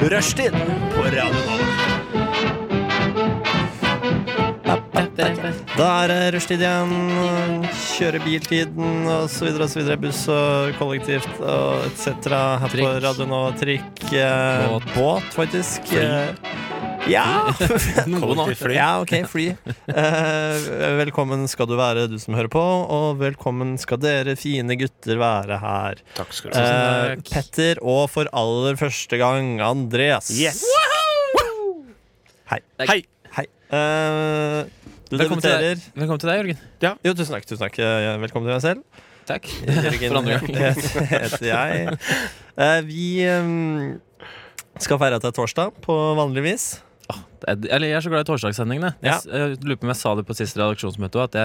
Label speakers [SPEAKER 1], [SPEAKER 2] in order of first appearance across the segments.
[SPEAKER 1] Rushtid på Radio Nova.
[SPEAKER 2] Da er det rushtid igjen. Kjøre biltiden osv. osv. Buss og kollektivt og etc. Her på
[SPEAKER 3] Trikk.
[SPEAKER 2] radioen og trikk. eh,
[SPEAKER 3] Båt.
[SPEAKER 2] Båt, faktisk. Eh, Ja!
[SPEAKER 3] Noen har
[SPEAKER 1] Kollektivt fly.
[SPEAKER 2] ja, ok, fly. Eh, velkommen skal du være, du som hører på. Og velkommen skal dere fine gutter være her.
[SPEAKER 1] Takk skal du ha.
[SPEAKER 2] Eh,
[SPEAKER 3] takk.
[SPEAKER 2] Petter og for aller første gang Andreas.
[SPEAKER 1] Yes.
[SPEAKER 2] Hei.
[SPEAKER 1] Hei.
[SPEAKER 2] Hei. Eh, du
[SPEAKER 3] Velkommen til,
[SPEAKER 2] debuterer.
[SPEAKER 3] deg. Velkommen til deg, Jørgen.
[SPEAKER 2] Jo, tusen takk. tusen takk Eh, Velkommen til deg selv.
[SPEAKER 3] Takk.
[SPEAKER 2] Jørgen
[SPEAKER 3] For andre gang.
[SPEAKER 2] het- heter jeg. Eh, vi ehm, skal feire at det er torsdag, på vanlig vis.
[SPEAKER 3] Jeg, eller jeg er så glad i torsdagssendingene. Jeg, s- jeg lurer på om jeg sa det på siste redaksjonsmøte også, at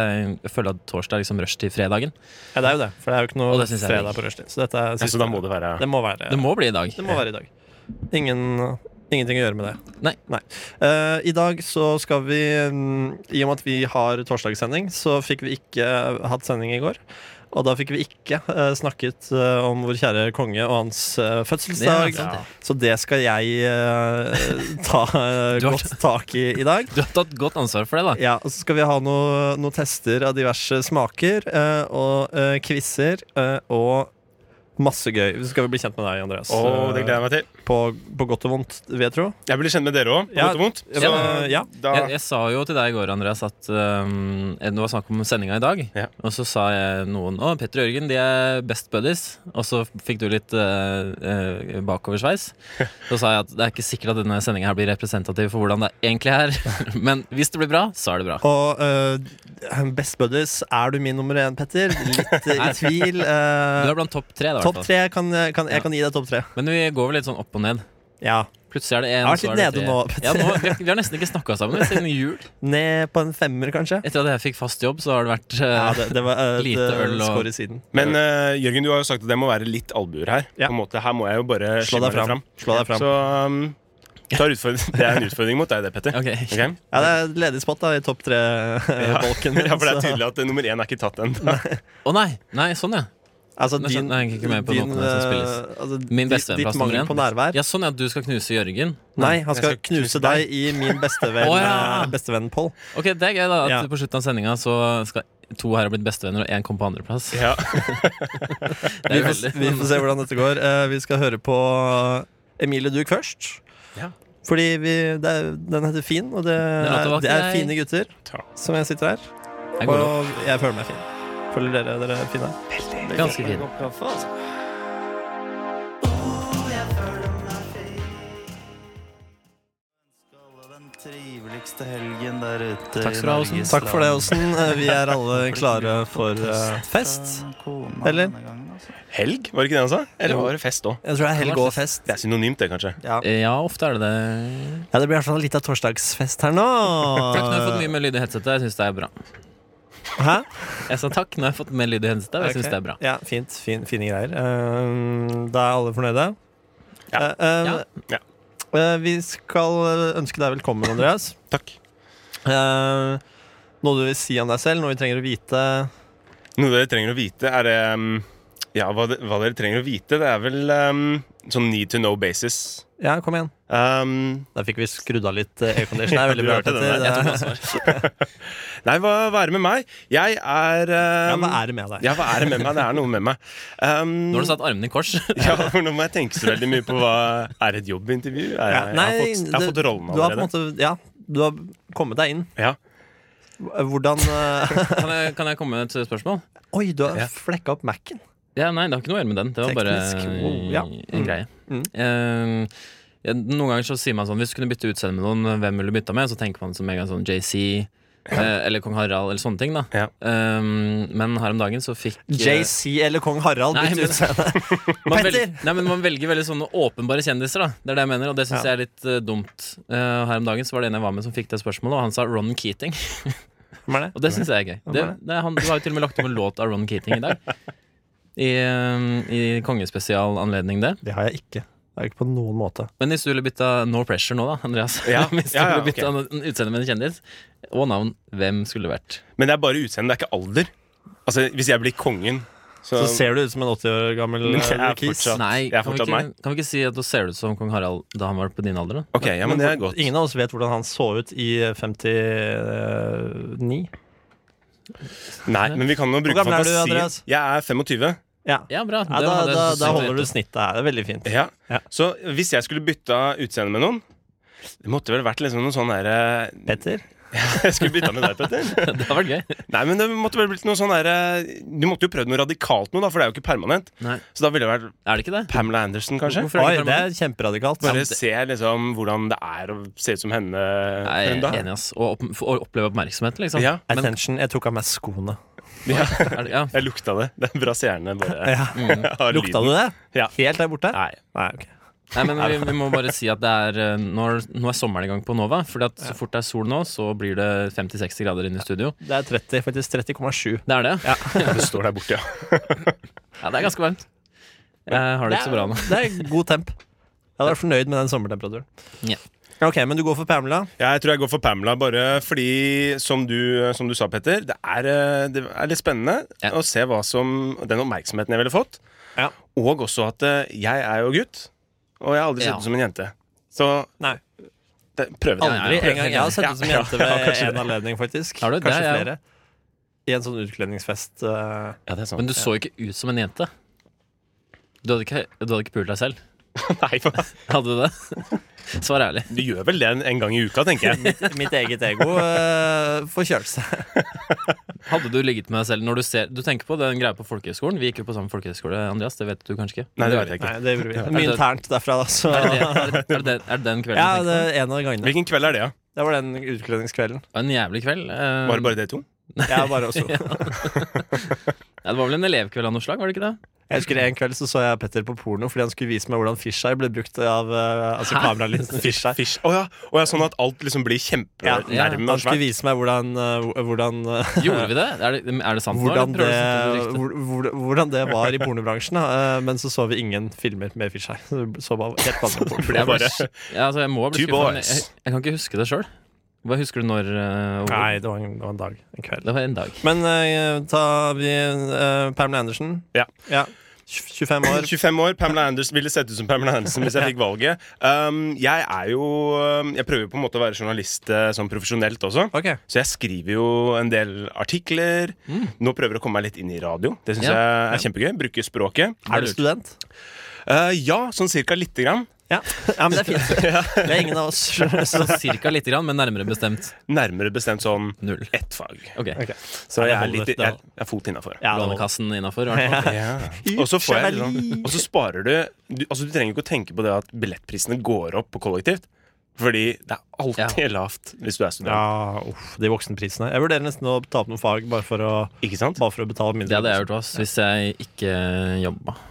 [SPEAKER 3] jeg, føler at torsdag er liksom rush til fredagen.
[SPEAKER 2] Ja, det er jo det, for det er jo ikke
[SPEAKER 3] Og
[SPEAKER 2] noe
[SPEAKER 3] det synes jeg er
[SPEAKER 2] fredag på rushtid. Så dette er
[SPEAKER 1] Ja,
[SPEAKER 2] siste.
[SPEAKER 1] så da må det være
[SPEAKER 2] det må være
[SPEAKER 3] Det må bli i dag.
[SPEAKER 2] Det må være i dag. Ingen, ingenting å gjøre med det.
[SPEAKER 3] Nei.
[SPEAKER 2] Eh, I dag så skal vi mm, I og med at vi har torsdagssending, så fikk vi ikke eh, hatt sending i går. Og da fikk vi ikke eh, snakket eh, om vår kjære konge og hans eh,
[SPEAKER 3] Ja,
[SPEAKER 2] fødselsdag.
[SPEAKER 3] sant det.
[SPEAKER 2] Så det skal jeg eh, ta eh,
[SPEAKER 3] Du har-
[SPEAKER 2] godt tak i i dag.
[SPEAKER 3] Du har tatt godt ansvar for det, da.
[SPEAKER 2] Ja, og Så skal vi ha noen noe tester av diverse smaker eh, og uh, quizer eh, og masse gøy. Så skal vi bli kjent med deg, Andreas. eh,
[SPEAKER 1] Å, det gleder jeg meg til.
[SPEAKER 2] på, på godt og vondt, vil jeg tro.
[SPEAKER 1] Jeg blir kjent med dere òg, på
[SPEAKER 2] Ja,
[SPEAKER 1] godt og vondt.
[SPEAKER 2] ja,
[SPEAKER 1] Så
[SPEAKER 2] men, ja.
[SPEAKER 1] da
[SPEAKER 3] Jeg, jeg sa jo til deg i går, Andreas, at um, det var snakk om sendinga i dag.
[SPEAKER 1] Ja.
[SPEAKER 3] Og så sa jeg noen Å, Petter og Jørgen, de er best buddies. Og så fikk du litt eh, eh, bakoversveis. Så sa jeg at det er ikke sikkert at denne sendinga blir representativ for hvordan det egentlig er. Men hvis det blir bra, så er det bra.
[SPEAKER 2] Og eh, Best Buddies, er du min nummer én, Petter? Litt eh, i tvil. eh,
[SPEAKER 3] Du er blant topp tre, da. i hvert
[SPEAKER 2] topp
[SPEAKER 3] fall.
[SPEAKER 2] tre kan, kan, jeg kan gi deg topp tre.
[SPEAKER 3] Men vi går vel litt sånn opp og ned.
[SPEAKER 2] Ja.
[SPEAKER 3] Plutselig er det én,
[SPEAKER 2] Jeg har vært
[SPEAKER 3] så er
[SPEAKER 2] litt nede
[SPEAKER 3] det tre.
[SPEAKER 2] nå, Petter.
[SPEAKER 3] Ja, nå vi, har, vi har nesten ikke snakka sammen siden jul.
[SPEAKER 2] Ned på en femmer, kanskje.
[SPEAKER 3] Etter at jeg fikk fast jobb, så har det vært
[SPEAKER 2] Ja,
[SPEAKER 3] eh,
[SPEAKER 2] det, det var eh, et
[SPEAKER 3] Lite
[SPEAKER 2] eh,
[SPEAKER 3] øl og-
[SPEAKER 2] skår i siden.
[SPEAKER 1] Men eh, Jørgen, du har jo sagt at det må være litt albuer her.
[SPEAKER 2] Ja.
[SPEAKER 1] På en måte, Her må jeg jo bare
[SPEAKER 2] Slå deg fram. Slå deg fram.
[SPEAKER 1] Så um, tar utfordring- det er en utfordring mot deg, det, Petter.
[SPEAKER 3] Ok.
[SPEAKER 1] Ok?
[SPEAKER 2] Ja, det er et ledig spot da i topp eh, tre-bolken.
[SPEAKER 1] Ja, for det er tydelig at eh, nummer én er ikke tatt ennå.
[SPEAKER 3] Å nei! Nei, sånn, ja.
[SPEAKER 2] altså,
[SPEAKER 3] Nå skjønner jeg ikke mer på
[SPEAKER 2] din,
[SPEAKER 3] låtene som spilles.
[SPEAKER 2] eh, altså,
[SPEAKER 3] Min
[SPEAKER 2] ditt-
[SPEAKER 3] bestevenn
[SPEAKER 2] Ditt
[SPEAKER 3] plass nummer
[SPEAKER 2] mangel
[SPEAKER 3] én.
[SPEAKER 2] på nærvær.
[SPEAKER 3] Ja, sånn ja, du skal knuse Jørgen?
[SPEAKER 2] Nei, han skal
[SPEAKER 1] jeg skal
[SPEAKER 2] knuse
[SPEAKER 1] knuse
[SPEAKER 2] deg i min bestevenn,
[SPEAKER 3] Å, ja.
[SPEAKER 2] eh, bestevenn Pål.
[SPEAKER 3] Ok, det er gøy da, at
[SPEAKER 2] Ja.
[SPEAKER 3] på slutten av sendinga så skal to her ha blitt bestevenner, og én kom på andreplass.
[SPEAKER 1] Ja.
[SPEAKER 3] Det
[SPEAKER 2] Vi
[SPEAKER 3] er
[SPEAKER 2] får,
[SPEAKER 3] veldig
[SPEAKER 2] vi får se hvordan dette går. Eh, vi skal høre på eh, Emilie Duck først.
[SPEAKER 1] Ja.
[SPEAKER 2] Fordi vi, det er, den heter Fin, og det,
[SPEAKER 3] låta
[SPEAKER 2] er,
[SPEAKER 3] var
[SPEAKER 2] det er
[SPEAKER 3] grei.
[SPEAKER 2] fine gutter
[SPEAKER 1] Takk.
[SPEAKER 2] som jeg sitter her.
[SPEAKER 3] Jeg går opp.
[SPEAKER 2] Og jeg føler meg fin. Føler dere dere er fine?
[SPEAKER 3] Ganske fin.
[SPEAKER 4] Den triveligste helgen der ute
[SPEAKER 3] Takk skal du ha, Osen.
[SPEAKER 2] Takk for det, Åsen. Eh, Vi er alle klare for eh, fest. Eller?
[SPEAKER 4] altså.
[SPEAKER 1] Helg, var det ikke det han sa? Eller var det fest òg?
[SPEAKER 2] Jeg tror det er helg og fest.
[SPEAKER 1] Det er synonymt, det, kanskje.
[SPEAKER 2] Ja.
[SPEAKER 3] Eh, Ja, ofte er det det.
[SPEAKER 2] ja, Det blir i hvert fall litt av torsdagsfest her nå.
[SPEAKER 3] Takk, nå har jeg fått mye mer lyd i headsetet. Jeg syns det er bra.
[SPEAKER 2] Hæ?
[SPEAKER 3] Jeg sa takk, nå har jeg fått mer lyd i headsetet. og Jeg synes
[SPEAKER 2] Ok.
[SPEAKER 3] det er bra.
[SPEAKER 2] Ja, fint, fin, Fine greier. Eh, da er alle fornøyde.
[SPEAKER 1] Ja.
[SPEAKER 2] Eh, eh,
[SPEAKER 3] Ja.
[SPEAKER 1] Ja.
[SPEAKER 2] eh, vi skal eh, ønske deg velkommen, Andreas.
[SPEAKER 1] Takk.
[SPEAKER 2] Eh, noe du vil si om deg selv, noe vi trenger å vite.
[SPEAKER 1] Noe dere trenger å vite, er det um, Ja, hva, de- hva dere trenger å vite, det er vel um, sånn need to know basis.
[SPEAKER 2] Ja, kom igjen.
[SPEAKER 1] Um,
[SPEAKER 2] Der fikk vi skrudd av litt eh, aircondition. Det
[SPEAKER 1] Ja,
[SPEAKER 2] er veldig
[SPEAKER 1] du
[SPEAKER 2] bra.
[SPEAKER 1] hørte den
[SPEAKER 2] Petter.
[SPEAKER 1] der.
[SPEAKER 2] Det er-
[SPEAKER 1] nei, hva, hva er det med meg? Jeg er
[SPEAKER 2] Ja,
[SPEAKER 1] um,
[SPEAKER 2] hva er det med deg?
[SPEAKER 1] Ja, hva er det med meg? Det er noe med meg. Um,
[SPEAKER 3] Nå har du satt armene i kors.
[SPEAKER 1] ja, for nå må jeg tenke så veldig mye på hva Er det et jobbintervju? Er, jeg- jeg, har fått, jeg har
[SPEAKER 2] det-
[SPEAKER 1] fått rollen
[SPEAKER 2] du har på en
[SPEAKER 1] allerede.
[SPEAKER 2] måte, ja, du har kommet deg inn.
[SPEAKER 1] Ja.
[SPEAKER 2] Hvordan eh,
[SPEAKER 3] Kan jeg, kan jeg komme med et spørsmål?
[SPEAKER 2] Oi, du har
[SPEAKER 1] Ja.
[SPEAKER 2] flekka opp Mac-en.
[SPEAKER 3] Ja, nei, det har ikke noe å gjøre med den. Det var
[SPEAKER 2] Teknisk,
[SPEAKER 3] bare
[SPEAKER 2] wow, ja. Mm.
[SPEAKER 3] en greie.
[SPEAKER 2] Mm.
[SPEAKER 3] Eh, ja, noen ganger så sier man sånn Hvis du kunne bytte utseende med noen, hvem ville du bytta med? Så tenker man som en gang sånn JC eh, eller kong Harald eller sånne ting. da
[SPEAKER 1] Ja.
[SPEAKER 3] Eh, Men her om dagen så fikk eh,
[SPEAKER 2] JC eller kong Harald?
[SPEAKER 3] Nei,
[SPEAKER 2] Bytt
[SPEAKER 3] men-
[SPEAKER 2] utseende.
[SPEAKER 3] man
[SPEAKER 2] Petter!
[SPEAKER 3] velger- nei, men man velger veldig sånne åpenbare kjendiser, da. Det er det jeg mener, og det syns jeg er litt eh, dumt. Eh, her om dagen så var det en jeg var med som fikk det spørsmålet, og han sa Ron Keating.
[SPEAKER 2] Hvem er det?
[SPEAKER 3] Og det syns jeg er gøy.
[SPEAKER 2] Hvem
[SPEAKER 3] Det,
[SPEAKER 2] er
[SPEAKER 3] det, er han, det var jo til og med lagt om en låt av Ron Keating i dag. I, eh, i kongespesialanledning, det.
[SPEAKER 2] Det har jeg ikke. Det har jeg ikke på noen måte.
[SPEAKER 3] Men hvis du ville bytta No Pressure nå, da, Andreas
[SPEAKER 1] Ja,
[SPEAKER 3] Hvis du
[SPEAKER 1] ja, ja,
[SPEAKER 3] ville bytta en utseende med en kjendis og navn, hvem skulle det vært?
[SPEAKER 1] Men det er bare utseende, det er ikke alder. Altså, Hvis jeg blir kongen, Så,
[SPEAKER 2] Så ser du ut som en 80 år gammel
[SPEAKER 1] Men
[SPEAKER 2] eh,
[SPEAKER 1] jeg er
[SPEAKER 2] kis.
[SPEAKER 1] fortsatt-
[SPEAKER 3] Nei,
[SPEAKER 1] jeg er
[SPEAKER 3] kan vi,
[SPEAKER 1] fortsatt
[SPEAKER 3] ikke, kan vi ikke si at du ser ut som kong Harald da han var på din alder? da?
[SPEAKER 1] OK, ja, men det er godt.
[SPEAKER 2] Ingen av oss vet hvordan han så ut i eh, 59.
[SPEAKER 1] Nei, men vi kan jo bruke
[SPEAKER 2] gammel er du,
[SPEAKER 1] fantasien.
[SPEAKER 2] Andreas?
[SPEAKER 1] Jeg er 25.
[SPEAKER 2] Ja,
[SPEAKER 3] Ja, bra.
[SPEAKER 2] ja da, da, da holder du snittet her. Det er veldig fint.
[SPEAKER 1] Ja.
[SPEAKER 2] Ja.
[SPEAKER 1] Så hvis jeg skulle bytta utseende med noen Det måtte vel vært liksom noe sånn derre
[SPEAKER 2] Petter?
[SPEAKER 1] Jeg skulle bytta med deg, Petter.
[SPEAKER 3] Det har vært gøy.
[SPEAKER 1] Nei, men det måtte vel blitt noe sånn derre Du måtte jo prøvd noe radikalt nå, da, for det er jo ikke permanent.
[SPEAKER 3] Nei,
[SPEAKER 1] Så da ville det vært
[SPEAKER 3] er det ikke det?
[SPEAKER 1] Pamela Anderson, kanskje?
[SPEAKER 2] Oi,
[SPEAKER 3] Hvorfor er det ikke
[SPEAKER 2] det
[SPEAKER 3] permanent?
[SPEAKER 2] er kjemperadikalt.
[SPEAKER 1] Bare se liksom hvordan det er å se ut som henne
[SPEAKER 3] Nei,
[SPEAKER 1] for
[SPEAKER 3] jeg
[SPEAKER 1] en
[SPEAKER 3] er
[SPEAKER 1] dag.
[SPEAKER 3] enig, ass. Og opp, for å oppleve oppmerksomhet, liksom.
[SPEAKER 1] Ja.
[SPEAKER 3] Men,
[SPEAKER 2] Attention. Jeg tok av meg skoene.
[SPEAKER 1] Ja,
[SPEAKER 3] er det, ja.
[SPEAKER 1] jeg lukta det. Den brasilianerne bare
[SPEAKER 2] Ja.
[SPEAKER 3] Mm.
[SPEAKER 1] har
[SPEAKER 2] Lukta du det?
[SPEAKER 1] Ja.
[SPEAKER 2] Helt der borte?
[SPEAKER 1] Nei.
[SPEAKER 2] Nei, ok.
[SPEAKER 3] Nei, men vi, vi må bare si at det er eh, nå, er- nå er sommeren i gang på Nova. Fordi at så fort det er sol nå, så blir det 50-60 grader inne i studio.
[SPEAKER 2] Det er 30, faktisk 30,7.
[SPEAKER 3] Det er det. Ja,
[SPEAKER 1] Det står der borte, ja.
[SPEAKER 3] det er ganske varmt. Jeg har det ikke så bra nå.
[SPEAKER 2] Det er god temp. Jeg hadde vært fornøyd med den sommertemperaturen.
[SPEAKER 3] Ja.
[SPEAKER 2] Ok, Men du går for Pamela?
[SPEAKER 1] Ja, Jeg tror jeg går for Pamela, bare fordi, som du, som du sa, Petter, det er, eh, det er litt spennende
[SPEAKER 3] Ja.
[SPEAKER 1] å se hva som Den oppmerksomheten jeg ville fått.
[SPEAKER 2] Ja.
[SPEAKER 1] Og også at eh, jeg er jo gutt, og jeg har aldri sett
[SPEAKER 3] Ja.
[SPEAKER 1] ut som en jente. Så
[SPEAKER 2] Nei.
[SPEAKER 1] det, prøve det.
[SPEAKER 3] Aldri.
[SPEAKER 2] Aldri en gang. Jeg har sett
[SPEAKER 1] Ja,
[SPEAKER 2] ut som
[SPEAKER 1] ja,
[SPEAKER 2] jente
[SPEAKER 1] ja,
[SPEAKER 2] ved
[SPEAKER 1] kanskje
[SPEAKER 2] en anledning, faktisk.
[SPEAKER 3] Har du? Det
[SPEAKER 2] Kanskje
[SPEAKER 3] er jeg
[SPEAKER 2] flere. I en sånn utkledningsfest. eh,
[SPEAKER 1] Ja, det er sant.
[SPEAKER 3] Men du så ikke ut som en jente. Du hadde ikke, du hadde ikke pult deg selv.
[SPEAKER 1] Nei, for,
[SPEAKER 3] Hadde du det? Svar ærlig.
[SPEAKER 1] du gjør vel det en, en gang i uka, tenker jeg.
[SPEAKER 2] mitt eget ego uh, forkjølelse.
[SPEAKER 3] Hadde du ligget med deg selv når du ser Du tenker på den greia på folkehøyskolen. Vi gikk jo på samme folkehøyskole, Andreas. Det vet du kanskje ikke?
[SPEAKER 1] Nei, det vet jeg ikke.
[SPEAKER 2] Nei, det gjorde vi. Mye internt derfra, da. Så.
[SPEAKER 3] Er det, er, det, er, det, er det den kvelden
[SPEAKER 2] Ja,
[SPEAKER 3] du
[SPEAKER 2] det
[SPEAKER 3] tenker på?
[SPEAKER 2] er en av gangene.
[SPEAKER 1] Hvilken kveld er det, da? Ja?
[SPEAKER 2] Det var den utkledningskvelden.
[SPEAKER 3] Det var en jævlig kveld. eh,
[SPEAKER 1] Var det bare dere to?
[SPEAKER 2] Jeg er bare også.
[SPEAKER 3] ja, det var vel en elevkveld av noe slag, var det ikke det?
[SPEAKER 2] Jeg husker En kveld så, så jeg Petter på porno fordi han skulle vise meg hvordan fisheye ble brukt av eh, Altså
[SPEAKER 3] Hæ?
[SPEAKER 2] kameralinsen fisheye.
[SPEAKER 1] Fish. Å ja. Å ja, sånn at alt liksom blir
[SPEAKER 2] Ja,
[SPEAKER 1] kjempenærme
[SPEAKER 3] ja.
[SPEAKER 1] og
[SPEAKER 2] Han skulle
[SPEAKER 1] svært.
[SPEAKER 2] vise meg hvordan, eh, hvordan eh,
[SPEAKER 3] Gjorde vi det? Er det, er det sant nå?
[SPEAKER 2] hvordan
[SPEAKER 3] eller
[SPEAKER 2] det,
[SPEAKER 3] prøver du å sette ut et rykte?
[SPEAKER 2] hvor, hvor, hvordan det var i pornobransjen. da. Eh, Men så så vi ingen filmer med fisheye. Så vi Så bare helt vanlig porno.
[SPEAKER 1] Det er
[SPEAKER 3] Jeg ble
[SPEAKER 1] bare
[SPEAKER 3] sk- ja, altså, jeg må bli
[SPEAKER 1] Two
[SPEAKER 3] skuffet, men
[SPEAKER 1] boys.
[SPEAKER 3] Jeg, jeg kan ikke huske det sjøl. Hva husker du når? eh, og hvor?
[SPEAKER 2] Nei, det var, en, det var en dag. En kveld.
[SPEAKER 3] Det var en dag.
[SPEAKER 2] Men eh, ta vi eh, Pamela Andersen.
[SPEAKER 1] Ja.
[SPEAKER 2] Tj- 25 år.
[SPEAKER 1] 25 år, Pamela Anderson ville sett ut som Pamela Anderson hvis jeg fikk valget. Um, jeg er jo um, Jeg prøver jo på en måte å være journalist eh, sånn profesjonelt også.
[SPEAKER 2] Ok.
[SPEAKER 1] Så jeg skriver jo en del artikler.
[SPEAKER 2] Mm.
[SPEAKER 1] Nå prøver jeg å komme meg litt inn i radio. Det syns
[SPEAKER 3] Ja.
[SPEAKER 1] jeg er kjempegøy. Bruke språket.
[SPEAKER 2] Er du student?
[SPEAKER 1] Eh, ja, sånn cirka lite grann.
[SPEAKER 2] Ja. ja, men det er fint. Det er ingen av oss. Så,
[SPEAKER 3] Cirka lite grann, men nærmere bestemt
[SPEAKER 1] Nærmere bestemt sånn
[SPEAKER 3] null.
[SPEAKER 1] ett fag.
[SPEAKER 3] Ok.
[SPEAKER 1] Så
[SPEAKER 2] Ja, det
[SPEAKER 1] jeg er,
[SPEAKER 2] holder,
[SPEAKER 1] litt,
[SPEAKER 2] det
[SPEAKER 1] jeg,
[SPEAKER 2] holder.
[SPEAKER 1] jeg er fot innafor.
[SPEAKER 2] ja, det var-
[SPEAKER 3] Lånekassen innafor, i hvert fall.
[SPEAKER 1] Ja. Og så får jeg liksom Og så sparer du, du Altså du trenger ikke å tenke på det at billettprisene går opp på kollektivt. Fordi det er alltid lavt hvis du er student.
[SPEAKER 2] ja, uff, de voksenprisene. Jeg vurderer nesten å ta opp noen fag bare for å,
[SPEAKER 1] Ikke sant?
[SPEAKER 2] bare for å betale mindre.
[SPEAKER 3] Det hadde jeg gjort ass, hvis jeg ikke jobba.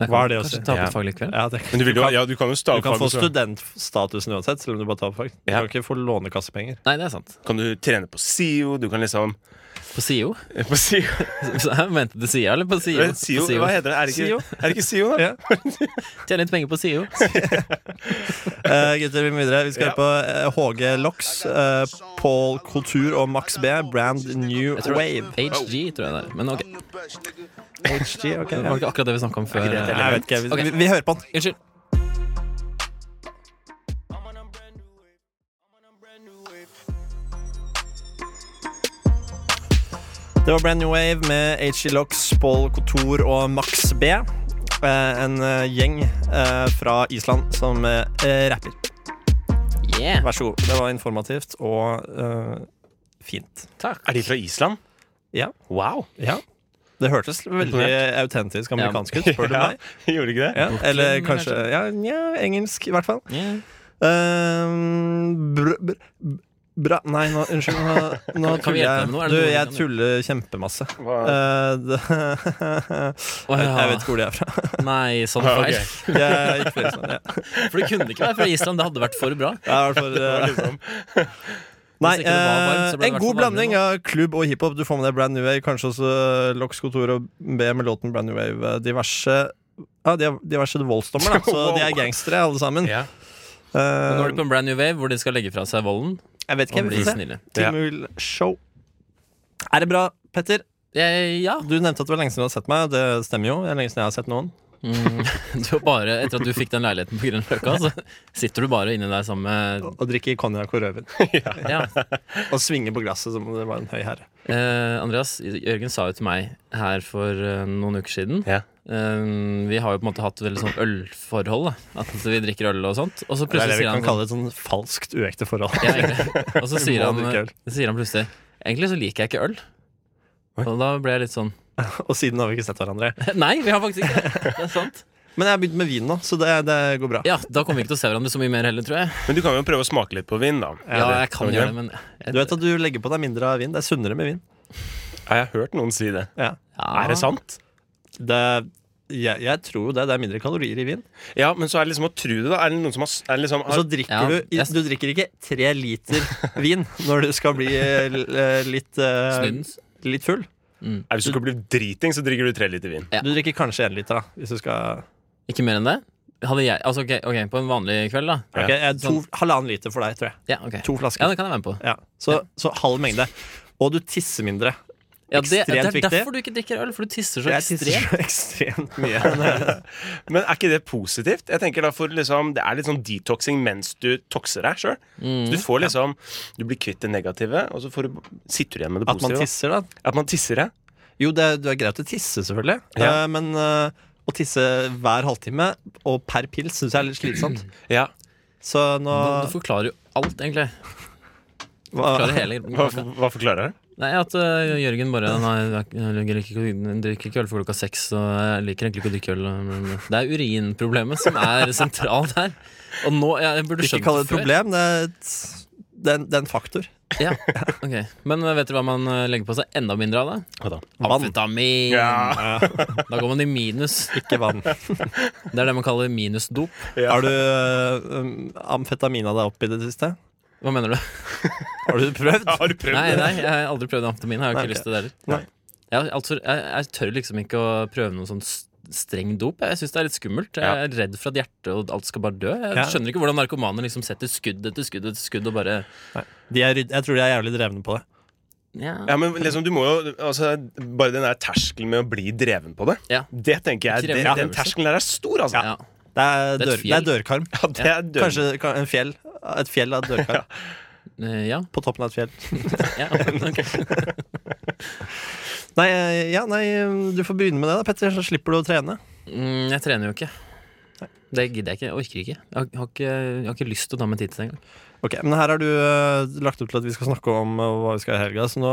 [SPEAKER 3] Jeg kan
[SPEAKER 2] Hva er det å si?
[SPEAKER 3] Kanskje ta opp
[SPEAKER 1] Ja.
[SPEAKER 3] et fag likevel.
[SPEAKER 2] Ja, det,
[SPEAKER 1] Men du, vil jo, ja, du kan jo
[SPEAKER 2] du
[SPEAKER 1] stave
[SPEAKER 2] kan
[SPEAKER 1] fag,
[SPEAKER 2] få
[SPEAKER 1] og så
[SPEAKER 2] studentstatusen uansett, selv om du bare tar opp fag. Du
[SPEAKER 1] Ja.
[SPEAKER 2] kan ikke få lånekassepenger.
[SPEAKER 3] Nei, det er sant.
[SPEAKER 1] kan du trene på SIO, du kan liksom
[SPEAKER 3] På SIO.
[SPEAKER 1] På SIO?
[SPEAKER 3] Så jeg Mente du SIA eller på SIO?
[SPEAKER 1] Hva- SIO,
[SPEAKER 3] På SIO.
[SPEAKER 1] Hva heter det? Er det
[SPEAKER 2] SIO?
[SPEAKER 1] ikke, er det ikke SIO, da?
[SPEAKER 2] Ja.
[SPEAKER 3] Tjene litt penger på SIO.
[SPEAKER 2] Eh, gutter, vi må videre. Vi skal
[SPEAKER 1] Ja.
[SPEAKER 2] høre på eh, HG Lox, eh, Paul Kultur og Max B, Brand New
[SPEAKER 3] Jeg tror det-
[SPEAKER 2] Wave.
[SPEAKER 3] HG, tror jeg det er. Men ok,
[SPEAKER 2] HG, ok.
[SPEAKER 3] det var ikke akkurat det vi snakka om før.
[SPEAKER 1] det et
[SPEAKER 2] Jeg vet ikke, vi,
[SPEAKER 3] Ok.
[SPEAKER 2] vi, vi hører på den.
[SPEAKER 3] Unnskyld.
[SPEAKER 2] Det var Brand New Wave med HG Locks, Paul Kotor og Max B. Eh, En eh, gjeng eh, fra Island som eh, rapper.
[SPEAKER 3] Yeah.
[SPEAKER 2] Vær så god. Det var informativt og eh, fint.
[SPEAKER 1] Er de fra Island?
[SPEAKER 2] Ja.
[SPEAKER 1] Wow!
[SPEAKER 2] Ja. Det hørtes veldig autentisk amerikansk ut, spør du
[SPEAKER 1] Ja,
[SPEAKER 2] meg.
[SPEAKER 1] Gjorde ikke det?
[SPEAKER 2] Ja, eller
[SPEAKER 3] Brooklyn,
[SPEAKER 2] kanskje
[SPEAKER 3] kanskje?
[SPEAKER 2] ja, nja, engelsk, i hvert fall.
[SPEAKER 3] yeah.
[SPEAKER 2] Ehm, br br bra Nei, nå, unnskyld. Nå, nå
[SPEAKER 3] Kan
[SPEAKER 2] tuller
[SPEAKER 3] vi hjelpe
[SPEAKER 2] jeg.
[SPEAKER 3] deg med noe? Er
[SPEAKER 2] Du,
[SPEAKER 3] det noe vi
[SPEAKER 2] jeg
[SPEAKER 3] kan
[SPEAKER 2] tuller kjempemasse.
[SPEAKER 1] Hva-
[SPEAKER 2] Eh, det- jeg, jeg vet ikke hvor de er fra.
[SPEAKER 3] Nei, sånn
[SPEAKER 1] Ah,
[SPEAKER 3] feil.
[SPEAKER 1] ok.
[SPEAKER 2] Jeg gikk flere sånne, ja.
[SPEAKER 3] For det kunne ikke være fra Island. Det hadde vært for bra.
[SPEAKER 2] Jeg er i hvert fall,
[SPEAKER 1] Det var
[SPEAKER 2] eh,
[SPEAKER 1] liksom-
[SPEAKER 2] Nei,
[SPEAKER 3] Hvis ikke det var varmt, så
[SPEAKER 2] eh,
[SPEAKER 3] ble det i
[SPEAKER 2] en
[SPEAKER 3] hvert
[SPEAKER 2] god
[SPEAKER 3] fall varmere
[SPEAKER 2] blanding av klubb og hiphop. Du får med deg Brand New Wave, kanskje også Lox Kontor og B med låten Brand New Wave. eh, Diverse ja, de har diverse voldsdommer, da. Så de er gangstere, alle sammen.
[SPEAKER 1] Ja.
[SPEAKER 3] Nå
[SPEAKER 2] Eh,
[SPEAKER 3] er det på en brand new wave hvor de skal legge fra seg volden
[SPEAKER 2] jeg vet ikke,
[SPEAKER 3] og
[SPEAKER 2] jeg
[SPEAKER 3] bli
[SPEAKER 2] vil se.
[SPEAKER 3] snille.
[SPEAKER 1] Ja.
[SPEAKER 2] Timul Show. Er det bra, Petter?
[SPEAKER 3] Eh, ja.
[SPEAKER 2] Du nevnte at det var lenge siden du hadde sett meg. og Det stemmer jo. Det er lenge siden jeg har sett noen.
[SPEAKER 3] Mm, du har bare, etter at du fikk den leiligheten på Grünerløkka, så sitter du bare inni der sammen med
[SPEAKER 2] Og drikke konjakk og rødvin.
[SPEAKER 3] ja.
[SPEAKER 2] Og svinge på glasset som om det var en høy herre.
[SPEAKER 3] eh, Andreas, Jørgen sa jo til meg her for eh, noen uker siden
[SPEAKER 1] Ja.
[SPEAKER 3] eh, Vi har jo på en måte hatt veldig sånn ølforhold. Da. At vi drikker øl og sånt. Og så
[SPEAKER 2] Det er
[SPEAKER 3] plutselig
[SPEAKER 2] det vi
[SPEAKER 3] sier
[SPEAKER 2] kan
[SPEAKER 3] han
[SPEAKER 2] kalle et sånn falskt uekte forhold.
[SPEAKER 3] Ja, egentlig. Og så
[SPEAKER 2] Vi
[SPEAKER 3] sier
[SPEAKER 2] må
[SPEAKER 3] han,
[SPEAKER 2] drikke øl.
[SPEAKER 3] så sier han plutselig Egentlig så liker jeg ikke øl.
[SPEAKER 1] Oi.
[SPEAKER 3] Og da ble jeg litt sånn
[SPEAKER 2] Og siden har vi ikke sett hverandre.
[SPEAKER 3] Nei, vi har faktisk ikke det. Det er sant.
[SPEAKER 2] Men jeg har begynt med vin nå, så det, det går bra.
[SPEAKER 3] Ja, Da kommer vi ikke til å se hverandre så mye mer heller, tror jeg.
[SPEAKER 1] Men du kan jo prøve å smake litt på vin, da.
[SPEAKER 3] Ja, jeg kan
[SPEAKER 1] Ok.
[SPEAKER 3] gjøre det, men eh, jeg,
[SPEAKER 2] Du vet at du legger på deg mindre av vin. Det er sunnere med vin.
[SPEAKER 1] Har jeg hørt noen si det?
[SPEAKER 2] Ja.
[SPEAKER 3] ja.
[SPEAKER 1] Er det sant?
[SPEAKER 2] Det, jeg, jeg tror jo det. Det er mindre kalorier i vin.
[SPEAKER 1] Ja, men så er det liksom å tro det, da. Er det noen som har, s- er det liksom,
[SPEAKER 2] Og
[SPEAKER 1] har
[SPEAKER 2] så drikker
[SPEAKER 3] Ja,
[SPEAKER 2] du
[SPEAKER 3] jeg-
[SPEAKER 2] Du drikker ikke tre liter vin når du skal bli eh, l- eh, litt, eh,
[SPEAKER 3] Snuddens?
[SPEAKER 2] litt full.
[SPEAKER 1] Nei, Hvis du skal bli driting, så drikker du tre liter vin.
[SPEAKER 3] Ja.
[SPEAKER 2] Du drikker kanskje én liter, da. Hvis du skal
[SPEAKER 3] Ikke mer enn det? Hadde jeg, altså, ok, ok, på en vanlig kveld, da?
[SPEAKER 1] Ja.
[SPEAKER 2] Ok, eh, to, Halvannen liter for deg, tror jeg.
[SPEAKER 3] Ja, ok.
[SPEAKER 2] To
[SPEAKER 3] Sånn. ja
[SPEAKER 2] flasker.
[SPEAKER 3] det kan jeg være med på.
[SPEAKER 2] Ja, så, så halv mengde. Og du tisser mindre.
[SPEAKER 3] Ja, det, det
[SPEAKER 2] Ekstremt
[SPEAKER 3] er
[SPEAKER 2] viktig.
[SPEAKER 3] derfor du ikke drikker øl, for du tisser så
[SPEAKER 2] Jeg tisser
[SPEAKER 3] ekstremt.
[SPEAKER 2] så ekstremt mye.
[SPEAKER 1] Men er ikke det positivt? Jeg tenker da for liksom, Det er litt sånn detoxing mens du toxer deg sjøl. Du får liksom Du blir kvitt det negative, og så får du, sitter du igjen med det
[SPEAKER 2] At man
[SPEAKER 1] positive.
[SPEAKER 2] tisser, da.
[SPEAKER 1] At man tisser, ja.
[SPEAKER 2] Jo, det, det er greit å tisse, selvfølgelig.
[SPEAKER 1] Ja.
[SPEAKER 2] Eh, men eh, å tisse hver halvtime og per pils syns jeg er litt slitsomt.
[SPEAKER 1] ja.
[SPEAKER 2] Så nå
[SPEAKER 3] Du, du forklarer jo alt, egentlig.
[SPEAKER 2] hva,
[SPEAKER 3] Forklarer hele
[SPEAKER 1] Hva, hva forklarer det?
[SPEAKER 3] Nei, at øh, Jørgen bare Nei, jeg liker ikke, å- drikker ikke øl for klokka seks, og jeg liker egentlig ikke å drikke øl. eh, men- men- Det er urinproblemet som er sentralt her. Og nå Jeg burde
[SPEAKER 2] Ikke
[SPEAKER 3] skjønt
[SPEAKER 2] kall det et
[SPEAKER 3] før.
[SPEAKER 2] problem, det er, et, det er, en, det er en faktor.
[SPEAKER 3] Ja, ok Men øh, vet dere hva man øh, legger på seg enda mindre av? det?
[SPEAKER 1] Hva da?
[SPEAKER 2] Vann,
[SPEAKER 3] Amfetamin! Da går man i minus.
[SPEAKER 2] ikke vann.
[SPEAKER 3] Det er det man kaller minusdop.
[SPEAKER 2] Har du eh, um, amfetamina deg opp i det siste?
[SPEAKER 3] Hva mener du?
[SPEAKER 2] Har du prøvd?
[SPEAKER 1] Har du prøvd
[SPEAKER 3] Nei,
[SPEAKER 1] det?
[SPEAKER 3] nei, jeg har aldri prøvd amfetamin. Jeg har ikke
[SPEAKER 2] Nei, ok.
[SPEAKER 3] lyst til det heller.
[SPEAKER 2] Nei.
[SPEAKER 3] Jeg, altså, jeg, jeg tør liksom ikke å prøve noen sånn s- streng dop. Jeg syns det er litt skummelt. Jeg
[SPEAKER 1] Ja.
[SPEAKER 3] er redd for at hjertet og alt skal bare dø. Jeg
[SPEAKER 2] Ja.
[SPEAKER 3] skjønner ikke hvordan narkomaner liksom setter skudd etter skudd etter skudd og bare
[SPEAKER 2] De er, rydd- jeg tror de er jævlig drevne på det.
[SPEAKER 3] ja.
[SPEAKER 1] Ja, men liksom, du må jo altså, Bare den der terskelen med å bli dreven på det,
[SPEAKER 3] Ja.
[SPEAKER 1] det tenker jeg
[SPEAKER 3] Det
[SPEAKER 1] det,
[SPEAKER 3] krever
[SPEAKER 1] Den
[SPEAKER 3] øvelse.
[SPEAKER 1] terskelen der er stor, altså.
[SPEAKER 3] Ja.
[SPEAKER 2] Det er,
[SPEAKER 3] Det er et
[SPEAKER 2] dør, det er dørkarm.
[SPEAKER 1] Ja, det er døden.
[SPEAKER 2] Kanskje ka- en fjell. Et fjell av dørkarm.
[SPEAKER 3] Eh, ja.
[SPEAKER 2] På toppen av et fjell.
[SPEAKER 3] ja. ok.
[SPEAKER 2] Nei, eh, ja, nei, du får begynne med det, da, Petter, så slipper du å trene.
[SPEAKER 3] Mm, jeg trener jo ikke. Det gidder jeg ikke. Jeg orker ikke. Jeg har, har ikke. jeg har ikke lyst til å ta meg tid til det engang.
[SPEAKER 2] Ok, Men her har du eh, lagt opp til at vi skal snakke om eh, hva vi skal i helga, så nå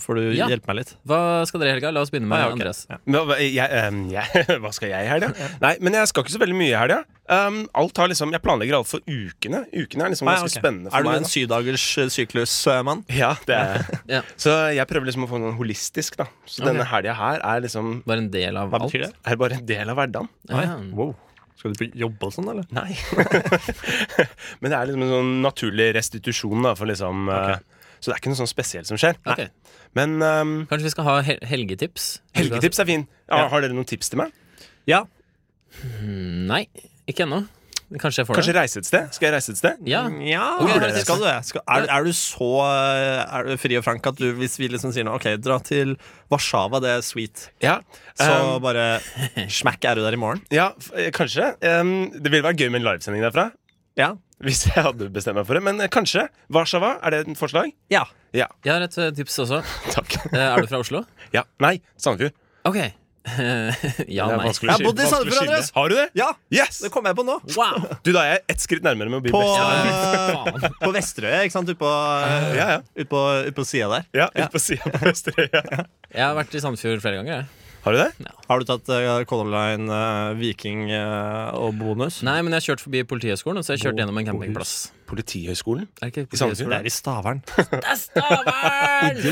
[SPEAKER 2] får du
[SPEAKER 3] Ja.
[SPEAKER 2] hjelpe meg litt.
[SPEAKER 3] Hva skal dere i helga? La oss begynne med
[SPEAKER 2] Ah, ja, ok.
[SPEAKER 3] Andreas.
[SPEAKER 2] Ja.
[SPEAKER 1] Men Hva, jeg, ehm, jeg, hva skal jeg i helga? Nei, men jeg skal ikke så veldig mye i helga. Um, alt har liksom, jeg planlegger alt for ukene. Ukene er liksom
[SPEAKER 2] Ah, ja, ok.
[SPEAKER 1] ganske spennende
[SPEAKER 2] Er
[SPEAKER 1] for
[SPEAKER 2] du
[SPEAKER 1] meg.
[SPEAKER 2] en syvdagers eh, syklusmann?
[SPEAKER 1] da. Ja, det er jeg.
[SPEAKER 3] Ja.
[SPEAKER 1] Så jeg prøver liksom å få noe holistisk, da. Så denne helga her er liksom
[SPEAKER 3] Bare en del av
[SPEAKER 2] Hva
[SPEAKER 3] alt.
[SPEAKER 2] betyr det?
[SPEAKER 1] er bare en del av hverdagen.
[SPEAKER 3] Ja.
[SPEAKER 2] Wow. Skal du jobbe og sånn, eller?
[SPEAKER 1] Nei. men det er liksom en sånn naturlig restitusjon, da, for liksom eh, Så det er ikke noe sånn spesielt som skjer.
[SPEAKER 3] Ok.
[SPEAKER 1] Men um,
[SPEAKER 3] Kanskje vi skal ha hel helgetips?
[SPEAKER 1] helgetips er fin. Ja,
[SPEAKER 2] Ja.
[SPEAKER 1] har dere noen tips til meg?
[SPEAKER 2] Ja.
[SPEAKER 3] Nei, ikke ennå. Kanskje jeg får
[SPEAKER 1] Kanskje reise et sted? Skal jeg reise et sted?
[SPEAKER 3] det. Ja.
[SPEAKER 2] Nja,
[SPEAKER 3] Ok,
[SPEAKER 2] det skal du det? Skal, er, er du så eh, er du fri og frank at du, hvis vi liksom sier nå, ok, dra til Warszawa, det er sweet,
[SPEAKER 1] Ja.
[SPEAKER 2] så
[SPEAKER 1] Um,
[SPEAKER 2] bare smack, er du der i morgen?
[SPEAKER 1] ja, f- eh, kanskje. Um, det ville vært gøy med en livesending derfra.
[SPEAKER 2] Ja.
[SPEAKER 1] Hvis jeg hadde bestemt meg for det. Men eh, kanskje. Warszawa, er det et forslag?
[SPEAKER 2] Ja.
[SPEAKER 1] Ja.
[SPEAKER 3] Jeg har et eh, tips også.
[SPEAKER 1] Takk.
[SPEAKER 3] Eh, Er du fra Oslo?
[SPEAKER 1] Ja. Nei, Sandefjord.
[SPEAKER 3] Ok. ja,
[SPEAKER 1] Det er
[SPEAKER 3] nei.
[SPEAKER 1] vanskelig
[SPEAKER 2] Jeg
[SPEAKER 1] å
[SPEAKER 2] har bodd i
[SPEAKER 1] skille-
[SPEAKER 2] Sandefjord,
[SPEAKER 1] vanskelig å skille.
[SPEAKER 2] Andreas.
[SPEAKER 1] Har du det?
[SPEAKER 2] Ja,
[SPEAKER 1] Yes!
[SPEAKER 2] det kom jeg på nå.
[SPEAKER 3] Wow!
[SPEAKER 1] Du, da er jeg ett skritt nærmere med å bli
[SPEAKER 2] På,
[SPEAKER 1] best.
[SPEAKER 3] Faen.
[SPEAKER 2] på Vesterøya, ikke sant? Ut på, eh,
[SPEAKER 1] Ja, ja.
[SPEAKER 2] ut på, ut på sida der.
[SPEAKER 1] Ja, ut på siden på Østerøya.
[SPEAKER 3] Jeg har vært i Sandefjord flere ganger. Jeg.
[SPEAKER 1] Har du det?
[SPEAKER 2] Har du tatt eh, Color Line, eh, Viking eh, og bonus?
[SPEAKER 3] Nei, men jeg har kjørt forbi Politihøgskolen, og så har jeg kjørt gjennom en campingplass.
[SPEAKER 1] Politihøgskolen?
[SPEAKER 3] Er det ikke
[SPEAKER 1] I Sandefjord?
[SPEAKER 2] Det er i Stavern.
[SPEAKER 3] Det er Stavern!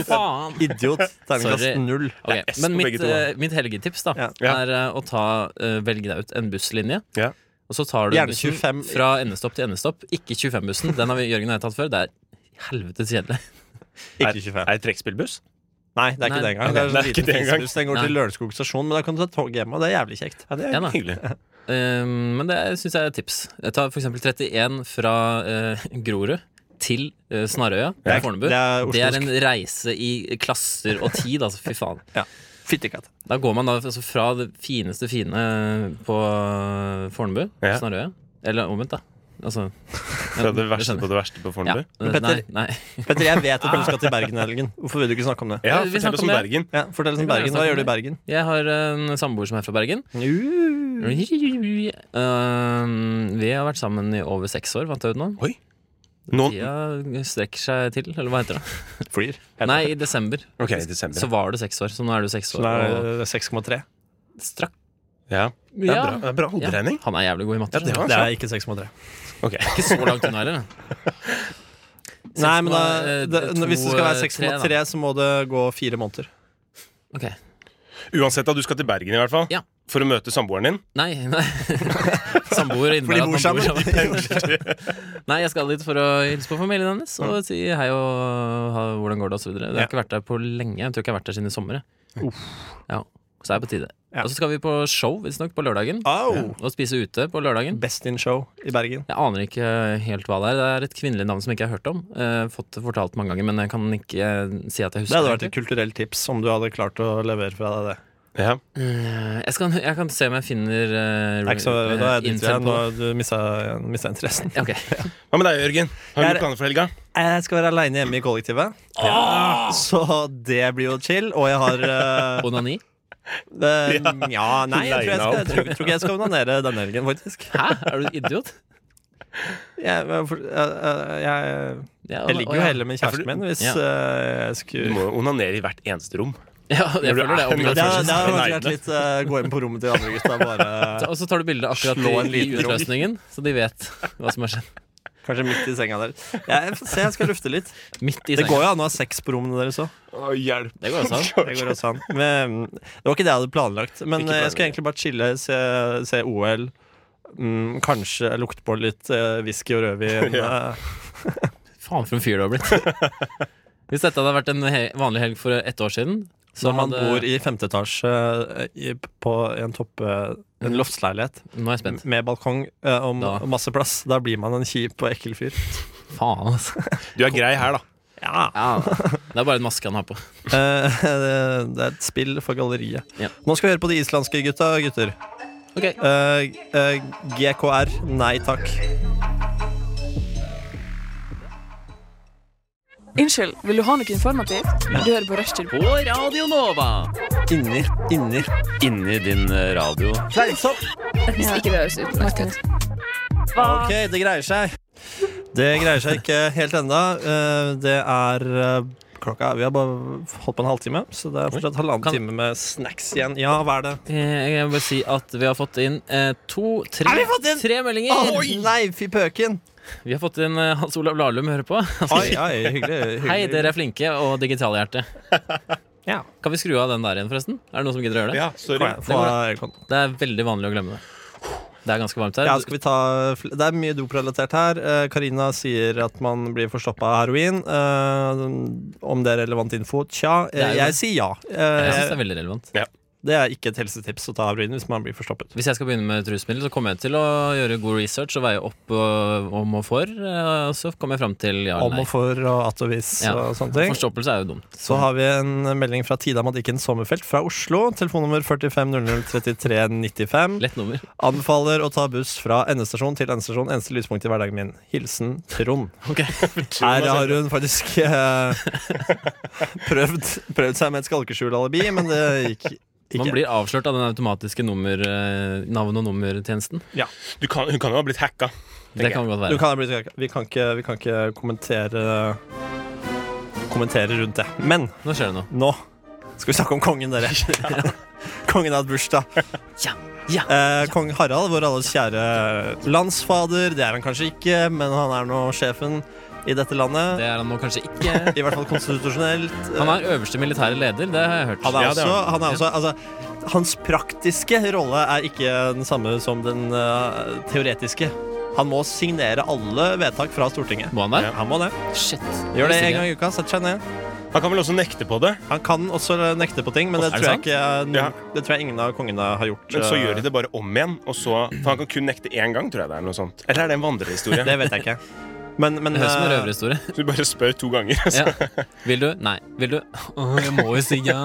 [SPEAKER 3] Faen!
[SPEAKER 2] Idiot. Terningkast
[SPEAKER 3] Sorry.
[SPEAKER 2] null.
[SPEAKER 3] Ok,
[SPEAKER 1] Det er S på
[SPEAKER 3] men mitt,
[SPEAKER 1] begge to, da.
[SPEAKER 3] eh, mitt helgetips da
[SPEAKER 2] Ja.
[SPEAKER 1] Ja.
[SPEAKER 3] er eh, å ta, eh, velge deg ut en busslinje.
[SPEAKER 1] Ja.
[SPEAKER 3] Og så tar du
[SPEAKER 2] Gjerne
[SPEAKER 3] bussen
[SPEAKER 2] 25.
[SPEAKER 3] fra endestopp til endestopp. Ikke 25-bussen. Den har vi- Jørgen og jeg tatt før. Det er helvetes kjedelig.
[SPEAKER 2] Ikke 25.
[SPEAKER 1] Er det trekkspillbuss?
[SPEAKER 2] Nei, det er
[SPEAKER 3] Nei,
[SPEAKER 2] ikke det engang.
[SPEAKER 3] ok,
[SPEAKER 2] Det er
[SPEAKER 1] det
[SPEAKER 2] en
[SPEAKER 1] er
[SPEAKER 2] liten
[SPEAKER 1] ikke det engang.
[SPEAKER 2] Facebook, Den går til Lørenskog stasjon, men da kan du ta tog hjem, og det er jævlig kjekt.
[SPEAKER 1] Ja, det
[SPEAKER 3] Ja, da.
[SPEAKER 1] hyggelig.
[SPEAKER 3] Ehm, Eh, men det syns jeg er et tips. Jeg tar for eksempel 31 fra eh, Grorud til eh, Snarøya,
[SPEAKER 2] Ja.
[SPEAKER 3] Fornebu,
[SPEAKER 2] Det er
[SPEAKER 3] det er
[SPEAKER 2] oslosk.
[SPEAKER 3] en reise i klasser og tid, altså. Fy faen.
[SPEAKER 2] Fyttekatt.
[SPEAKER 3] Da går man da altså, fra det fineste fine på Fornebu,
[SPEAKER 1] Ja.
[SPEAKER 3] Snarøya, eller omvendt, da. Altså
[SPEAKER 1] Fra det
[SPEAKER 3] du
[SPEAKER 1] verste
[SPEAKER 3] skjønner.
[SPEAKER 1] på det verste på
[SPEAKER 3] ja.
[SPEAKER 1] Fornebu?
[SPEAKER 2] Men
[SPEAKER 3] Nei,
[SPEAKER 2] Petter-
[SPEAKER 3] nei.
[SPEAKER 2] Petter, jeg vet at du skal til Bergen i helgen. Hvorfor vil du ikke snakke om det?
[SPEAKER 1] Ja,
[SPEAKER 3] Eh, Vi
[SPEAKER 1] fortell
[SPEAKER 3] snakker
[SPEAKER 1] oss
[SPEAKER 3] om
[SPEAKER 1] om
[SPEAKER 3] det.
[SPEAKER 1] Bergen.
[SPEAKER 2] Ja, Fortell oss om Bergen. Hva gjør du i Bergen?
[SPEAKER 3] Jeg har en samboer som er fra Bergen.
[SPEAKER 2] Uh.
[SPEAKER 3] Um, vi har vært sammen i over seks år, fant jeg ut nå.
[SPEAKER 1] Oi! Nå
[SPEAKER 3] Tida strekker seg til, eller hva heter det?
[SPEAKER 2] Flyr.
[SPEAKER 3] Nei, i desember.
[SPEAKER 1] OK, i desember.
[SPEAKER 3] Så var det seks år, så nå er du seks
[SPEAKER 2] Så
[SPEAKER 3] år.
[SPEAKER 2] da er
[SPEAKER 3] og
[SPEAKER 2] det 6,3.
[SPEAKER 3] strakk.
[SPEAKER 1] Ja. Det er
[SPEAKER 3] Ja.
[SPEAKER 1] bra, det er bra hoderegning.
[SPEAKER 3] Ja, han er jævlig god i matte.
[SPEAKER 1] Ja, det
[SPEAKER 3] skjønner
[SPEAKER 1] var
[SPEAKER 2] Det er ikke 6,3.
[SPEAKER 1] han. Ok.
[SPEAKER 3] du. Ikke så langt unna heller. da.
[SPEAKER 2] Nei, men da,
[SPEAKER 3] eh,
[SPEAKER 2] det,
[SPEAKER 3] to,
[SPEAKER 2] hvis det skal
[SPEAKER 3] eh,
[SPEAKER 2] være
[SPEAKER 3] tre,
[SPEAKER 2] 6,3, så må det gå fire måneder.
[SPEAKER 3] Ok.
[SPEAKER 1] Uansett, da, du skal til Bergen i hvert fall.
[SPEAKER 3] Ja.
[SPEAKER 1] For å møte samboeren din.
[SPEAKER 3] Nei, nei. Samboer innebærer at man bor sammen. Nei, jeg skal dit for å hilse på familien hennes og si hei og ha, hvordan går det, og så videre.
[SPEAKER 2] Mm. Ja.
[SPEAKER 3] Jeg har ikke vært der på lenge. Jeg tror ikke jeg har vært der siden i sommer. jeg. Ja, så er det på tide.
[SPEAKER 2] Ja. Ah.
[SPEAKER 3] Og så skal vi på show, visstnok, på lørdagen.
[SPEAKER 2] Au!
[SPEAKER 3] Og spise ute på lørdagen.
[SPEAKER 2] Best in show i Bergen.
[SPEAKER 3] Jeg aner ikke helt hva det er. Det er et kvinnelig navn som jeg ikke har hørt om. Eh, fått det fortalt mange ganger, men jeg kan ikke eh, si at jeg
[SPEAKER 2] Det
[SPEAKER 3] husker
[SPEAKER 2] hadde vært et kulturelt tips om du hadde klart å levere fra deg det.
[SPEAKER 1] Ja.
[SPEAKER 3] Eh, Jeg, skal, jeg kan se om jeg finner uh,
[SPEAKER 2] Det er ikke så, da er jeg ditt igjen, og du mista, mista interessen.
[SPEAKER 3] Ok.
[SPEAKER 1] Hva med deg, Jørgen? Har
[SPEAKER 2] Jeg
[SPEAKER 1] du
[SPEAKER 2] er-
[SPEAKER 1] planer for helga?
[SPEAKER 2] Jeg skal være aleine hjemme i kollektivet, så det blir jo chill. Og jeg har eh,
[SPEAKER 3] Onani?
[SPEAKER 2] eh, Nja, nei, jeg tror jeg, skal, jeg tror, tror ikke jeg skal onanere denne helgen, faktisk.
[SPEAKER 3] Hæ? Er du idiot?
[SPEAKER 2] Jeg, eh, jeg, jeg, jeg,
[SPEAKER 3] Ja,
[SPEAKER 2] jeg
[SPEAKER 3] å,
[SPEAKER 2] ligger jo
[SPEAKER 3] ja.
[SPEAKER 2] heller med kjæresten min hvis
[SPEAKER 3] Ja.
[SPEAKER 2] eh, jeg
[SPEAKER 1] Du
[SPEAKER 2] skulle
[SPEAKER 1] må jo onanere i hvert eneste rom.
[SPEAKER 3] Ja, jeg
[SPEAKER 1] Når du
[SPEAKER 3] føler det
[SPEAKER 1] er
[SPEAKER 3] er
[SPEAKER 1] en
[SPEAKER 2] Det
[SPEAKER 3] obligatorisk.
[SPEAKER 2] har det har
[SPEAKER 1] Nei,
[SPEAKER 2] faktisk vært
[SPEAKER 1] nei.
[SPEAKER 2] litt eh, gå inn på rommet til de andre gutta, bare
[SPEAKER 3] Og så tar du bilde akkurat
[SPEAKER 2] Slå en
[SPEAKER 3] i, i
[SPEAKER 2] liten roll.
[SPEAKER 3] utløsningen, så de vet hva som har skjedd.
[SPEAKER 2] Kanskje midt i senga der. Jeg, får se, jeg skal lufte litt.
[SPEAKER 3] Midt i
[SPEAKER 2] Det går
[SPEAKER 3] senga.
[SPEAKER 2] jo an å ha sex på rommene deres òg.
[SPEAKER 1] Å, hjelp.
[SPEAKER 3] Det går også an.
[SPEAKER 2] Det går også an. Men, det var ikke det jeg hadde planlagt. Men eh,
[SPEAKER 1] Ikke
[SPEAKER 2] jeg skulle egentlig bare chille, se, se OL. Mm, kanskje lukte på litt eh, whisky og rødvin.
[SPEAKER 1] Ja.
[SPEAKER 2] eh,
[SPEAKER 3] Faen for en fyr du har blitt. Hvis dette hadde vært en he vanlig helg for ett år siden så
[SPEAKER 2] Når man
[SPEAKER 3] hadde-
[SPEAKER 2] bor i femte etasje eh, i, på en topp eh, En loftsleilighet
[SPEAKER 3] Nå er jeg spent.
[SPEAKER 2] med balkong eh, og
[SPEAKER 3] Da.
[SPEAKER 2] ma- masse plass. Da blir man en kjip og ekkel fyr.
[SPEAKER 3] Faen, altså.
[SPEAKER 1] Du er grei her, da.
[SPEAKER 2] Ja.
[SPEAKER 3] Ja, det er bare en maske han har på.
[SPEAKER 2] Eh, det er et spill for galleriet.
[SPEAKER 3] Ja.
[SPEAKER 2] Nå skal vi høre på de islandske gutta, gutter.
[SPEAKER 3] Ok,
[SPEAKER 2] Eh, eh, GKR, nei takk.
[SPEAKER 5] Unnskyld, vil du ha noe informativt? Du hører på Rushtid.
[SPEAKER 3] På Radio Nova.
[SPEAKER 2] Inni, inni.
[SPEAKER 6] Inni din radio.
[SPEAKER 2] Fleinsopp!
[SPEAKER 5] Hvis ikke det høres utmerket ut.
[SPEAKER 2] Ok, det greier seg. Det greier seg ikke helt enda. Eh, Det er eh, klokka Vi har bare holdt på en halvtime, så det er fortsatt halvannen
[SPEAKER 3] Kan-
[SPEAKER 2] time med snacks igjen. Ja, hva er det?
[SPEAKER 3] Jeg vil bare si at vi har fått inn eh, to, tre,
[SPEAKER 2] Har vi fått inn?
[SPEAKER 3] tre meldinger.
[SPEAKER 2] nei, fy pøken!
[SPEAKER 3] Vi har fått inn eh, Hans Olav Lahlum hører på. Han
[SPEAKER 2] Oi,
[SPEAKER 3] skriver,
[SPEAKER 2] oi, hyggelig. hyggelig.
[SPEAKER 3] Hei, dere er flinke og digitalhjerte.
[SPEAKER 2] Ja.
[SPEAKER 3] Kan vi skru av den der igjen, forresten? Er det noen som gidder å gjøre det?
[SPEAKER 1] Ja,
[SPEAKER 2] Kom
[SPEAKER 1] sorry.
[SPEAKER 2] igjen, få av aircon.
[SPEAKER 3] Det er veldig vanlig å glemme det. Det er ganske varmt her.
[SPEAKER 2] Ja, skal vi ta fl- Det er mye doprelatert her. Eh, Karina sier at man blir forstoppa av heroin. Eh, Om det er relevant info? Tja,
[SPEAKER 3] er
[SPEAKER 2] eh,
[SPEAKER 3] jo
[SPEAKER 2] jeg
[SPEAKER 3] det.
[SPEAKER 2] sier ja.
[SPEAKER 3] Jeg synes
[SPEAKER 2] Eh,
[SPEAKER 3] det er veldig relevant.
[SPEAKER 2] Det er ikke et helsetips å ta heroin hvis man blir forstoppet.
[SPEAKER 3] Hvis jeg skal begynne med rusmiddel, så kommer jeg til å gjøre god research og veie opp øh, om og for. øh, Og så kommer jeg fram til ja
[SPEAKER 2] Om og
[SPEAKER 3] eller nei.
[SPEAKER 2] for og at og hvis
[SPEAKER 3] Ja.
[SPEAKER 2] og sånne ting.
[SPEAKER 3] Forstoppelse er jo dumt.
[SPEAKER 2] Så har vi en melding fra Tida Madikken Sommerfelt fra Oslo. Telefonnummer 45003395.
[SPEAKER 3] Lett nummer.
[SPEAKER 2] Anbefaler å ta buss fra endestasjon til endestasjon. Eneste lyspunkt i hverdagen min. Hilsen Trond. Her har hun faktisk eh, prøvd, prøvd seg med et skalkeskjulalibi, men det gikk ikke.
[SPEAKER 3] Man blir avslørt av den automatiske nummer, øh, navn- og nummertjenesten.
[SPEAKER 1] Du kan, hun kan jo ha blitt hacka.
[SPEAKER 3] Det kan godt
[SPEAKER 2] du
[SPEAKER 3] være.
[SPEAKER 2] kan, bli- vi, kan ikke, vi kan ikke kommentere Kommentere rundt det. Men
[SPEAKER 3] Nå skjer det noe.
[SPEAKER 2] nå skal vi snakke om kongen, dere. kongen har hatt bursdag.
[SPEAKER 3] Ja, ja,
[SPEAKER 2] Eh, Kong Harald, vår alles kjære landsfader. Det er han kanskje ikke, men han er nå sjefen i dette landet.
[SPEAKER 3] Det er han nå kanskje ikke.
[SPEAKER 2] I hvert fall konstitusjonelt.
[SPEAKER 3] Han er øverste militære leder, det har jeg hørt.
[SPEAKER 2] Han er
[SPEAKER 1] Ja, det er
[SPEAKER 2] også,
[SPEAKER 1] han.
[SPEAKER 2] han er også altså, Hans praktiske rolle er ikke den samme som den eh, teoretiske. Han må signere alle vedtak fra Stortinget.
[SPEAKER 3] Må han der?
[SPEAKER 2] Han må det.
[SPEAKER 3] Shit.
[SPEAKER 2] Gjør det
[SPEAKER 3] Visste
[SPEAKER 2] en
[SPEAKER 3] ikke.
[SPEAKER 2] gang i uka. Sett seg ned.
[SPEAKER 1] Han kan vel også nekte på det,
[SPEAKER 2] Han kan også nekte på ting, men det
[SPEAKER 3] Er det
[SPEAKER 2] tror, jeg
[SPEAKER 3] sant?
[SPEAKER 2] ikke, noen-
[SPEAKER 1] Ja.
[SPEAKER 2] det tror jeg ingen av kongene har gjort.
[SPEAKER 1] men så
[SPEAKER 2] eh,
[SPEAKER 1] gjør de det bare om igjen. Og så, for han kan kun nekte én gang, tror jeg det er noe sånt. Eller er det en vandrehistorie?
[SPEAKER 2] eh, Det vet jeg ikke. Men, men
[SPEAKER 3] Det høres ut som en
[SPEAKER 2] eh,
[SPEAKER 3] røverhistorie.
[SPEAKER 1] Så du bare spør to ganger.
[SPEAKER 3] Ja. Vil du? Nei. Vil du? Åh, jeg må jo si ja.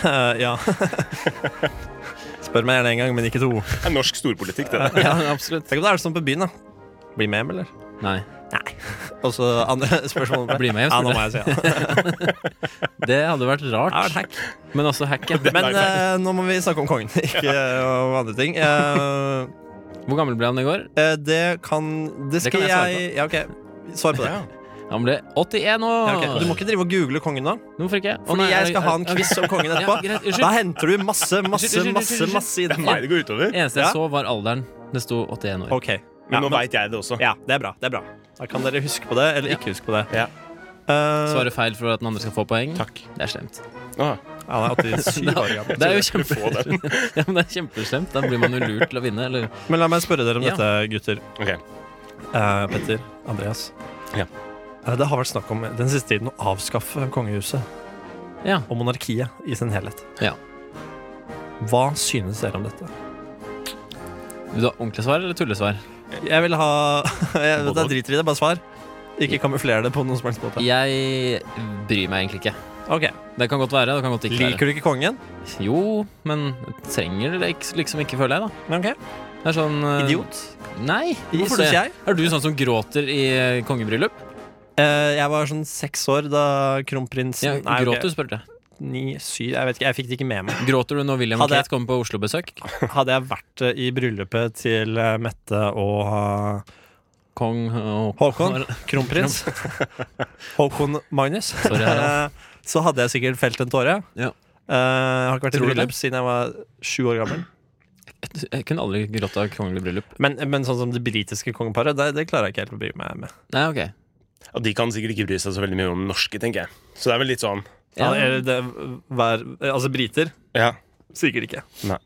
[SPEAKER 2] eh, Ja. Spør meg gjerne én gang, men ikke to.
[SPEAKER 1] Det er norsk storpolitikk, det der.
[SPEAKER 3] ja absolutt.
[SPEAKER 2] Tenk om det er sånn på byen, da. Bli med hjem, eller?
[SPEAKER 3] Nei.
[SPEAKER 2] Og så andre spørsmål.
[SPEAKER 3] Bli med
[SPEAKER 2] Ja,
[SPEAKER 3] hjem, spør
[SPEAKER 2] nå
[SPEAKER 3] du.
[SPEAKER 2] må jeg si ja.
[SPEAKER 3] Det hadde vært
[SPEAKER 2] Det er et
[SPEAKER 3] rart.
[SPEAKER 2] hack.
[SPEAKER 3] Men også hack. Ja.
[SPEAKER 2] Men
[SPEAKER 1] nei, nei.
[SPEAKER 2] eh, nå må vi snakke om kongen, ikke eh, om andre ting. Eh,
[SPEAKER 3] Hvor gammel ble han i går?
[SPEAKER 2] eh, det kan Det
[SPEAKER 3] kan
[SPEAKER 2] skal
[SPEAKER 3] jeg svare
[SPEAKER 2] jeg Ja, OK. Svar på det.
[SPEAKER 3] Han ble 81 år.
[SPEAKER 2] Ja, ok. Du må ikke drive og google kongen nå,
[SPEAKER 3] Hvorfor ikke? Å,
[SPEAKER 2] Fordi
[SPEAKER 3] nei, er
[SPEAKER 2] jeg
[SPEAKER 3] det-
[SPEAKER 2] skal ha en
[SPEAKER 3] er-
[SPEAKER 2] quiz om kongen etterpå.
[SPEAKER 3] Ja, greit,
[SPEAKER 2] Da
[SPEAKER 3] unnskyld.
[SPEAKER 2] henter du masse,
[SPEAKER 3] Unnskyld,
[SPEAKER 2] masse,
[SPEAKER 3] unnskyld,
[SPEAKER 2] masse
[SPEAKER 3] unnskyld,
[SPEAKER 2] masse
[SPEAKER 1] Det er
[SPEAKER 2] info.
[SPEAKER 1] meg det går utover.
[SPEAKER 3] Eneste jeg
[SPEAKER 2] Ja.
[SPEAKER 3] så, var alderen. Det sto 81 år.
[SPEAKER 2] OK. Ja,
[SPEAKER 1] Men nå veit jeg det også.
[SPEAKER 2] ja, det er bra. det er bra Da kan dere huske på det, eller
[SPEAKER 3] Ja.
[SPEAKER 2] ikke huske på det.
[SPEAKER 1] Ja.
[SPEAKER 2] Eh,
[SPEAKER 3] Svare feil for at den andre skal få poeng.
[SPEAKER 1] Takk.
[SPEAKER 3] Det er slemt.
[SPEAKER 1] Ah,
[SPEAKER 2] han er 87 år gammel.
[SPEAKER 3] Det er jo
[SPEAKER 1] du får
[SPEAKER 3] kjempe...
[SPEAKER 1] den.
[SPEAKER 3] ja, men det er kjempeslemt. Da blir man jo lurt til å vinne. Eller
[SPEAKER 2] Men la meg spørre dere om
[SPEAKER 3] Ja.
[SPEAKER 2] dette, gutter.
[SPEAKER 1] Ok.
[SPEAKER 2] Eh, Petter, Andreas.
[SPEAKER 1] Ja.
[SPEAKER 2] Eh, det har vært snakk om den siste tiden å avskaffe kongehuset
[SPEAKER 3] Ja.
[SPEAKER 2] og monarkiet i sin helhet.
[SPEAKER 3] Ja.
[SPEAKER 2] Hva synes dere om dette?
[SPEAKER 3] Vil du ha ordentlig svar eller tullesvar?
[SPEAKER 2] Jeg vil ha jeg, Jeg driter i det, bare svar. Ikke kamufler det på noen som helst måte.
[SPEAKER 3] Jeg bryr meg egentlig ikke.
[SPEAKER 2] Ok,
[SPEAKER 3] Det kan godt være. Det kan godt ikke
[SPEAKER 2] Liker du ikke kongen?
[SPEAKER 3] være. Jo, men jeg trenger det ikke- liksom ikke, føler jeg, da.
[SPEAKER 2] Ok,
[SPEAKER 3] Det er sånn eh,
[SPEAKER 2] Idiot.
[SPEAKER 3] Nei. Hvorfor
[SPEAKER 2] Syns
[SPEAKER 3] det?
[SPEAKER 2] jeg.
[SPEAKER 3] Er du sånn som gråter i eh, kongebryllup?
[SPEAKER 2] Eh, jeg var sånn seks år da
[SPEAKER 3] Ja,
[SPEAKER 2] kronprinsen
[SPEAKER 3] gråter, spurte jeg.
[SPEAKER 2] Ni, syv, jeg vet ikke, jeg fikk det ikke med meg.
[SPEAKER 3] Gråter du når William og
[SPEAKER 2] Hadde jeg-
[SPEAKER 3] Kate kommer på Oslo-besøk?
[SPEAKER 2] Hadde jeg vært eh, i bryllupet til eh, Mette og eh,
[SPEAKER 3] Kong og
[SPEAKER 2] Håkon, kronprins Håkon Magnus,
[SPEAKER 3] Sorry, Harald.
[SPEAKER 2] eh, så hadde jeg sikkert felt en tåre.
[SPEAKER 3] Ja.
[SPEAKER 2] Eh, jeg har ikke vært i
[SPEAKER 3] Tror du det?
[SPEAKER 2] bryllup siden jeg var sju år gammel.
[SPEAKER 3] Jeg kunne aldri grått av kongelig bryllup.
[SPEAKER 2] Men, men sånn som det britiske kongeparet, det, det klarer jeg ikke helt å bry meg med.
[SPEAKER 3] Nei, ok.
[SPEAKER 1] Og de kan sikkert ikke bry seg så veldig mye om den norske, tenker jeg. Så det er vel litt sånn
[SPEAKER 3] Ja.
[SPEAKER 2] Ja, eller det, hver, altså briter
[SPEAKER 1] Ja.
[SPEAKER 2] Sikkert ikke.
[SPEAKER 1] Nei.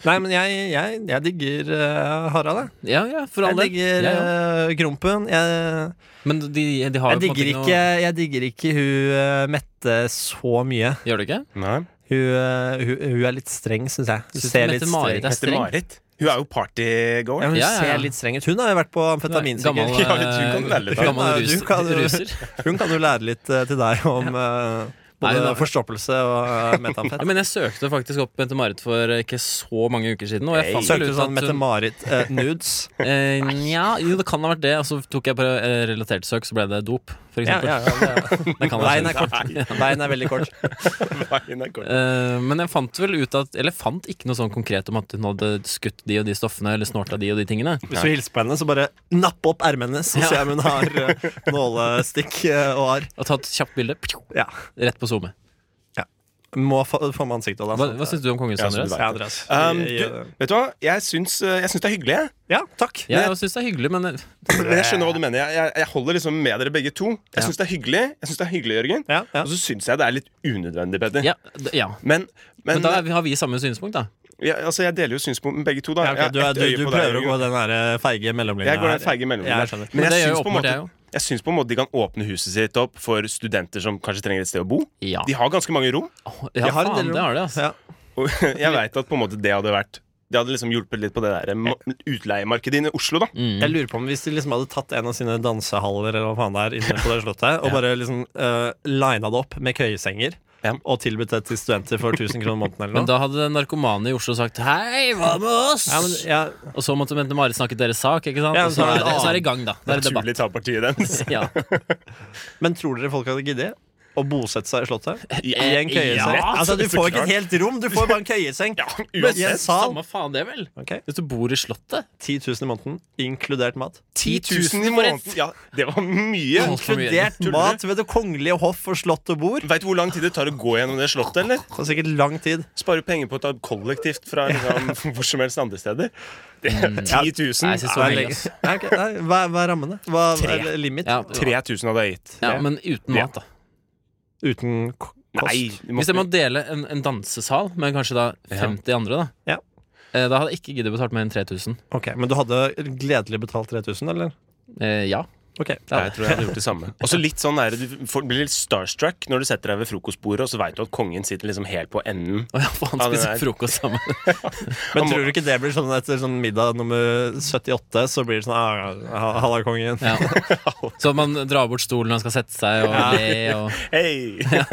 [SPEAKER 2] Nei, men jeg, jeg, jeg digger eh, Harald, jeg.
[SPEAKER 3] Ja, ja, for all
[SPEAKER 2] Jeg
[SPEAKER 3] del.
[SPEAKER 2] digger
[SPEAKER 3] Ja, ja.
[SPEAKER 2] eh, Krompen. Jeg,
[SPEAKER 3] Men de, de har
[SPEAKER 2] jeg,
[SPEAKER 3] jo på en måte
[SPEAKER 2] digger ikke, jeg digger ikke hun eh, Mette så mye.
[SPEAKER 3] noe Gjør du ikke?
[SPEAKER 1] Nei.
[SPEAKER 2] Hun, eh, hun, hun er litt streng, syns jeg. Hun
[SPEAKER 3] Synes du
[SPEAKER 2] ser litt
[SPEAKER 3] Mette-Marit
[SPEAKER 2] streng.
[SPEAKER 3] er streng?
[SPEAKER 1] Marit. Hun er jo
[SPEAKER 2] Ja,
[SPEAKER 1] partygoer.
[SPEAKER 2] hun
[SPEAKER 3] Ja, ja, ja.
[SPEAKER 2] ser litt streng ut. Hun har jo vært på amfetamin,
[SPEAKER 3] Nei,
[SPEAKER 2] sikkert.
[SPEAKER 3] Gammel,
[SPEAKER 1] Ja,
[SPEAKER 3] eh,
[SPEAKER 1] du kan være litt-
[SPEAKER 3] gammel
[SPEAKER 2] Nei, du
[SPEAKER 3] rus,
[SPEAKER 2] kan-
[SPEAKER 3] ruser.
[SPEAKER 2] Hun kan jo lære litt eh, til deg om eh,
[SPEAKER 3] Nei,
[SPEAKER 2] både
[SPEAKER 3] hun har-
[SPEAKER 2] forstoppelse og eh, metamfet.
[SPEAKER 3] Ja, men jeg søkte faktisk opp Mette-Marit for ikke så mange uker siden. Og jeg fant vel
[SPEAKER 2] Søkte
[SPEAKER 3] ut
[SPEAKER 2] du sånn
[SPEAKER 3] at hun
[SPEAKER 2] Mette-Marit eh, nudes?
[SPEAKER 3] eh, Nja, jo, det kan ha vært det. Og så tok jeg på eh, relatert søk, så ble det dop, for
[SPEAKER 2] Ja,
[SPEAKER 3] eksempel.
[SPEAKER 2] ja, ja, det-
[SPEAKER 3] Det kan
[SPEAKER 2] Veien
[SPEAKER 3] være
[SPEAKER 2] er kort. Veien er veldig kort.
[SPEAKER 1] Veien er kort.
[SPEAKER 3] Eh, men jeg fant vel ut at Eller jeg fant ikke noe sånn konkret om at hun hadde skutt de og de stoffene eller snorta de og de tingene.
[SPEAKER 2] Hvis du hilser på henne, så bare napp opp ermet hennes og
[SPEAKER 3] Ja.
[SPEAKER 2] se om hun har eh, nålestikk eh, og arr.
[SPEAKER 3] Og tatt kjapt bilde pju,
[SPEAKER 2] Ja.
[SPEAKER 3] rett på SoMe.
[SPEAKER 2] Må få, få med ansiktet. Da,
[SPEAKER 3] Hva, hva syns du om kongehuset,
[SPEAKER 1] Ja, som du
[SPEAKER 3] Andreas?
[SPEAKER 1] vet.
[SPEAKER 2] Ja, Andreas.
[SPEAKER 1] Um,
[SPEAKER 2] I- i-
[SPEAKER 1] du, vet du hva? Jeg syns, eh, jeg syns det er hyggelig, jeg.
[SPEAKER 2] ja, takk.
[SPEAKER 3] Ja, jeg syns det er hyggelig, men eh,
[SPEAKER 1] Men jeg skjønner hva du mener. Jeg, jeg, jeg holder liksom med dere begge to. Jeg syns det er hyggelig, Jeg synes det er hyggelig, Jørgen.
[SPEAKER 2] Ja, ja.
[SPEAKER 1] Og så syns jeg det er litt unødvendig, Petter.
[SPEAKER 3] Ja. d- ja.
[SPEAKER 1] Men, men,
[SPEAKER 3] Men da er vi- har vi samme synspunkt, da.
[SPEAKER 1] ja, altså, jeg deler jo synspunkt med begge to. Da.
[SPEAKER 2] Ja, ok,
[SPEAKER 1] Jeg har
[SPEAKER 2] du, er,
[SPEAKER 1] ett
[SPEAKER 2] du,
[SPEAKER 1] øye
[SPEAKER 2] du
[SPEAKER 1] på deg,
[SPEAKER 2] prøver å
[SPEAKER 1] Jørgen.
[SPEAKER 2] gå den der eh, feige mellomlinja.
[SPEAKER 1] Jeg går den
[SPEAKER 2] her. Ja,
[SPEAKER 1] feige
[SPEAKER 2] jeg
[SPEAKER 1] mellomveien.
[SPEAKER 2] skjønner.
[SPEAKER 1] Men
[SPEAKER 3] Men det
[SPEAKER 1] jeg
[SPEAKER 3] gjør jo
[SPEAKER 1] syns, på en
[SPEAKER 3] åpenbart
[SPEAKER 1] måte,
[SPEAKER 3] jeg også.
[SPEAKER 1] jeg syns på en måte de kan åpne huset sitt opp for studenter som kanskje trenger et sted å bo.
[SPEAKER 3] Ja.
[SPEAKER 1] De har ganske mange rom.
[SPEAKER 3] Åh, ja,
[SPEAKER 2] Jeg har en
[SPEAKER 3] faen,
[SPEAKER 2] del
[SPEAKER 3] det har de, altså.
[SPEAKER 2] Ja.
[SPEAKER 1] Og jeg veit at på en måte det hadde vært Det hadde liksom hjulpet litt på det der ma- utleiemarkedet inne i Oslo, da.
[SPEAKER 3] Mm.
[SPEAKER 2] Jeg lurer på om Hvis de liksom hadde tatt en av sine dansehaller Eller hva faen det er inne på det slottet og bare liksom uh, lina det opp med køyesenger
[SPEAKER 1] Ja.
[SPEAKER 2] og tilbudt det til studenter for 1000 kroner måneden eller noe
[SPEAKER 3] Men da hadde narkomane i Oslo sagt 'hei, hva med oss?'
[SPEAKER 2] ja, men, ja,
[SPEAKER 3] Og så måtte Mette-Marit snakke deres sak, ikke sant?
[SPEAKER 2] Ja,
[SPEAKER 3] og så,
[SPEAKER 2] men så er det
[SPEAKER 3] er det,
[SPEAKER 2] en
[SPEAKER 3] så er det i gang, da. Da er det debatt.
[SPEAKER 1] Naturlig tapertiet dens.
[SPEAKER 3] Ja.
[SPEAKER 2] men tror dere folk hadde giddet å bosette seg i Slottet? I en køyeseng?
[SPEAKER 3] Ja,
[SPEAKER 2] altså, du
[SPEAKER 1] så
[SPEAKER 2] får ikke
[SPEAKER 1] klart.
[SPEAKER 2] et helt rom, du får bare en køyeseng.
[SPEAKER 1] Eh,
[SPEAKER 2] Men i
[SPEAKER 1] Ja,
[SPEAKER 2] en
[SPEAKER 1] uansett.
[SPEAKER 2] sal.
[SPEAKER 3] Samme faen det, vel.
[SPEAKER 2] Ok,
[SPEAKER 3] Hvis du bor i Slottet.
[SPEAKER 2] 10 000 i måneden, inkludert mat.
[SPEAKER 1] 10 000 i måneden. Ja, det var mye.
[SPEAKER 3] Åh. for mye.
[SPEAKER 2] Inkludert
[SPEAKER 1] Tuller du?
[SPEAKER 2] mat ved det kongelige hoff og slott og bord.
[SPEAKER 1] Veit du hvor lang tid det tar å gå gjennom det slottet, eller?
[SPEAKER 2] Det var sikkert lang tid.
[SPEAKER 1] Sparer penger på å ta kollektivt fra liksom, hvor som helst andre steder. Mm. Det, 10
[SPEAKER 3] Nei, jeg
[SPEAKER 1] 000.
[SPEAKER 3] synes
[SPEAKER 2] Nei,
[SPEAKER 3] det var lenge, ass.
[SPEAKER 2] nei, ok, nei, hva, hva er rammene? Hva
[SPEAKER 1] Tre.
[SPEAKER 2] er limit?
[SPEAKER 3] Ja,
[SPEAKER 1] 3000 hadde jeg gitt.
[SPEAKER 3] ja, men uten mat, da.
[SPEAKER 2] Uten k- kost?
[SPEAKER 1] Nei, du
[SPEAKER 3] Hvis
[SPEAKER 1] måtte,
[SPEAKER 3] jeg må dele en, en dansesal med kanskje da 50 andre, da.
[SPEAKER 2] Ja.
[SPEAKER 3] Eh, Da hadde jeg ikke giddet betalt mer enn 3000.
[SPEAKER 2] Ok, Men du hadde gledelig betalt 3000, eller?
[SPEAKER 3] Eh, ja.
[SPEAKER 2] Ok.
[SPEAKER 1] Ja, Jeg tror jeg hadde gjort det samme. Og så litt sånn der, Du får- blir litt starstruck når du setter deg ved frokostbordet, og så veit du at kongen sitter liksom helt på enden.
[SPEAKER 3] Å ja, faen,
[SPEAKER 1] Ja, det
[SPEAKER 3] spiser
[SPEAKER 1] der.
[SPEAKER 3] frokost sammen.
[SPEAKER 2] Men tror du ikke det blir sånn etter sånn middag nummer 78, så blir det sånn ah, ha- Halla, kongen.
[SPEAKER 3] Ja. Så man drar bort stolen når man skal sette seg, og le og
[SPEAKER 1] Hei!
[SPEAKER 2] Har,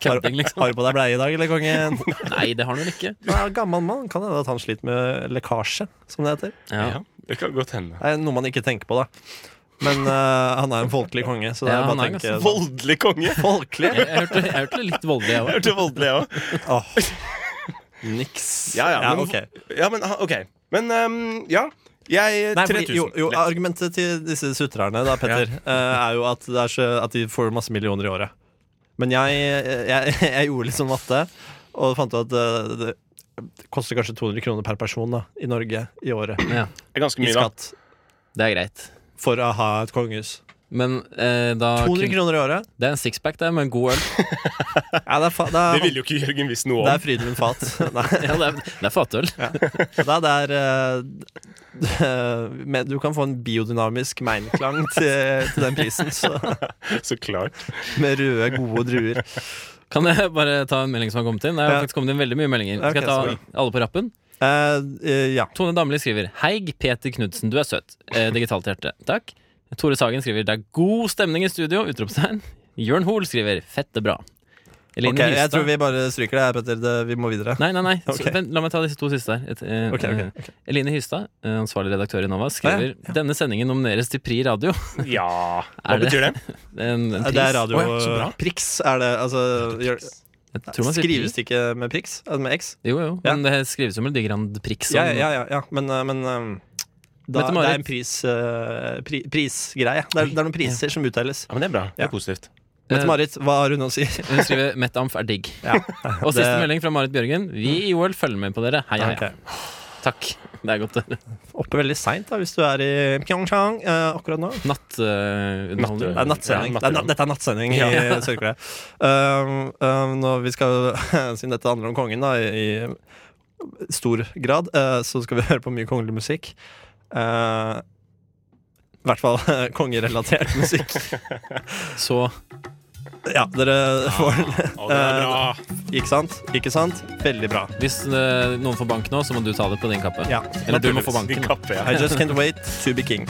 [SPEAKER 3] kødding, liksom.
[SPEAKER 2] har du på deg bleie i dag, eller, kongen?
[SPEAKER 3] Nei, det har han vel ikke.
[SPEAKER 2] Nei, gammel mann kan hende at han sliter med lekkasje, som det heter.
[SPEAKER 3] Ja.
[SPEAKER 1] Ja, det kan godt hende.
[SPEAKER 2] Det er noe man ikke tenker på, da. Men eh, han er en folkelig konge, så det
[SPEAKER 3] Ja,
[SPEAKER 2] er bare å
[SPEAKER 3] han er
[SPEAKER 2] tenke
[SPEAKER 3] ganske
[SPEAKER 2] sånn.
[SPEAKER 1] Voldelig konge!
[SPEAKER 2] Folkelig?
[SPEAKER 3] Jeg, jeg, hørte, jeg hørte det litt voldelig, jeg òg.
[SPEAKER 1] Hørte voldelig, jeg òg.
[SPEAKER 2] Åh, niks.
[SPEAKER 1] Ja, ja, men-
[SPEAKER 2] ok.
[SPEAKER 1] Ja, men ah, OK. Men ehm, ja. Jeg
[SPEAKER 2] Nei,
[SPEAKER 1] 3000.
[SPEAKER 2] fordi, jo, jo, ah,
[SPEAKER 1] Lett.
[SPEAKER 2] argumentet til disse sutrerne da, Petter, eh, er jo at, det er så, at de får masse millioner i året. Men jeg, jeg, jeg gjorde litt sånn matte, og fant ut at eh, det, det koster kanskje 200 kroner per person da, i Norge i året
[SPEAKER 3] Ja,
[SPEAKER 1] Det er ganske
[SPEAKER 2] i
[SPEAKER 1] mye, da.
[SPEAKER 2] skatt
[SPEAKER 3] det er greit.
[SPEAKER 2] for å ha et kongehus.
[SPEAKER 3] Men eh, da
[SPEAKER 2] 200
[SPEAKER 3] kun,
[SPEAKER 2] kroner i året?
[SPEAKER 3] Det er en sixpack, det, med en god øl.
[SPEAKER 2] Ja, det er, fa det
[SPEAKER 1] Det
[SPEAKER 2] er,
[SPEAKER 1] ville jo ikke Jørgen visst noe
[SPEAKER 2] det
[SPEAKER 1] om.
[SPEAKER 2] er Frydenlund Fat. Nei,
[SPEAKER 3] Ja, det er, det er fatøl.
[SPEAKER 2] det er der eh, men Du kan få en biodynamisk meinklang til, til den prisen, så,
[SPEAKER 1] Så klart.
[SPEAKER 2] med røde, gode druer.
[SPEAKER 3] Kan jeg bare ta en melding som har kommet inn? Det har
[SPEAKER 2] Ja.
[SPEAKER 3] faktisk kommet inn veldig mye meldinger.
[SPEAKER 2] Ok,
[SPEAKER 3] Skal jeg ta alle på rappen?
[SPEAKER 2] Eh, eh, ja.
[SPEAKER 3] Tone Damli skriver Heig Peter Knudsen, du er søt. Eh, digitalt hjerte. Takk. Tore Sagen skriver Det er god stemning i studio! Utropstegn. Jørn Hoel skriver Fette bra. Eline
[SPEAKER 2] Ok, jeg
[SPEAKER 3] Hystad-
[SPEAKER 2] tror vi bare stryker det her, Petter. Det, vi må videre.
[SPEAKER 3] Nei, nei, nei. Så,
[SPEAKER 2] Ok.
[SPEAKER 3] vent, la meg ta disse to siste her. Et, eh,
[SPEAKER 2] Ok, ok,
[SPEAKER 3] eh, Eline Hystad, eh, ansvarlig redaktør i Nova,
[SPEAKER 2] ja,
[SPEAKER 3] skriver Denne sendingen nomineres til Pri Radio.
[SPEAKER 1] Ja.
[SPEAKER 3] Er
[SPEAKER 1] Hva
[SPEAKER 3] det-
[SPEAKER 1] betyr det?
[SPEAKER 3] En, en
[SPEAKER 2] Eh,
[SPEAKER 3] pris.
[SPEAKER 2] Det er radio
[SPEAKER 1] Å ja, så bra.
[SPEAKER 2] Prix, er det altså gjør,
[SPEAKER 3] Jeg tror man sier pri.
[SPEAKER 2] Skrives det ikke med Prix? Eh, Med X?
[SPEAKER 3] Jo, jo.
[SPEAKER 2] Ja.
[SPEAKER 3] Men det skrives jo med de Grand Prix.
[SPEAKER 2] Ja,
[SPEAKER 3] som-
[SPEAKER 2] ja, ja. ja. Men, eh, men eh, da,
[SPEAKER 3] Mette-Marit.
[SPEAKER 2] det er en pris, eh, pri, prisgreie. Det er, det er noen priser som utdeles.
[SPEAKER 1] Ja, men Det er bra. Det
[SPEAKER 2] Ja.
[SPEAKER 1] er positivt.
[SPEAKER 3] Eh.
[SPEAKER 2] Mette-Marit, hva har hun å si?
[SPEAKER 3] Hun skriver Metamf er digg.
[SPEAKER 2] Ja.
[SPEAKER 3] Og siste
[SPEAKER 2] Det-
[SPEAKER 3] melding fra Marit Bjørgen. Vi i OL følger med på dere. Hei, hei.
[SPEAKER 2] Ok.
[SPEAKER 3] Takk. Det er godt.
[SPEAKER 2] Oppe veldig seint hvis du er i Pyeongchang eh, akkurat nå.
[SPEAKER 3] Nattunderholdning.
[SPEAKER 2] Det er nattsending.
[SPEAKER 1] Ja,
[SPEAKER 2] det er, na- dette er nattsending i Sør-Korea. Um, um, når vi skal, siden dette handler om kongen da, i, i stor grad, eh, så skal vi høre på mye kongelig musikk. Eh, I hvert fall kongerelatert musikk.
[SPEAKER 3] Så
[SPEAKER 2] Ja, dere får den.
[SPEAKER 1] Å, det er bra.
[SPEAKER 2] Ikke sant? Ikke sant? Veldig bra.
[SPEAKER 3] hvis eh, noen får bank nå, så må du ta det på din kappe.
[SPEAKER 2] Ja.
[SPEAKER 3] Eller du må få banken.
[SPEAKER 1] De
[SPEAKER 3] da.
[SPEAKER 1] kapper, ja.
[SPEAKER 2] I just can't wait to be king.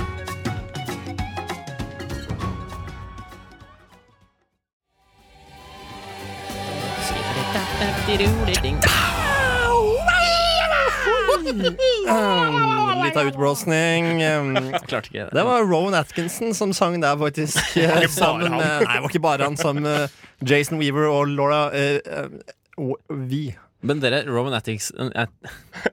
[SPEAKER 2] Um, Litt av utblåsning. Um,
[SPEAKER 3] Klarte ikke
[SPEAKER 2] Det var Rowan Atkinson som sang der, faktisk. eh,
[SPEAKER 1] bare
[SPEAKER 2] Sammen
[SPEAKER 1] han.
[SPEAKER 2] med Nei, det var ikke bare han. Sammen med Jason Weaver og Laura eh, eh, og Vi.
[SPEAKER 3] Men dere, Roman Attics er,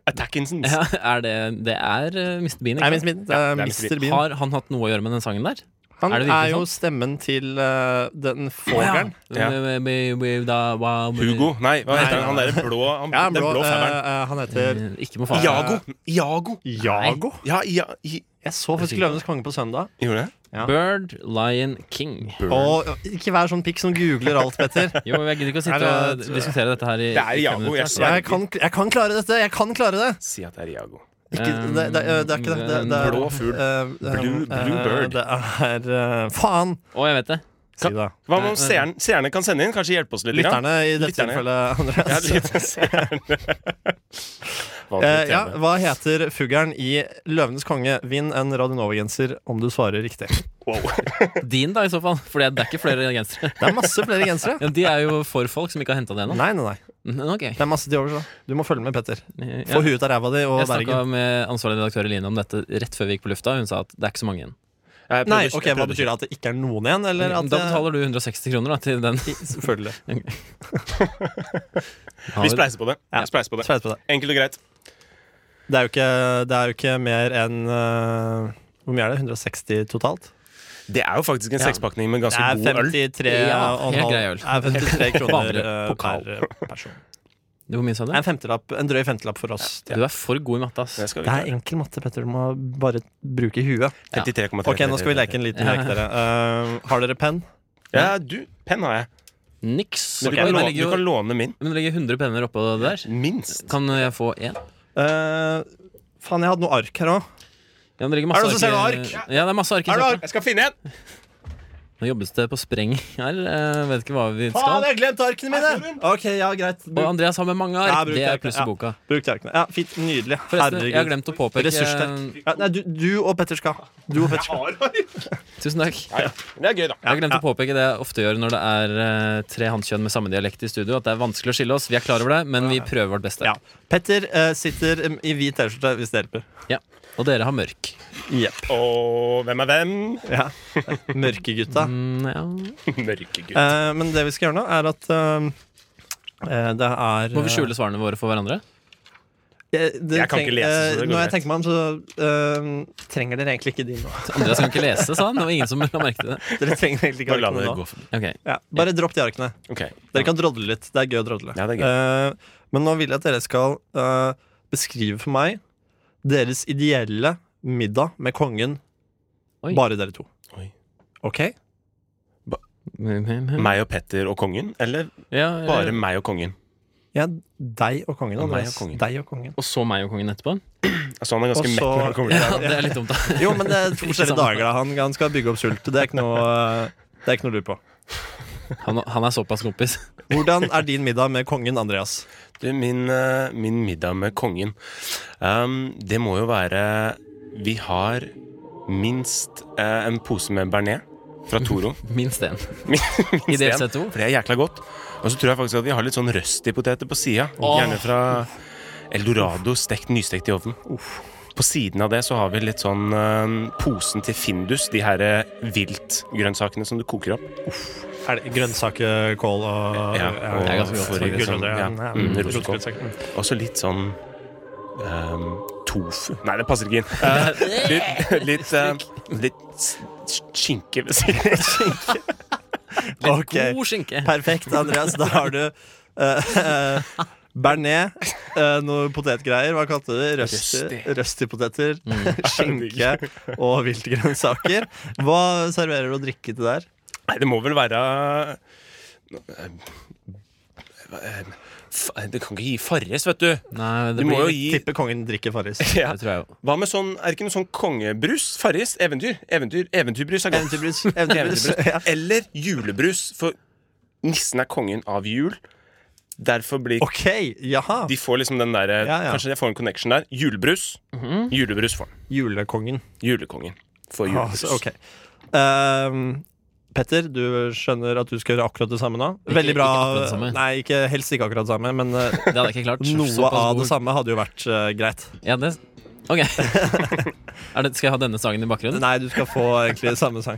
[SPEAKER 1] Attackinsons.
[SPEAKER 3] er det Det er eh, Mr. Bean,
[SPEAKER 2] Nei, Mr.
[SPEAKER 3] ikke
[SPEAKER 2] Bean.
[SPEAKER 3] sant?
[SPEAKER 2] Det er
[SPEAKER 1] Ja, det er Mr.
[SPEAKER 2] Mr. Bean.
[SPEAKER 3] Har han hatt noe å gjøre med den sangen der?
[SPEAKER 2] Han
[SPEAKER 3] er
[SPEAKER 2] er,
[SPEAKER 3] det virkelig
[SPEAKER 2] jo
[SPEAKER 3] sånn?
[SPEAKER 2] stemmen til eh, den fogeren.
[SPEAKER 1] Ja.
[SPEAKER 3] Eh, we- we- da- wa-
[SPEAKER 1] Hugo. Nei, hva heter
[SPEAKER 2] Nei.
[SPEAKER 1] han? Han derre blå Han,
[SPEAKER 2] Ja, han
[SPEAKER 1] den
[SPEAKER 2] blå,
[SPEAKER 1] blå femmeren.
[SPEAKER 2] eh, eh, han heter
[SPEAKER 3] Eh, Ikke må faen.
[SPEAKER 1] Iago. Iago.
[SPEAKER 2] Jago.
[SPEAKER 1] Ja, ja, i,
[SPEAKER 2] Jeg så faktisk Løvenes konge på søndag.
[SPEAKER 1] gjorde det?
[SPEAKER 2] Ja.
[SPEAKER 3] Bird Lion King.
[SPEAKER 2] Og ikke vær sånn pikk som googler alt, Petter.
[SPEAKER 3] Jo, jeg gidder ikke å sitte
[SPEAKER 2] Er
[SPEAKER 3] og
[SPEAKER 2] det-
[SPEAKER 3] diskutere dette her i
[SPEAKER 1] Det
[SPEAKER 3] i
[SPEAKER 1] er
[SPEAKER 3] fem
[SPEAKER 1] Iago,
[SPEAKER 3] minutter.
[SPEAKER 1] jeg ser-
[SPEAKER 2] Jeg kan, jeg kan klare dette! Jeg kan klare det!
[SPEAKER 1] Si at det er Iago.
[SPEAKER 2] Ikke, det, det, det er ikke det. det, det er,
[SPEAKER 1] Blå fugl.
[SPEAKER 2] eh, eh,
[SPEAKER 1] Blue- blue
[SPEAKER 2] eh,
[SPEAKER 1] bird.
[SPEAKER 2] Det er eh, Faen!
[SPEAKER 3] Å, jeg vet det.
[SPEAKER 2] Si det.
[SPEAKER 1] Hva om seeren- seerne kan sende inn? Kanskje hjelpe oss litt? grann?
[SPEAKER 2] Lytterne i dette
[SPEAKER 1] eh, Lytterne. Eh,
[SPEAKER 2] tilfellet, Andreas.
[SPEAKER 1] Ja, litt seerne. Valgte
[SPEAKER 2] Eh, ja,
[SPEAKER 1] TV.
[SPEAKER 2] hva heter fuglen i 'Løvenes konge'? Vinn en Radionova-genser om du svarer riktig.
[SPEAKER 3] Din, da, i så fall. For det er ikke flere gensere.
[SPEAKER 2] Det er masse flere gensere.
[SPEAKER 3] Ja, de er jo for folk som ikke har henta det ennå.
[SPEAKER 2] Nei, nei, nei.
[SPEAKER 3] Mm, Ok.
[SPEAKER 2] Det er masse til overs. da. Du må følge med, Petter. Få
[SPEAKER 3] Ja.
[SPEAKER 2] huet ut av ræva di og
[SPEAKER 3] Jeg snakka
[SPEAKER 2] Bergen.
[SPEAKER 3] med ansvarlig redaktør Eline om dette rett før vi gikk på lufta. Hun sa at det er ikke så mange igjen.
[SPEAKER 1] Jeg prøvde-
[SPEAKER 2] Nei,
[SPEAKER 1] jeg
[SPEAKER 2] ok,
[SPEAKER 1] prøvde
[SPEAKER 2] Hva betyr det? At det ikke er noen igjen? Eller
[SPEAKER 3] Da
[SPEAKER 2] at
[SPEAKER 1] eh,
[SPEAKER 2] det...
[SPEAKER 3] betaler du 160 kroner da, til den.
[SPEAKER 2] Selvfølgelig.
[SPEAKER 1] Vi spleiser på det. Vi spleiser på det.
[SPEAKER 2] Sveis på det.
[SPEAKER 1] Enkelt og greit.
[SPEAKER 2] Det er jo ikke, det er jo ikke mer enn eh, Hvor mye er det? 160 totalt?
[SPEAKER 1] Det er jo faktisk en
[SPEAKER 3] Ja.
[SPEAKER 1] sekspakning med
[SPEAKER 2] Det
[SPEAKER 1] ganske
[SPEAKER 2] er
[SPEAKER 1] god øl.
[SPEAKER 2] 53,
[SPEAKER 3] Ja,
[SPEAKER 2] og en
[SPEAKER 3] helt
[SPEAKER 2] halv-
[SPEAKER 3] grei øl.
[SPEAKER 2] Det er 53 kroner
[SPEAKER 3] Vanlig
[SPEAKER 2] eh,
[SPEAKER 3] pokal.
[SPEAKER 2] per person.
[SPEAKER 3] Du, Hvor mye sa du?
[SPEAKER 2] Det er en, femtelapp, en drøy femtelapp for oss.
[SPEAKER 3] Du er for god i matte,
[SPEAKER 1] Det
[SPEAKER 3] ass.
[SPEAKER 1] skal vi
[SPEAKER 2] Det er
[SPEAKER 1] klare.
[SPEAKER 2] enkel matte, Petter. Du må bare bruke huet.
[SPEAKER 1] 53,33.
[SPEAKER 2] Ok, nå skal vi leke en liten lek, dere. Eh, har dere penn?
[SPEAKER 1] Ja, du. Penn har jeg.
[SPEAKER 3] Niks.
[SPEAKER 1] Du
[SPEAKER 3] Oi,
[SPEAKER 1] kan,
[SPEAKER 3] men det
[SPEAKER 1] låne,
[SPEAKER 3] ligger jo-
[SPEAKER 1] du kan låne min.
[SPEAKER 3] men det ligger 100 penner oppå det der.
[SPEAKER 1] Minst.
[SPEAKER 3] Kan jeg få én?
[SPEAKER 2] Eh, faen, jeg hadde noe ark her òg.
[SPEAKER 3] Ja, Ja, det ligger masse
[SPEAKER 1] Er det noen som ser noe
[SPEAKER 3] ark i-
[SPEAKER 1] ark?
[SPEAKER 3] Ja, det er masse ark i
[SPEAKER 1] Er det
[SPEAKER 3] søpla.
[SPEAKER 1] ark? Jeg skal finne en!
[SPEAKER 3] Nå jobbes det på spreng her. eh, vet ikke hva vi
[SPEAKER 2] Faen,
[SPEAKER 3] skal.
[SPEAKER 2] jeg har glemt arkene mine! Ok, ja, greit.
[SPEAKER 3] Og Andreas har med mange
[SPEAKER 2] Ja,
[SPEAKER 3] ark.
[SPEAKER 2] bruk
[SPEAKER 3] Det
[SPEAKER 2] det,
[SPEAKER 3] er
[SPEAKER 2] bruk
[SPEAKER 3] pluss
[SPEAKER 2] det,
[SPEAKER 3] i boka.
[SPEAKER 2] Bruk de arkene. Ja, fint. Nydelig.
[SPEAKER 3] Forresten, jeg har
[SPEAKER 2] Herregud.
[SPEAKER 3] glendt å påpeke
[SPEAKER 2] Ressurssterk. Ja, nei, du, du og Petter skal. Du og Petter skal.
[SPEAKER 1] Har ark?
[SPEAKER 3] Tusen takk. Jeg
[SPEAKER 1] Ja, ja. Men det er gøy, da.
[SPEAKER 3] har glemt å påpeke det jeg ofte gjør når det er eh, tre hannkjønn med samme dialekt i studio, at det er vanskelig å skille oss. Vi er klar over det, men vi prøver vårt beste.
[SPEAKER 2] Ja. Petter eh, sitter em, i hvit T-skjorte, hvis det hjelper.
[SPEAKER 3] Ja. Og dere har mørk.
[SPEAKER 2] Jepp.
[SPEAKER 1] Og hvem er hvem?
[SPEAKER 2] Ja. Mørkegutta.
[SPEAKER 3] Mm, ja.
[SPEAKER 1] Mørkegutt.
[SPEAKER 2] Eh, men det vi skal gjøre nå, er at eh, eh, det er eh,
[SPEAKER 3] Må vi skjule svarene våre for hverandre?
[SPEAKER 2] Jeg, det
[SPEAKER 1] Jeg kan ikke lese, så
[SPEAKER 2] eh,
[SPEAKER 1] det går
[SPEAKER 2] Når jeg
[SPEAKER 1] greit.
[SPEAKER 2] tenker meg om, så eh, trenger dere egentlig ikke de nå.
[SPEAKER 3] Andreas kan ikke lese, sa han. Det var ingen som la merke til det.
[SPEAKER 2] Dere trenger egentlig ikke
[SPEAKER 1] Bare la det
[SPEAKER 2] arkene nå.
[SPEAKER 1] gå forbi.
[SPEAKER 3] Ok,
[SPEAKER 2] Ja, bare dropp de arkene.
[SPEAKER 1] Ok.
[SPEAKER 2] Dere kan drodle litt. Det er gøy å drodle.
[SPEAKER 1] Ja, det er
[SPEAKER 2] Eh, men nå vil jeg at dere skal eh, beskrive for meg deres ideelle middag med kongen.
[SPEAKER 3] Oi.
[SPEAKER 2] Bare dere to.
[SPEAKER 1] Oi.
[SPEAKER 2] OK?
[SPEAKER 1] Meg og Petter og kongen? Eller
[SPEAKER 3] ja,
[SPEAKER 1] bare meg og kongen?
[SPEAKER 2] Ja, deg og kongen,
[SPEAKER 1] Og meg
[SPEAKER 2] Andreas.
[SPEAKER 1] og kongen.
[SPEAKER 2] Deg og kongen.
[SPEAKER 3] Og så meg og kongen etterpå?
[SPEAKER 1] Altså, han er ganske
[SPEAKER 2] Og så-
[SPEAKER 1] mett når han kommer til
[SPEAKER 3] Ja,
[SPEAKER 1] deg.
[SPEAKER 3] det er litt dumt, da.
[SPEAKER 2] Jo, men det er to
[SPEAKER 3] Ikke
[SPEAKER 2] forskjellige
[SPEAKER 3] sant.
[SPEAKER 2] dager. Da. Han, han skal bygge opp sult. Det er ikke noe eh, det er ikke noe å lure på.
[SPEAKER 3] Han, han er såpass kompis.
[SPEAKER 2] Hvordan er din middag med kongen, Andreas?
[SPEAKER 1] Du, min, eh, min middag med kongen um, Det må jo være Vi har minst eh, en pose med bearnés fra Toro.
[SPEAKER 3] Minst én.
[SPEAKER 1] Minst
[SPEAKER 3] I
[SPEAKER 1] en,
[SPEAKER 3] DLC2.
[SPEAKER 1] For det er jækla godt. Og så tror jeg faktisk at vi har litt sånn røstipoteter på sida.
[SPEAKER 3] Åh.
[SPEAKER 1] Gjerne fra Eldorado, stekt, nystekt i ovnen. På siden av det så har vi litt sånn eh, posen til Findus, de her eh, viltgrønnsakene som du koker opp.
[SPEAKER 2] Er det grønnsakekål og
[SPEAKER 1] Ja, og-
[SPEAKER 3] Det er ganske godt,
[SPEAKER 1] for-
[SPEAKER 3] faktisk.
[SPEAKER 1] sånn, ja. Mm, rosekål.
[SPEAKER 2] Rosekål.
[SPEAKER 1] Og så litt sånn ehm, tofu Nei, det passer ikke inn. Eh, litt litt, eh, litt s- s- skinke ved siden av.
[SPEAKER 3] Litt
[SPEAKER 2] Ok.
[SPEAKER 3] god skinke.
[SPEAKER 2] Perfekt, Andreas. Da har du eh, eh, bearnés, eh, noe potetgreier. Hva kalte du det? Røsti-
[SPEAKER 1] Røsti.
[SPEAKER 2] Røstipoteter, skinke og viltgrønnsaker. Hva serverer du å drikke til der?
[SPEAKER 1] Nei, det må vel være eh, eh, fa- Det kan ikke gi Farris, vet du.
[SPEAKER 3] Nei,
[SPEAKER 1] Du
[SPEAKER 3] det
[SPEAKER 1] må jo
[SPEAKER 3] blir
[SPEAKER 1] gi
[SPEAKER 2] Tipper kongen drikker Farris.
[SPEAKER 1] ja.
[SPEAKER 3] Det tror jeg jo.
[SPEAKER 1] Hva med sånn Er det ikke noe sånn kongebrus? Farris? Eventyr? Eventyr? Eventyrbrus er godt.
[SPEAKER 2] Eventyrbrus. Eventyrbrus. Ja.
[SPEAKER 1] Eller julebrus, for nissen er kongen av jul. Derfor blir
[SPEAKER 2] OK, jaha.
[SPEAKER 1] De får liksom den der
[SPEAKER 2] Ja, Mhm. ja.
[SPEAKER 1] Kanskje jeg får en connection der. Julebrus. Julebrus får han.
[SPEAKER 2] Julekongen.
[SPEAKER 1] Julekongen får julebrus.
[SPEAKER 2] Altså, ok. Ehm, Petter, du skjønner at du skal gjøre akkurat det samme nå? Veldig bra.
[SPEAKER 3] ikke akkurat det samme.
[SPEAKER 2] Nei, ikke, helst ikke akkurat det samme, men eh,
[SPEAKER 3] Det hadde jeg ikke klart.
[SPEAKER 2] noe
[SPEAKER 3] Såpass
[SPEAKER 2] av
[SPEAKER 3] god-
[SPEAKER 2] det samme hadde jo vært eh, greit.
[SPEAKER 3] Ja, det Ok. er det, skal jeg ha denne sangen i bakgrunnen?
[SPEAKER 2] Nei, du skal få egentlig samme sang.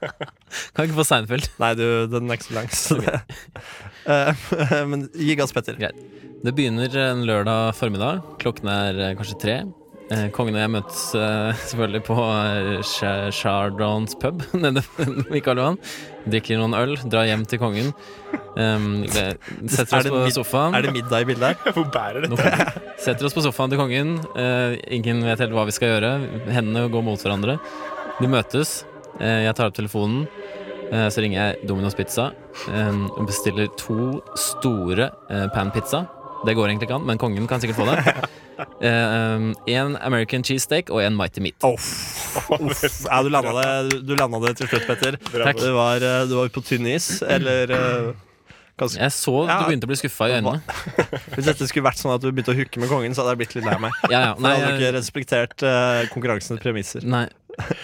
[SPEAKER 3] Kan jeg ikke få Seinfeld?
[SPEAKER 2] Nei, du, den er ikke så lang. Så det. Eh, men gi gass, Petter.
[SPEAKER 3] Greit. Det begynner en lørdag formiddag. Klokken er eh, kanskje tre. Eh, Kongen og jeg møtes eh, selvfølgelig på eh, Sha- Chardons pub nede ved Karl Johan. Drikker noen øl, drar hjem til kongen. Um, det- setter
[SPEAKER 2] Er
[SPEAKER 3] oss
[SPEAKER 2] det
[SPEAKER 3] på
[SPEAKER 2] mid-
[SPEAKER 3] sofaen.
[SPEAKER 2] Er det middag i bildet her?
[SPEAKER 1] Hvor bærer det?
[SPEAKER 3] Nå kommer vi. Setter oss på sofaen til kongen. Eh, ingen vet helt hva vi skal gjøre. Hendene går mot hverandre. De møtes. Eh, jeg tar opp telefonen. Eh, så ringer jeg Domino's Pizza eh, og bestiller to store eh, pan-pizza. Det går egentlig ikke an, men kongen kan sikkert få det. Én American cheesesteak og én Mighty Meat.
[SPEAKER 2] Uff. Uff. Ja, du landa det, du landa det til slutt, Petter.
[SPEAKER 3] Takk.
[SPEAKER 2] Du var, eh, du var på tynn is, eller eh, ganske
[SPEAKER 3] Jeg så du
[SPEAKER 2] Ja.
[SPEAKER 3] begynte å bli skuffa i øynene.
[SPEAKER 2] Hvis dette skulle vært sånn at du begynte å hooke med kongen, så hadde jeg blitt litt lei meg.
[SPEAKER 3] Ja, ja.
[SPEAKER 2] For
[SPEAKER 3] Nei,
[SPEAKER 2] jeg hadde ikke
[SPEAKER 3] jeg,
[SPEAKER 2] respektert eh, konkurransens premisser.
[SPEAKER 3] nei.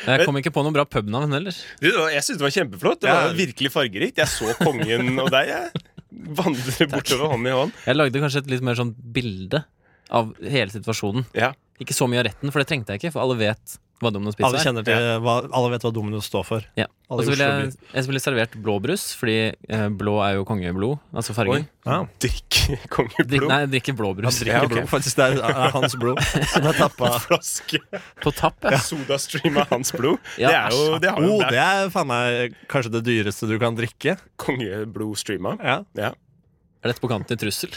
[SPEAKER 3] Jeg kom ikke på noen bra pubnavn heller.
[SPEAKER 1] Du, det var- jeg syns det var kjempeflott. Det
[SPEAKER 2] Ja.
[SPEAKER 1] var virkelig fargerikt. Jeg så kongen og deg, jeg. Vandre bortover hånd i hånd.
[SPEAKER 3] Jeg lagde kanskje et litt mer sånn bilde av hele situasjonen.
[SPEAKER 1] Ja.
[SPEAKER 3] Ikke så mye av retten, for det trengte jeg ikke, for alle vet hva Domino's pizza
[SPEAKER 2] Alle
[SPEAKER 3] er.
[SPEAKER 2] kjenner til hva, Alle vet hva Domino's står for.
[SPEAKER 3] Ja.
[SPEAKER 2] Alle
[SPEAKER 3] Og så
[SPEAKER 2] i
[SPEAKER 3] ville jeg,
[SPEAKER 2] Oslo
[SPEAKER 3] jeg ville servert blåbrus, fordi eh, blå er jo kongeblod, altså fargen.
[SPEAKER 1] Oi.
[SPEAKER 2] Ja.
[SPEAKER 1] Drikk
[SPEAKER 3] Drikk,
[SPEAKER 1] kongeblod.
[SPEAKER 3] nei, jeg drikker blåbrus.
[SPEAKER 1] drikker
[SPEAKER 2] Blod, faktisk, det er, er hans blod som er tappa.
[SPEAKER 1] Flaske
[SPEAKER 3] På tapp, ja.
[SPEAKER 1] sodastream av hans blod.
[SPEAKER 3] Ja,
[SPEAKER 1] det er jo Det har jo
[SPEAKER 2] Oh,
[SPEAKER 1] det
[SPEAKER 2] det
[SPEAKER 1] er
[SPEAKER 2] er faen meg kanskje det dyreste du kan drikke.
[SPEAKER 1] kongeblodstreama. Ja.
[SPEAKER 3] Er dette på kanten til trussel?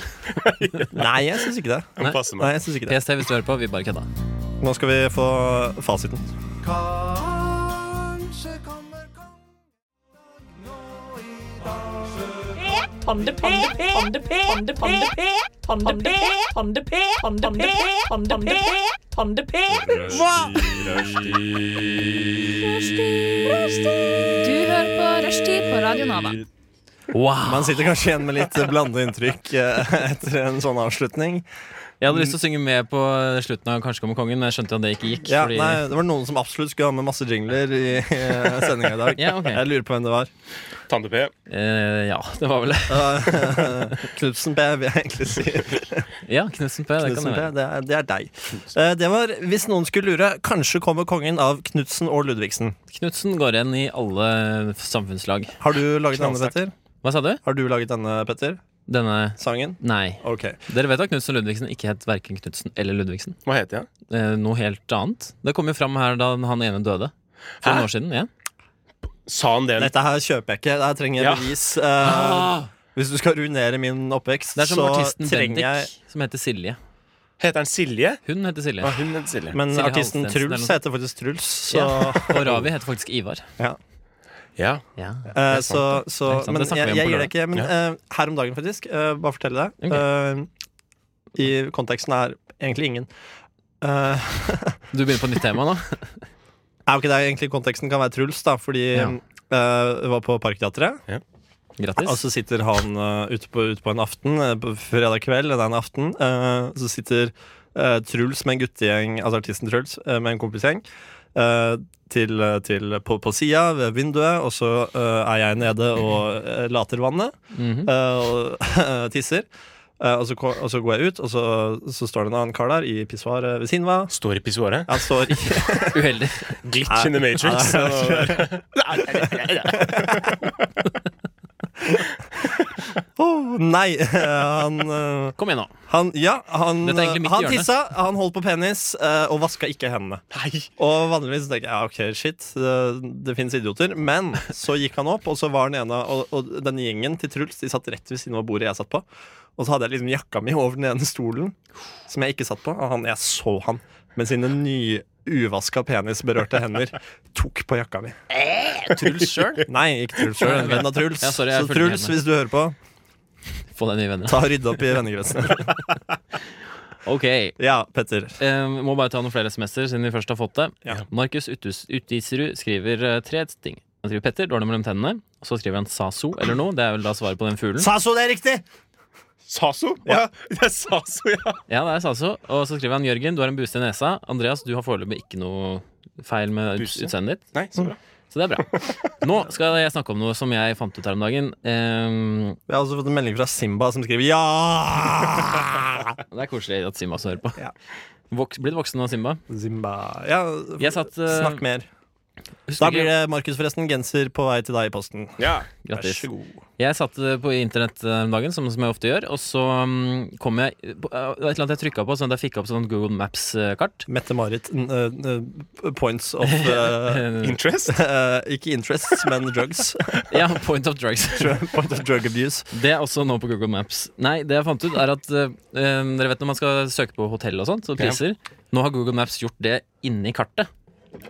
[SPEAKER 2] Nei, jeg syns ikke det.
[SPEAKER 1] Den
[SPEAKER 3] Nei.
[SPEAKER 1] passer
[SPEAKER 2] Nei,
[SPEAKER 1] meg.
[SPEAKER 2] jeg synes ikke det.
[SPEAKER 3] PST, hvis du hører på, vi bare kødda.
[SPEAKER 2] Nå skal vi få fasiten.
[SPEAKER 4] Kanskje kommer kong nå i dag.
[SPEAKER 7] Pande, pande, pande, pande, pande, pande, pande, pande, pande, pande, pande, pande, pande, pande, pande,
[SPEAKER 6] Hva?
[SPEAKER 8] Du hører på Rushtid på Radio Nova.
[SPEAKER 3] Wow!
[SPEAKER 2] Man sitter kanskje igjen med litt blanda inntrykk eh, etter en sånn avslutning.
[SPEAKER 3] Jeg hadde lyst til å synge med på slutten av Kanskje kommer kongen, men jeg skjønte jo at det ikke gikk.
[SPEAKER 2] Ja,
[SPEAKER 3] fordi...
[SPEAKER 2] nei, Det var noen som absolutt skulle ha med masse jingler i eh, sendinga i dag.
[SPEAKER 3] Ja, ok.
[SPEAKER 2] Jeg lurer på hvem det var.
[SPEAKER 1] Tande-P.
[SPEAKER 3] Eh, ja, det var vel det.
[SPEAKER 2] Eh, Knutsen P, vil jeg egentlig si.
[SPEAKER 3] Ja, Knutsen P. Det kan
[SPEAKER 2] Knudsen
[SPEAKER 3] det
[SPEAKER 2] P,
[SPEAKER 3] være.
[SPEAKER 2] det, er, det er deg. Eh, det var, hvis noen skulle lure, kanskje kommer kongen av Knutsen og Ludvigsen.
[SPEAKER 3] Knutsen går igjen i alle samfunnslag.
[SPEAKER 2] Har du laget denne,
[SPEAKER 1] Knallsterkt.
[SPEAKER 2] Petter?
[SPEAKER 3] Hva sa du?
[SPEAKER 2] Har du laget denne, Petter?
[SPEAKER 3] Denne
[SPEAKER 2] Sangen?
[SPEAKER 3] Nei.
[SPEAKER 2] Ok.
[SPEAKER 3] Dere vet at Knutsen og Ludvigsen ikke het verken Knutsen eller Ludvigsen.
[SPEAKER 1] Hva heter jeg?
[SPEAKER 3] Eh, noe helt annet. Det kom jo fram her da han ene døde. For
[SPEAKER 1] Hæ?
[SPEAKER 3] noen år siden. ja
[SPEAKER 1] Sa han det?
[SPEAKER 2] Dette her kjøper jeg ikke. Dette trenger jeg
[SPEAKER 1] Ja.
[SPEAKER 2] bevis. Eh, Hvis du skal ruinere min oppvekst,
[SPEAKER 3] Ah. Det er som
[SPEAKER 2] så
[SPEAKER 3] artisten Bendik,
[SPEAKER 2] trenger jeg
[SPEAKER 3] som heter Silje.
[SPEAKER 1] Heter han Silje?
[SPEAKER 3] Hun heter Silje.
[SPEAKER 1] Ja, hun heter Silje.
[SPEAKER 2] Men
[SPEAKER 3] Silje
[SPEAKER 2] artisten
[SPEAKER 3] Halstensen
[SPEAKER 2] Truls
[SPEAKER 3] eller
[SPEAKER 2] heter faktisk Truls, så
[SPEAKER 3] Ja. Og Ravi heter faktisk Ivar.
[SPEAKER 1] Ja.
[SPEAKER 3] Ja.
[SPEAKER 2] Eh,
[SPEAKER 1] Det er
[SPEAKER 2] så,
[SPEAKER 1] sant,
[SPEAKER 2] så,
[SPEAKER 3] Det er sant,
[SPEAKER 2] men
[SPEAKER 3] det snakker vi
[SPEAKER 2] jeg,
[SPEAKER 3] om
[SPEAKER 2] jeg
[SPEAKER 3] på
[SPEAKER 2] gir det ikke. Men eh, her om dagen, faktisk, eh, bare fortelle deg eh, I konteksten er egentlig ingen. Eh,
[SPEAKER 3] Du begynner på nytt tema nå?
[SPEAKER 2] er jo ikke det egentlig konteksten kan være Truls, da, fordi
[SPEAKER 3] Ja.
[SPEAKER 2] eh, vi var på Parkteatret.
[SPEAKER 3] Grattis.
[SPEAKER 2] Og så sitter han eh, ute, på, ute på en aften, eh, på fredag kveld, det er en aften. eh, så sitter eh, Truls med en guttegjeng, altså artisten Truls, eh, med en kompisgjeng. eh, til, til, på, på sida, ved vinduet, og så eh, er jeg nede og eh, later vannet.
[SPEAKER 3] Mhm.
[SPEAKER 2] eh, og tisser. Eh, og, så, ko- og så går jeg ut, og så, så står det en annen kar der i pissoar eh, ved siden av.
[SPEAKER 1] Står i pissoaret.
[SPEAKER 2] Han står i
[SPEAKER 3] Uheldig.
[SPEAKER 1] Glitch in the Matrix.
[SPEAKER 2] Ja, det Åh, Nei! eh, han, eh,
[SPEAKER 3] Kom igjen nå.
[SPEAKER 2] han Ja, han,
[SPEAKER 3] Dette er egentlig mitt
[SPEAKER 2] han
[SPEAKER 3] hjørne.
[SPEAKER 2] tissa, han holdt på penis eh, og vaska ikke hendene.
[SPEAKER 1] Nei!
[SPEAKER 2] Og vanligvis tenker jeg ja, ok, shit, det, det finnes idioter. Men så gikk han opp, og så var den ene Og, og den gjengen til Truls De satt rett ved siden av bordet jeg satt på. Og så hadde jeg liksom jakka mi over den ene stolen som jeg ikke satt på. Og han, jeg så han med sine nye uvaska penisberørte hender tok på jakka mi.
[SPEAKER 1] Truls sjøl?
[SPEAKER 2] Nei, ikke Truls sjøl, en venn av Truls.
[SPEAKER 3] Ja, sorry, jeg
[SPEAKER 2] så
[SPEAKER 3] fulgte
[SPEAKER 2] Truls,
[SPEAKER 3] med.
[SPEAKER 2] hvis du hører på,
[SPEAKER 3] Få deg nye venner.
[SPEAKER 2] ta og rydde opp i vennegrensene.
[SPEAKER 3] Ok.
[SPEAKER 2] Ja, Petter.
[SPEAKER 3] Eh, må bare ta noen flere SMS-er siden vi først har fått det.
[SPEAKER 2] Ja.
[SPEAKER 3] Markus Utus- Utiserud skriver eh, tre ting. Han skriver Petter, dårlig mellom tennene. Og så skriver han Saso eller noe. Det er vel da svaret på den fuglen.
[SPEAKER 2] Saso, det er riktig!
[SPEAKER 1] Saso? Ja. Det er Saso, ja.
[SPEAKER 3] Ja, det er Saso. Og så skriver han Jørgen, du har en buse i nesa. Andreas, du har foreløpig ikke noe feil med ut-
[SPEAKER 1] Buse?
[SPEAKER 3] utseendet ditt.
[SPEAKER 1] Nei, så bra.
[SPEAKER 3] Så det er bra. Nå skal jeg snakke om noe som jeg fant ut her om dagen. Eh,
[SPEAKER 2] Vi har også fått en melding fra Simba som skriver ja!
[SPEAKER 3] det er koselig at Simba også hører på.
[SPEAKER 2] Ja.
[SPEAKER 3] Vok blitt voksen av Simba.
[SPEAKER 2] Simba. Ja,
[SPEAKER 3] Jeg satt, eh,
[SPEAKER 2] snakk mer.
[SPEAKER 3] Husker
[SPEAKER 2] Da
[SPEAKER 3] ikke-
[SPEAKER 2] blir det Markus forresten genser på vei til deg i posten.
[SPEAKER 1] Ja.
[SPEAKER 3] Grattis.
[SPEAKER 2] så god.
[SPEAKER 3] Jeg satt eh, på internett eh, om dagen, som, som jeg ofte gjør, og så mm, kom jeg eh, på, eh, Det var et eller annet jeg trykka på, sånn at jeg fikk opp sånn Google Maps-kart.
[SPEAKER 2] Mette-Marit n- eh, points of eh,
[SPEAKER 1] Interest?
[SPEAKER 2] eh, Ikke interests, men drugs.
[SPEAKER 3] ja, Point of Drugs.
[SPEAKER 2] Point of drug abuse.
[SPEAKER 3] Det er også nå på Google Maps. Nei, det jeg fant ut, er at eh, eh, Dere vet når man skal søke på hotell og sånt, og priser. Nå har Google Maps gjort det inni kartet.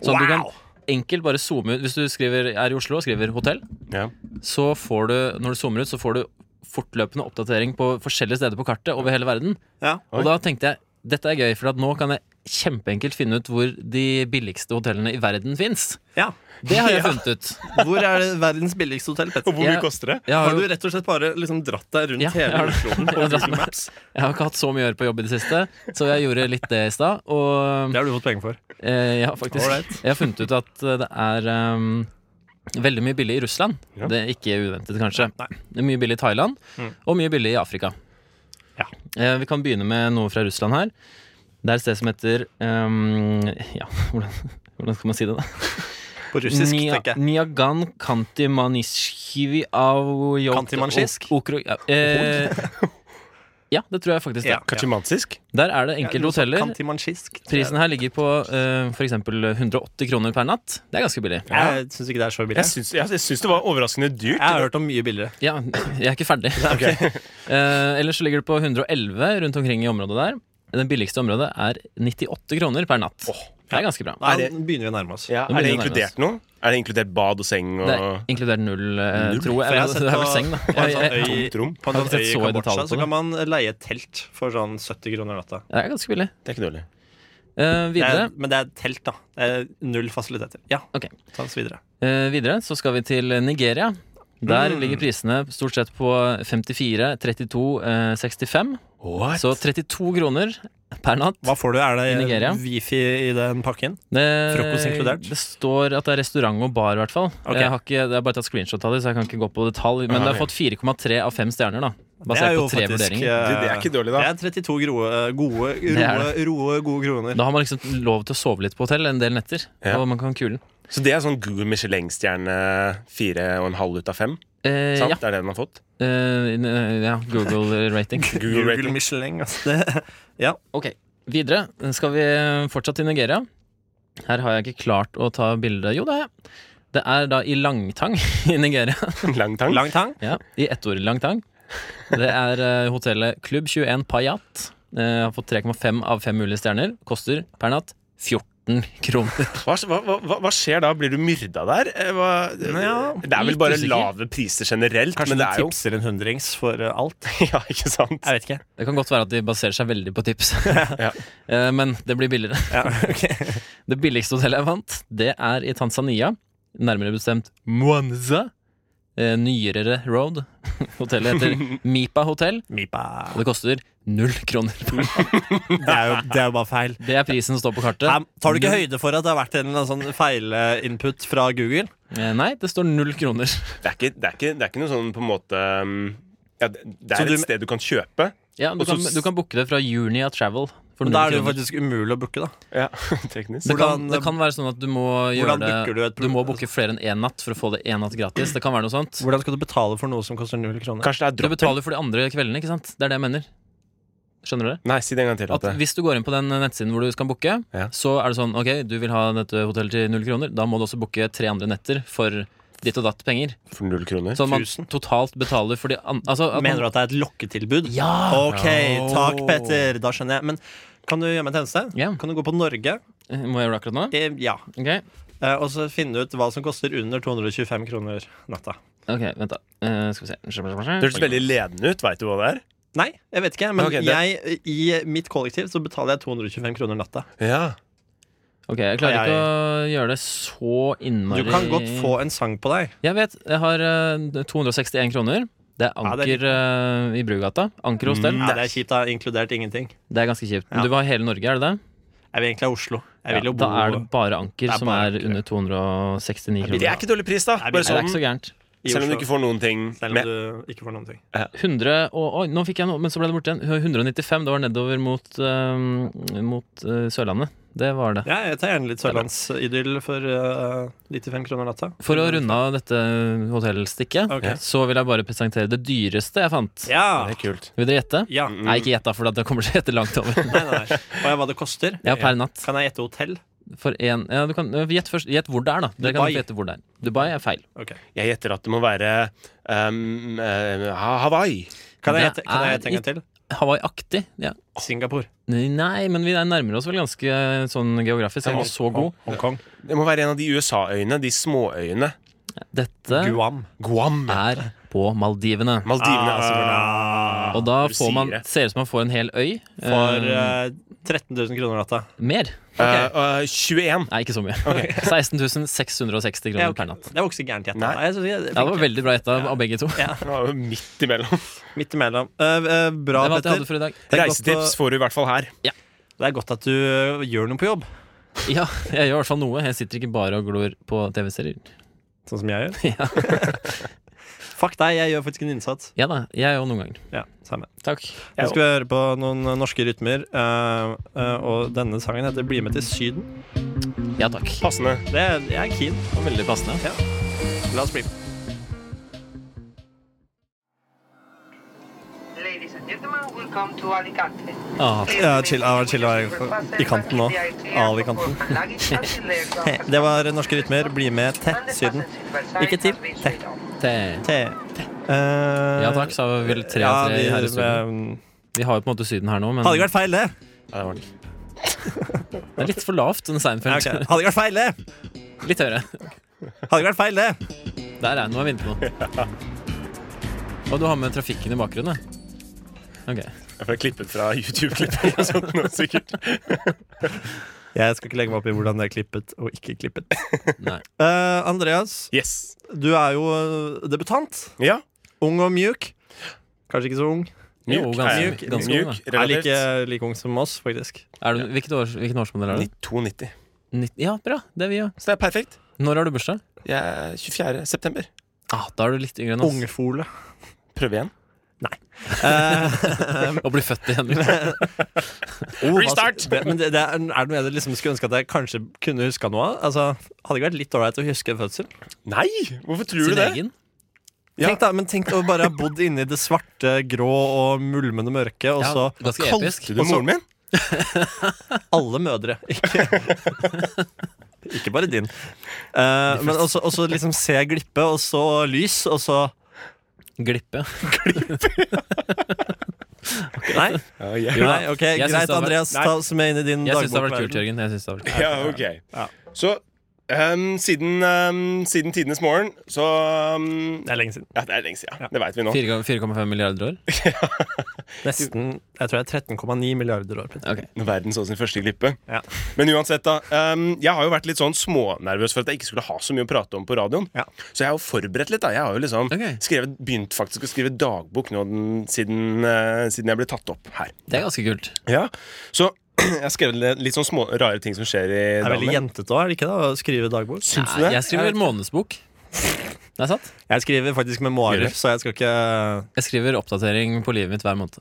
[SPEAKER 3] Så at du kan enkelt bare zoome ut. Hvis du skriver, er i Oslo og skriver hotell,
[SPEAKER 1] Ja.
[SPEAKER 3] så får du, når du zoomer ut, så får du fortløpende oppdatering på forskjellige steder på kartet over hele verden.
[SPEAKER 2] Ja.
[SPEAKER 1] Oi.
[SPEAKER 3] Og da tenkte jeg dette er gøy, for at nå kan jeg kjempeenkelt finne ut hvor de billigste hotellene i verden fins.
[SPEAKER 2] ja.
[SPEAKER 3] Det har jeg funnet ut.
[SPEAKER 2] Hvor er det verdens billigste hotell,
[SPEAKER 1] Og
[SPEAKER 2] Petter?
[SPEAKER 1] hvor mye
[SPEAKER 3] Jeg-
[SPEAKER 1] koster det?
[SPEAKER 3] Jeg har,
[SPEAKER 2] Har du
[SPEAKER 3] jo,
[SPEAKER 2] rett og slett bare liksom dratt deg rundt
[SPEAKER 3] Ja, jeg
[SPEAKER 2] hele
[SPEAKER 3] har det.
[SPEAKER 2] Oslo
[SPEAKER 3] Jeg har
[SPEAKER 2] på
[SPEAKER 3] dratt
[SPEAKER 2] Google
[SPEAKER 3] meg.
[SPEAKER 2] Maps?
[SPEAKER 3] jeg har ikke hatt så mye å gjøre på jobb i det siste, så jeg gjorde litt det i stad. Og
[SPEAKER 2] har du fått penger for.
[SPEAKER 3] Eh, ja, faktisk.
[SPEAKER 2] Alright.
[SPEAKER 3] Jeg har funnet ut at eh, det er ehm, veldig mye billig i Russland.
[SPEAKER 1] Ja.
[SPEAKER 3] Det er ikke uventet, kanskje.
[SPEAKER 2] Nei. Mm.
[SPEAKER 3] Det er mye billig i Thailand, og mye billig i Afrika.
[SPEAKER 2] Ja.
[SPEAKER 3] Eh, vi kan begynne med noe fra Russland her. Det er et sted som heter ehm, Ja, hvordan, hvordan skal man si det, da?
[SPEAKER 2] På russisk,
[SPEAKER 3] Nia-
[SPEAKER 2] tenker jeg.
[SPEAKER 3] Niagan Kantimanishkivi av
[SPEAKER 2] Kantimanshisk?
[SPEAKER 3] Okro... Ja, eh, ja, det tror jeg faktisk.
[SPEAKER 2] Ja.
[SPEAKER 3] det
[SPEAKER 1] Kachimansisk?
[SPEAKER 3] Der er det enkelte hoteller.
[SPEAKER 2] Kantimansjisk.
[SPEAKER 3] Prisen her ligger på uh, f.eks. 180 kroner per natt. Det er ganske billig.
[SPEAKER 2] Jeg syns ikke det er så billig.
[SPEAKER 1] Jeg syns, jeg, jeg syns det var overraskende dyrt.
[SPEAKER 2] Jeg har hørt om mye billigere.
[SPEAKER 3] Ja, jeg er ikke ferdig. Eh, ellers så ligger det på 111 rundt omkring i området der. Den billigste området er 98 kroner per natt. det er ganske bra.
[SPEAKER 2] Nei,
[SPEAKER 1] Er det-
[SPEAKER 2] nå begynner vi å nærme oss.
[SPEAKER 1] Ja,
[SPEAKER 3] Nå
[SPEAKER 1] er det
[SPEAKER 3] begynner vi å nærme oss.
[SPEAKER 1] inkludert noe? Er det inkludert bad og seng og
[SPEAKER 3] altså? Det er inkludert null, eh,
[SPEAKER 1] Null?
[SPEAKER 3] tror
[SPEAKER 2] For jeg
[SPEAKER 3] jeg.
[SPEAKER 2] har sett
[SPEAKER 3] det er vel
[SPEAKER 2] på-
[SPEAKER 3] seng, da.
[SPEAKER 2] på en sånn
[SPEAKER 3] Jeg-
[SPEAKER 2] øy-
[SPEAKER 3] jeg-
[SPEAKER 1] tomt rom?
[SPEAKER 2] På en
[SPEAKER 3] Har ikke
[SPEAKER 2] øy
[SPEAKER 3] sett
[SPEAKER 2] i
[SPEAKER 3] så i detalj
[SPEAKER 2] Kambodsja
[SPEAKER 3] på
[SPEAKER 2] så
[SPEAKER 3] det.
[SPEAKER 2] kan man leie telt for sånn 70 kroner natta.
[SPEAKER 3] Det er ganske billig.
[SPEAKER 1] Det er ikke dårlig.
[SPEAKER 3] Eh,
[SPEAKER 2] Det
[SPEAKER 3] videre
[SPEAKER 2] er, men det er et telt, da. Det er null fasiliteter. Ja,
[SPEAKER 3] Ok.
[SPEAKER 2] ta oss videre.
[SPEAKER 3] Eh, videre så skal vi til Nigeria. Der
[SPEAKER 2] Mm.
[SPEAKER 3] ligger prisene stort sett på 54, 32, eh, 65.
[SPEAKER 1] What?
[SPEAKER 3] Så 32 kroner per natt.
[SPEAKER 2] Hva får du? Er
[SPEAKER 3] I Nigeria?
[SPEAKER 2] det wifi i den pakken?
[SPEAKER 3] Det-
[SPEAKER 2] Frokost inkludert?
[SPEAKER 3] Det står at det er restaurant og bar, i hvert fall.
[SPEAKER 2] Ok.
[SPEAKER 3] Jeg har ikke, jeg har bare tatt screenshot av det, så jeg kan ikke gå på detalj. Men det har fått 4,3 av 5 stjerner, da.
[SPEAKER 2] Det er
[SPEAKER 3] Basert
[SPEAKER 2] jo
[SPEAKER 3] på tre
[SPEAKER 2] faktisk, eh,
[SPEAKER 3] vurderinger.
[SPEAKER 1] Det, det er ikke dårlig, da.
[SPEAKER 2] Det er 32 gode, gode,
[SPEAKER 3] Det
[SPEAKER 2] roe,
[SPEAKER 3] er
[SPEAKER 2] roe, gode kroner.
[SPEAKER 3] Da har man liksom lov til å sove litt på hotell en del netter.
[SPEAKER 1] Ja.
[SPEAKER 3] Og man kan kule den.
[SPEAKER 1] Så det er sånn gul Michelin-stjerne fire og en halv ut av fem?
[SPEAKER 3] Eh,
[SPEAKER 1] Sant?
[SPEAKER 3] ja.
[SPEAKER 1] Det er det den har fått?
[SPEAKER 3] Eh, n- eh, ja. Google-rating.
[SPEAKER 1] Google rating.
[SPEAKER 2] Michelin, altså. Det,
[SPEAKER 3] Ok, videre skal vi fortsatt til Nigeria. Her har jeg ikke klart å ta bilde. Jo, det har jeg. Det er da i Langtang i Nigeria.
[SPEAKER 1] Lang tang?
[SPEAKER 2] lang tang.
[SPEAKER 3] Ja, I ett ord Langtang. Det er eh, hotellet Klubb 21 Payat. Eh, har fått 3,5 av 5 mulige stjerner. Koster per natt 14 kroner.
[SPEAKER 1] Hva, hva, hva, hva skjer da? Blir du myrda der? Eh, Hva,
[SPEAKER 2] Ja,
[SPEAKER 1] det er vel
[SPEAKER 3] litt
[SPEAKER 1] bare
[SPEAKER 3] usikker.
[SPEAKER 1] lave priser generelt,
[SPEAKER 2] Kanskje
[SPEAKER 1] men
[SPEAKER 2] du
[SPEAKER 1] det er jo
[SPEAKER 2] tipser en hundrings for eh, alt?
[SPEAKER 1] Ja, ikke sant?
[SPEAKER 2] Jeg vet ikke.
[SPEAKER 3] Det kan godt være at de baserer seg veldig på tips,
[SPEAKER 1] Ja.
[SPEAKER 3] Eh, men det blir billigere.
[SPEAKER 2] Ja, ok.
[SPEAKER 3] Det billigste hotellet jeg fant, det er i Tanzania. Nærmere bestemt Mwanza. Eh, Nyrere Road. Hotellet heter Mipa Hotel,
[SPEAKER 2] Mipa.
[SPEAKER 3] og det koster null kroner. per natt.
[SPEAKER 2] Det er jo, det er jo bare feil.
[SPEAKER 3] Det er prisen som står på kartet.
[SPEAKER 2] Her, tar du ikke høyde for at det har vært en eller annen sånn feilinput fra Google?
[SPEAKER 3] Eh, Nei, det står null kroner.
[SPEAKER 1] Det er ikke, det er ikke, det er ikke noe sånn på en måte um, ja, Det
[SPEAKER 2] Så
[SPEAKER 1] det er
[SPEAKER 2] du-
[SPEAKER 1] et sted du kan kjøpe.
[SPEAKER 3] Ja, du
[SPEAKER 1] Og så
[SPEAKER 3] kan, du kan booke det fra Junia Travel. For
[SPEAKER 2] Men
[SPEAKER 3] null
[SPEAKER 2] da er det jo
[SPEAKER 3] kroner.
[SPEAKER 2] faktisk umulig å booke, da.
[SPEAKER 1] Ja, teknisk.
[SPEAKER 3] Det kan,
[SPEAKER 2] Hvordan-
[SPEAKER 3] det kan være sånn at du må gjøre
[SPEAKER 2] Hvordan booker du
[SPEAKER 3] det
[SPEAKER 2] et
[SPEAKER 3] Du må booke flere enn én natt for å få det én natt gratis. Det kan være noe sånt.
[SPEAKER 2] altså, Hvordan skal du betale for noe som koster null kroner?
[SPEAKER 1] Kanskje det er
[SPEAKER 3] Du
[SPEAKER 1] droppen?
[SPEAKER 3] betaler for de andre kveldene, ikke sant? Det er det jeg mener. Skjønner du det?
[SPEAKER 1] Nei, si det en gang til.
[SPEAKER 3] At
[SPEAKER 1] At det,
[SPEAKER 3] hvis du går inn på den nettsiden hvor du skal booke,
[SPEAKER 1] Ja.
[SPEAKER 3] så er det sånn Ok, du vil ha dette hotellet til null kroner. Da må du også booke tre andre netter for ditt og datt penger.
[SPEAKER 1] for null kroner.
[SPEAKER 3] Sånn at man
[SPEAKER 2] Tusen.
[SPEAKER 3] totalt betaler for de andre altså, at
[SPEAKER 2] Mener du
[SPEAKER 3] man,
[SPEAKER 2] at det er et lokketilbud?
[SPEAKER 3] Ja!
[SPEAKER 2] Ok, takk, Petter. Da skjønner jeg. Men kan du gjøre meg en tjeneste?
[SPEAKER 3] Ja.
[SPEAKER 2] Kan du gå på Norge?
[SPEAKER 3] Må jeg gjøre det akkurat nå?
[SPEAKER 2] Eh, Ja.
[SPEAKER 3] Ok,
[SPEAKER 2] Eh, Og så finne ut hva som koster under 225 kroner natta.
[SPEAKER 3] ok, vent, da. Eh, skal vi se
[SPEAKER 1] Det hørtes veldig ledende ut. Veit du hva det er?
[SPEAKER 2] Nei, jeg vet ikke. Men
[SPEAKER 1] Ok, det-
[SPEAKER 2] jeg, i mitt kollektiv så betaler jeg 225 kroner natta.
[SPEAKER 1] Ja.
[SPEAKER 3] Ok, Jeg klarer ikke å gjøre det så
[SPEAKER 2] Du
[SPEAKER 3] innmari
[SPEAKER 2] kan godt få en sang på deg.
[SPEAKER 3] Jeg vet. Jeg har eh, 261 kroner.
[SPEAKER 2] Ja,
[SPEAKER 3] Det er
[SPEAKER 2] det Mm,
[SPEAKER 3] Anker eh, i Brugata. Anker hostell.
[SPEAKER 2] Ja, det er kjipt, da. Inkludert ingenting.
[SPEAKER 3] Det er ganske kjipt. Men
[SPEAKER 2] Ja.
[SPEAKER 3] Du vil ha hele Norge, er det det?
[SPEAKER 2] Jeg vil egentlig ha Oslo. Jeg vil jo
[SPEAKER 3] Ja,
[SPEAKER 2] bo
[SPEAKER 3] da er det bare Anker
[SPEAKER 2] Det er
[SPEAKER 3] som
[SPEAKER 2] bare
[SPEAKER 3] er
[SPEAKER 2] Anker, ja.
[SPEAKER 3] under 269 kroner.
[SPEAKER 1] Det er ikke dårlig pris, da.
[SPEAKER 2] Nei,
[SPEAKER 3] Nei,
[SPEAKER 1] Bare
[SPEAKER 3] det er
[SPEAKER 1] sånn,
[SPEAKER 3] ikke så gærent.
[SPEAKER 2] i
[SPEAKER 1] selv om du
[SPEAKER 2] Oslo.
[SPEAKER 1] ikke får noen ting
[SPEAKER 2] Selv
[SPEAKER 1] med.
[SPEAKER 2] om du ikke får noen ting.
[SPEAKER 3] 100 og, Oi, nå fikk jeg noe, men så ble det borte igjen. 195, det var nedover mot, eh, mot eh, Sørlandet. Det var det.
[SPEAKER 2] Ja, jeg tar gjerne litt sørlandsidyll for eh, 95 kroner natta.
[SPEAKER 3] For å runde av dette hotellstikket,
[SPEAKER 2] Ok.
[SPEAKER 3] så vil jeg bare presentere det dyreste jeg fant.
[SPEAKER 2] Ja!
[SPEAKER 1] Det er kult.
[SPEAKER 3] Vil dere gjette?
[SPEAKER 2] ja.
[SPEAKER 1] Mm.
[SPEAKER 3] Nei, ikke gjett, da, for det kommer til å gjette langt over.
[SPEAKER 2] Nei, nei, nei. Og jeg, hva det koster?
[SPEAKER 3] Ja, per natt.
[SPEAKER 2] Kan jeg gjette hotell?
[SPEAKER 3] For en, ja, du kan, gjett, først, gjett hvor det er, da. Dere kan
[SPEAKER 2] Dubai.
[SPEAKER 3] gjette hvor det er. Dubai er feil.
[SPEAKER 2] Ok.
[SPEAKER 1] Jeg gjetter at det må være um, eh, Ha- Hawaii.
[SPEAKER 2] Kan jeg
[SPEAKER 3] Det
[SPEAKER 2] gjette kan jeg
[SPEAKER 3] er
[SPEAKER 2] gjette en gang til?
[SPEAKER 3] Hawaii-aktig. Ja.
[SPEAKER 2] Singapore.
[SPEAKER 3] Nei, men vi er nærmer oss vel ganske sånn geografisk. Jeg er ikke så god.
[SPEAKER 2] Hongkong.
[SPEAKER 1] Det må være en av de USA-øyene. De småøyene.
[SPEAKER 3] Dette
[SPEAKER 2] Guam.
[SPEAKER 1] Guam.
[SPEAKER 3] er på Maldivene.
[SPEAKER 1] Maldivene. altså,
[SPEAKER 2] Ah,
[SPEAKER 3] Og da
[SPEAKER 1] du
[SPEAKER 3] får man,
[SPEAKER 1] sier det.
[SPEAKER 3] ser det ut som man får en hel øy.
[SPEAKER 1] Um.
[SPEAKER 2] For
[SPEAKER 3] Eh,
[SPEAKER 2] eh, 13 000 kroner natta.
[SPEAKER 3] mer?
[SPEAKER 1] Eh, eh, 21.
[SPEAKER 3] Nei, ikke så mye. 16 660 kroner
[SPEAKER 2] Ja, ok.
[SPEAKER 3] per natt.
[SPEAKER 2] Det var ikke så gærent gjetta.
[SPEAKER 1] Nei.
[SPEAKER 2] Nei, jeg synes jeg-
[SPEAKER 3] Ja, det var veldig bra gjetta av begge to.
[SPEAKER 2] Ja,
[SPEAKER 1] Det var jo midt imellom.
[SPEAKER 2] Midt imellom. Eh, eh, bra,
[SPEAKER 3] det var alt jeg
[SPEAKER 2] Petter.
[SPEAKER 3] hadde for i dag.
[SPEAKER 2] Det er godt
[SPEAKER 1] Reisetips
[SPEAKER 2] å-
[SPEAKER 1] får du i hvert fall her.
[SPEAKER 2] Det er godt at du eh, gjør noe på jobb.
[SPEAKER 3] Ja, jeg gjør i hvert fall noe. Jeg sitter ikke bare og glor på TV-serier.
[SPEAKER 2] Sånn som jeg gjør.
[SPEAKER 3] Ja.
[SPEAKER 2] Fuck deg, jeg gjør faktisk en innsats.
[SPEAKER 3] ja da, jeg òg noen ganger.
[SPEAKER 2] Ja, samme.
[SPEAKER 3] Takk.
[SPEAKER 2] Nå skal vi høre på noen norske rytmer, eh, eh, og denne sangen heter 'Bli med til Syden'.
[SPEAKER 3] Ja takk.
[SPEAKER 1] Passende.
[SPEAKER 2] Det er, jeg er keen.
[SPEAKER 3] Det var veldig passende.
[SPEAKER 2] La oss bli med.
[SPEAKER 9] Ladies and gentlemen, welcome to Alicante.
[SPEAKER 3] Ah,
[SPEAKER 2] Ja, chill, jeg var chill, jeg var i kanten nå. Ali-kanten. Det var Norske Rytmer, bli med til Syden. Ikke til, til.
[SPEAKER 3] det-
[SPEAKER 2] Te. Eh,
[SPEAKER 3] Ja takk, sa vi vel tre av tre her i Mm. studio. Vi har jo på en måte Syden her nå, men
[SPEAKER 2] Hadde ikke vært feil, det.
[SPEAKER 1] Ja, det var den.
[SPEAKER 3] det er litt for lavt. Den
[SPEAKER 2] Ja,
[SPEAKER 3] Seinfeld.
[SPEAKER 2] ok. Hadde ikke vært feil, det.
[SPEAKER 3] Litt høyere.
[SPEAKER 2] Hadde ikke vært feil, det.
[SPEAKER 3] Der er Nå er vi inne på noe. Og du har med trafikken i bakgrunnen. ja. Ok.
[SPEAKER 1] Jeg får klippet fra YouTube-klippet eller sånt nå, sikkert.
[SPEAKER 2] Jeg skal ikke legge meg opp i hvordan det er klippet og ikke klippet.
[SPEAKER 3] Nei.
[SPEAKER 2] Eh, Andreas,
[SPEAKER 1] Yes.
[SPEAKER 2] du er jo eh, debutant.
[SPEAKER 1] Ja.
[SPEAKER 2] Ung og mjuk. Kanskje ikke så ung.
[SPEAKER 1] Mjuk.
[SPEAKER 3] Jo, ganske-
[SPEAKER 1] er jeg.
[SPEAKER 3] ganske ung,
[SPEAKER 1] mjuk
[SPEAKER 3] da.
[SPEAKER 2] Er
[SPEAKER 1] relativt.
[SPEAKER 2] like, like ung som oss, faktisk.
[SPEAKER 3] Er du, hvilket år, hvilken årsmodell er du?
[SPEAKER 1] 92.
[SPEAKER 3] Nitt- Ja, bra. Det er vi òg.
[SPEAKER 1] Så det er perfekt.
[SPEAKER 3] Når har du bursdag?
[SPEAKER 1] Jeg er 24. september.
[SPEAKER 3] Ah, da er du litt yngre enn oss.
[SPEAKER 2] Ungfole.
[SPEAKER 1] Prøv igjen.
[SPEAKER 2] Eh,
[SPEAKER 3] Og blir født igjen.
[SPEAKER 2] Oh, hva-
[SPEAKER 1] Restart!
[SPEAKER 2] Det, men det, det er, er det noe jeg liksom skulle ønske at jeg kanskje kunne huska noe av? Altså, hadde ikke vært litt ålreit å huske en fødsel?
[SPEAKER 1] Nei! Hvorfor tror
[SPEAKER 3] Sin
[SPEAKER 1] du det?
[SPEAKER 3] egen.
[SPEAKER 1] Ja.
[SPEAKER 2] Tenk da, men tenk å bare ha bodd inne i det svarte, grå og mulmende mørke, og
[SPEAKER 3] Ja,
[SPEAKER 2] så
[SPEAKER 3] ganske
[SPEAKER 2] Kalte
[SPEAKER 3] episk.
[SPEAKER 1] Du,
[SPEAKER 2] Og så-
[SPEAKER 1] moren min?
[SPEAKER 2] alle mødre. Ikke, ikke bare din. Eh, men også, også liksom se glippe, og så lys, og så
[SPEAKER 3] Glippe.
[SPEAKER 2] Nei,
[SPEAKER 1] Ja, ja.
[SPEAKER 2] nei ok,
[SPEAKER 3] Jeg synes det
[SPEAKER 2] greit,
[SPEAKER 3] var-
[SPEAKER 2] Andreas.
[SPEAKER 3] Nei.
[SPEAKER 2] Ta oss med inn i din
[SPEAKER 3] Jeg syns det har vært
[SPEAKER 2] dagbokverden.
[SPEAKER 3] kult, Jørgen. Jeg synes det har vært kult.
[SPEAKER 1] ja ok.
[SPEAKER 2] Ja.
[SPEAKER 1] Så ehm, siden, ehm, siden tidenes morgen, så ehm,
[SPEAKER 2] Det er lenge siden.
[SPEAKER 1] Ja, det er lenge siden. Det veit vi nå.
[SPEAKER 3] 4,5 milliarder år?
[SPEAKER 2] Nesten Jeg tror det er 13,9 milliarder år. Petter.
[SPEAKER 3] Ok.
[SPEAKER 1] Når verden så sin første glippe.
[SPEAKER 2] Ja.
[SPEAKER 1] Men uansett, da. ehm, jeg har jo vært litt sånn smånervøs for at jeg ikke skulle ha så mye å prate om på radioen.
[SPEAKER 2] Ja.
[SPEAKER 1] Så jeg har jo forberedt litt. da Jeg har jo liksom
[SPEAKER 3] Ok.
[SPEAKER 1] skrevet, begynt faktisk å skrive dagbok nå den, siden, eh, siden jeg ble tatt opp her.
[SPEAKER 3] Det er ganske kult.
[SPEAKER 1] Ja, Så jeg har skrevet litt, litt sånn små rare ting som skjer i
[SPEAKER 2] Det er veldig
[SPEAKER 1] dagen.
[SPEAKER 2] jentete også, er det ikke det, å skrive dagbok?
[SPEAKER 1] Syns du
[SPEAKER 3] Nei,
[SPEAKER 1] det?
[SPEAKER 3] jeg skriver månedsbok. Det er sant.
[SPEAKER 2] Jeg skriver faktisk memoarer,
[SPEAKER 1] Gjør det?
[SPEAKER 2] så jeg skal ikke
[SPEAKER 3] Jeg skriver oppdatering på livet mitt hver måned.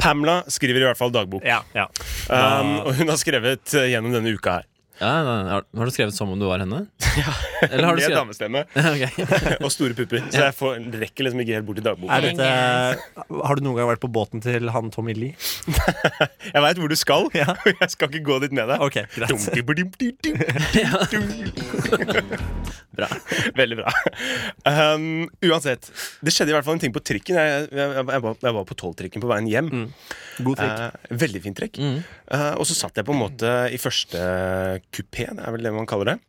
[SPEAKER 1] Pamela skriver i hvert fall dagbok.
[SPEAKER 2] Ja. ja.
[SPEAKER 1] Ehm, og hun har skrevet eh, gjennom denne uka her.
[SPEAKER 3] Ja, nei, nei. Har- Har du skrevet som om du var henne? Ja. Eller har du
[SPEAKER 1] Med
[SPEAKER 3] skrevet
[SPEAKER 1] damestemme
[SPEAKER 3] Ok.
[SPEAKER 1] og store pupper. Så jeg får, rekker liksom ikke helt bort til
[SPEAKER 2] Er
[SPEAKER 1] dagboken.
[SPEAKER 2] dette, har du noen gang vært på båten til han Tommy Lee?
[SPEAKER 1] Jeg veit hvor du skal, og jeg skal ikke gå dit med deg.
[SPEAKER 2] Ok, greit.
[SPEAKER 1] bra. Veldig bra. Um, uansett. Det skjedde i hvert fall en ting på trikken. Jeg, jeg, jeg, var, jeg var på tolvtrikken på veien hjem.
[SPEAKER 2] Mm, God trikk.
[SPEAKER 1] Eh, veldig fint trekk.
[SPEAKER 2] Mm.
[SPEAKER 1] Eh, og så satt jeg på en måte i første kupé, det er vel det man kaller det.
[SPEAKER 2] Eh,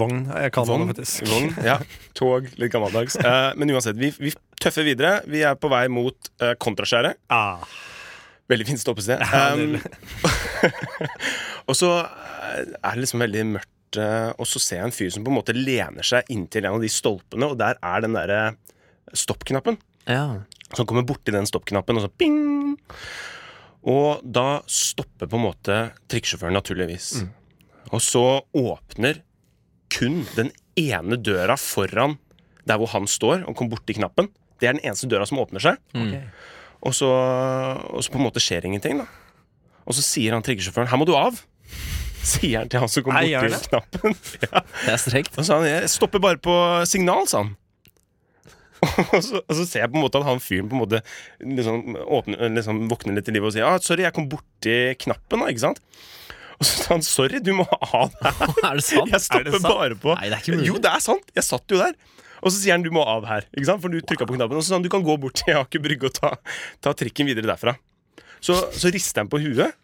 [SPEAKER 2] Vogn. Jeg kaller
[SPEAKER 1] Vogn.
[SPEAKER 2] det det faktisk.
[SPEAKER 1] Vogn, ja. Tog, litt gammeldags. Eh, men uansett, vi, vi tøffer videre. Vi er på vei mot uh, Kontraskjæret.
[SPEAKER 2] Ah,
[SPEAKER 1] Veldig fint stoppested.
[SPEAKER 2] Ja,
[SPEAKER 1] Um, og så eh, er det liksom veldig mørkt, eh, og så ser jeg en fyr som på en måte lener seg inntil en av de stolpene, og der er den derre stoppknappen.
[SPEAKER 3] Ja.
[SPEAKER 1] Så han kommer borti den stoppknappen, og så ping! Og da stopper på en måte trikkesjåføren, naturligvis.
[SPEAKER 2] Mm.
[SPEAKER 1] Og så åpner kun den ene døra foran der hvor han står, og kommer borti knappen. Det er den eneste døra som åpner seg.
[SPEAKER 3] Mm.
[SPEAKER 1] Og, så, og så på en måte skjer ingenting, da. Og så sier han trikkesjåføren 'her må du av'. Sier han til han som kom
[SPEAKER 2] Nei, gjør
[SPEAKER 1] borti
[SPEAKER 2] det?
[SPEAKER 1] knappen. Ja.
[SPEAKER 3] Det er strengt.
[SPEAKER 1] Og så sa han, jeg stopper bare på signal, sa han. og, så, og så ser jeg på en måte at han fyren på en måte liksom, åpner, liksom våkner litt til livet og sier ah, 'sorry, jeg kom borti knappen', da, ikke sant? Og så sa han 'sorry, du må av her'.
[SPEAKER 3] Er det sant?
[SPEAKER 1] Jeg stopper
[SPEAKER 2] sant?
[SPEAKER 1] bare på.
[SPEAKER 3] Nei, det er ikke mulig.
[SPEAKER 1] Jo, det er sant. Jeg satt jo der. Og så sier han 'du må av her', ikke sant? for du trykka på knappen. Og så sa han 'du kan gå bort til Aker Brygge og ta, ta trikken videre derfra'. Så, så rister han på huet,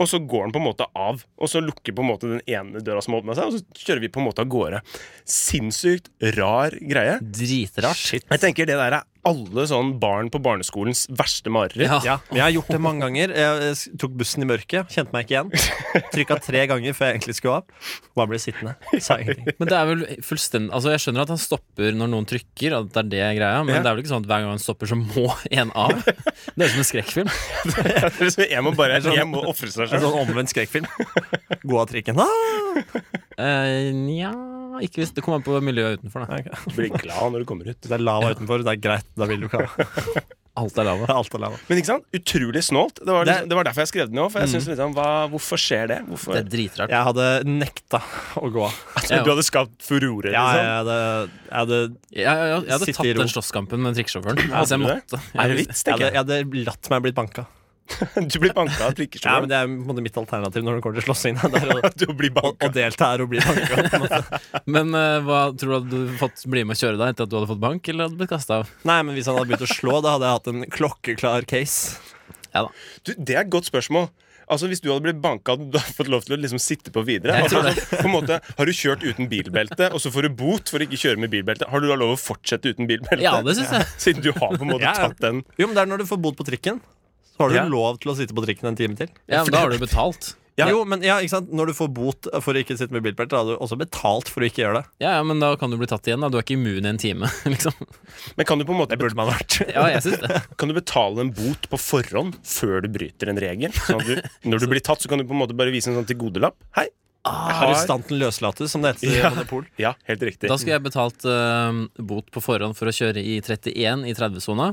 [SPEAKER 1] og så går han på en måte av. Og så lukker på en måte den ene døra som åpna seg, og så kjører vi på en måte av gårde. Sinnssykt rar greie.
[SPEAKER 3] Dritrart.
[SPEAKER 1] Jeg tenker det der er alle sånn barn på barneskolens verste mareritt.
[SPEAKER 3] Ja.
[SPEAKER 2] ja, jeg har gjort det mange ganger. Jeg eh, s- tok bussen i mørket, kjente meg ikke igjen. Trykka tre ganger før jeg egentlig skulle av. Og jeg ble sittende. Sa ingenting.
[SPEAKER 3] Men det er vel fullstendig Altså Jeg skjønner at han stopper når noen trykker, at det er det greia, men
[SPEAKER 1] Ja.
[SPEAKER 3] det er vel ikke sånn at hver gang han stopper, så må en av? Det er som en skrekkfilm.
[SPEAKER 1] Så jeg må bare Jeg må ofre seg
[SPEAKER 2] En
[SPEAKER 1] sjøl.
[SPEAKER 2] sånn omvendt skrekkfilm. Gå av trikken. Ah!
[SPEAKER 3] Eh, Nja ikke hvis Det kommer an på miljøet utenfor. da
[SPEAKER 2] Ok.
[SPEAKER 1] Du blir glad når du kommer ut.
[SPEAKER 2] Det er lava utenfor. Det er greit. Da vil du ikke ha.
[SPEAKER 3] Alt er lava.
[SPEAKER 2] Alt er lava.
[SPEAKER 1] Men ikke sant? Utrolig snålt. Det
[SPEAKER 2] Det
[SPEAKER 1] var,
[SPEAKER 2] er-
[SPEAKER 1] liksom, det var derfor jeg skrev den òg. For jeg synes liksom, hva, hvorfor skjer det? Hvorfor?
[SPEAKER 3] Mm. Det er dritrart.
[SPEAKER 2] Jeg hadde nekta å gå av.
[SPEAKER 1] Så du hadde skapt furore,
[SPEAKER 2] Ja, jeg
[SPEAKER 1] liksom?
[SPEAKER 2] hadde, jeg hadde,
[SPEAKER 3] Jeg, jeg, jeg hadde
[SPEAKER 2] Sitte i
[SPEAKER 3] tatt
[SPEAKER 2] ro.
[SPEAKER 3] den slåsskampen med trikkesjåføren. Altså, jeg
[SPEAKER 1] Hadde du
[SPEAKER 3] måtte.
[SPEAKER 1] Er det vits,
[SPEAKER 2] jeg hadde,
[SPEAKER 1] tenker
[SPEAKER 2] jeg hadde latt meg blitt banka.
[SPEAKER 1] jeg. Du blir banka
[SPEAKER 2] Ja,
[SPEAKER 1] av
[SPEAKER 2] men
[SPEAKER 1] trikkesjåføren.
[SPEAKER 2] Det er på en måte mitt alternativ når det kommer til slåssing. Det er å,
[SPEAKER 1] Du blir
[SPEAKER 2] å,
[SPEAKER 1] banka.
[SPEAKER 2] å delta her og bli banka. på en måte.
[SPEAKER 3] Men eh, hva tror du hadde du fått bli med og kjøre deg etter at du hadde fått bank, eller hadde du blitt kasta av?
[SPEAKER 2] Nei, men Hvis han hadde begynt å slå, da hadde jeg hatt en klokkeklar case.
[SPEAKER 1] Du, det er et godt spørsmål. Altså Hvis du hadde blitt banka, hadde du fått lov til å liksom sitte på videre?
[SPEAKER 3] Jeg
[SPEAKER 1] Altså,
[SPEAKER 3] tror
[SPEAKER 1] på en måte, har du kjørt uten bilbelte, og så får du bot for å ikke kjøre med bilbelte? Har du da lov å fortsette uten bilbelte?
[SPEAKER 3] Ja, det syns jeg.
[SPEAKER 1] Siden du har på en måte
[SPEAKER 2] Ja, ja.
[SPEAKER 1] tatt den
[SPEAKER 2] Jo, men Det er når du får bot på trikken. så har du
[SPEAKER 1] Ja.
[SPEAKER 2] lov til å sitte på trikken en time til.
[SPEAKER 3] Ja, men da har du betalt.
[SPEAKER 1] Ja.
[SPEAKER 2] Jo, men ja, ikke sant? Når du får bot for å ikke sitte med bilbelte, da har du også betalt for å ikke gjøre det.
[SPEAKER 3] Ja, ja, men da kan du bli tatt igjen. da Du er ikke immun i en time, liksom.
[SPEAKER 1] Men kan du på en måte
[SPEAKER 2] man vært.
[SPEAKER 3] Ja, jeg synes det.
[SPEAKER 1] Kan du betale en bot på forhånd før du bryter en regel? Sånn at du, når du blir tatt, så kan du på en måte bare vise en sånn tilgodelapp. Hei!
[SPEAKER 2] Ah,
[SPEAKER 1] jeg har-
[SPEAKER 2] Arrestanten løslates, som det heter i
[SPEAKER 1] Ja.
[SPEAKER 2] Monopol.
[SPEAKER 1] Ja, helt riktig.
[SPEAKER 3] Da skulle jeg betalt eh, bot på forhånd for å kjøre i 31 i 30-sona.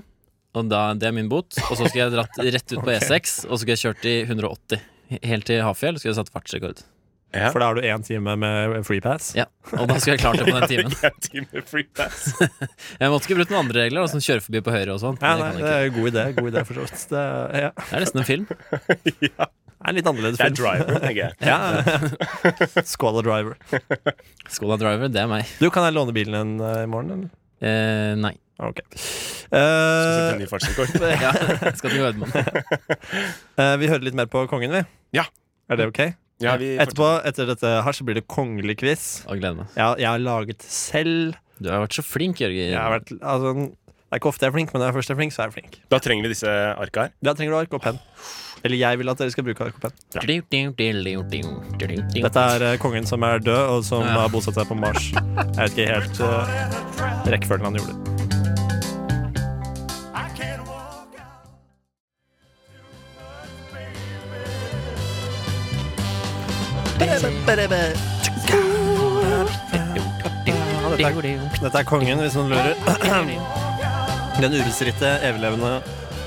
[SPEAKER 3] Og da, Det er min bot. Og så skulle jeg dratt rett ut på E6, og så skulle jeg kjørt i 180. Helt til Hafjell skulle jeg satt fartsrekord.
[SPEAKER 1] Ja.
[SPEAKER 2] For da har du én time med free pass.
[SPEAKER 3] Ja, Og da skulle jeg klart det på den timen.
[SPEAKER 1] En time free pass.
[SPEAKER 3] Jeg måtte ikke brutt noen andre regler, da, som kjøre forbi på høyre og sånn.
[SPEAKER 2] Ja, nei,
[SPEAKER 3] Det, kan jeg
[SPEAKER 2] det
[SPEAKER 3] ikke.
[SPEAKER 2] er en god idé. god idé for så vidt. Det, er- ja.
[SPEAKER 3] det er nesten en film.
[SPEAKER 2] det er en litt annerledes
[SPEAKER 1] Det er
[SPEAKER 2] film.
[SPEAKER 1] driver, tenker jeg.
[SPEAKER 2] Ja. Skål og driver.
[SPEAKER 3] Skoda Driver, det er meg.
[SPEAKER 2] Du, kan jeg låne bilen din eh, i morgen, eller?
[SPEAKER 3] Eh, nei.
[SPEAKER 2] Ah, Ok.
[SPEAKER 1] Skal sette en
[SPEAKER 2] Eh,
[SPEAKER 1] ny fartsrekord.
[SPEAKER 3] Ja, jeg skal til Gardermoen.
[SPEAKER 2] eh, vi hører litt mer på kongen, vi.
[SPEAKER 1] Ja.
[SPEAKER 2] Er det ok?
[SPEAKER 1] Ja, vi fortsetter.
[SPEAKER 2] Etterpå, etter dette her, så blir det kongelig quiz.
[SPEAKER 3] Og gleder meg.
[SPEAKER 2] Ja, jeg har laget selv.
[SPEAKER 3] Du har vært så flink, Jørgen.
[SPEAKER 2] Jeg har vært, altså, det er ikke ofte jeg er flink, men når jeg først er flink, så er jeg flink.
[SPEAKER 1] Da trenger vi disse arka her.
[SPEAKER 2] Da trenger du ark og penn. Eller jeg vil at dere skal bruke ark og penn.
[SPEAKER 3] Dette
[SPEAKER 2] Dette er eh, kongen som er død, og som
[SPEAKER 3] Ja.
[SPEAKER 2] har bosatt seg på Mars. Jeg vet ikke helt eh, rekkefølgen han gjorde det.
[SPEAKER 4] I can't walk out too much, baby.
[SPEAKER 2] Dette er kongen, hvis noen lurer. Den ubestridte, eviglevende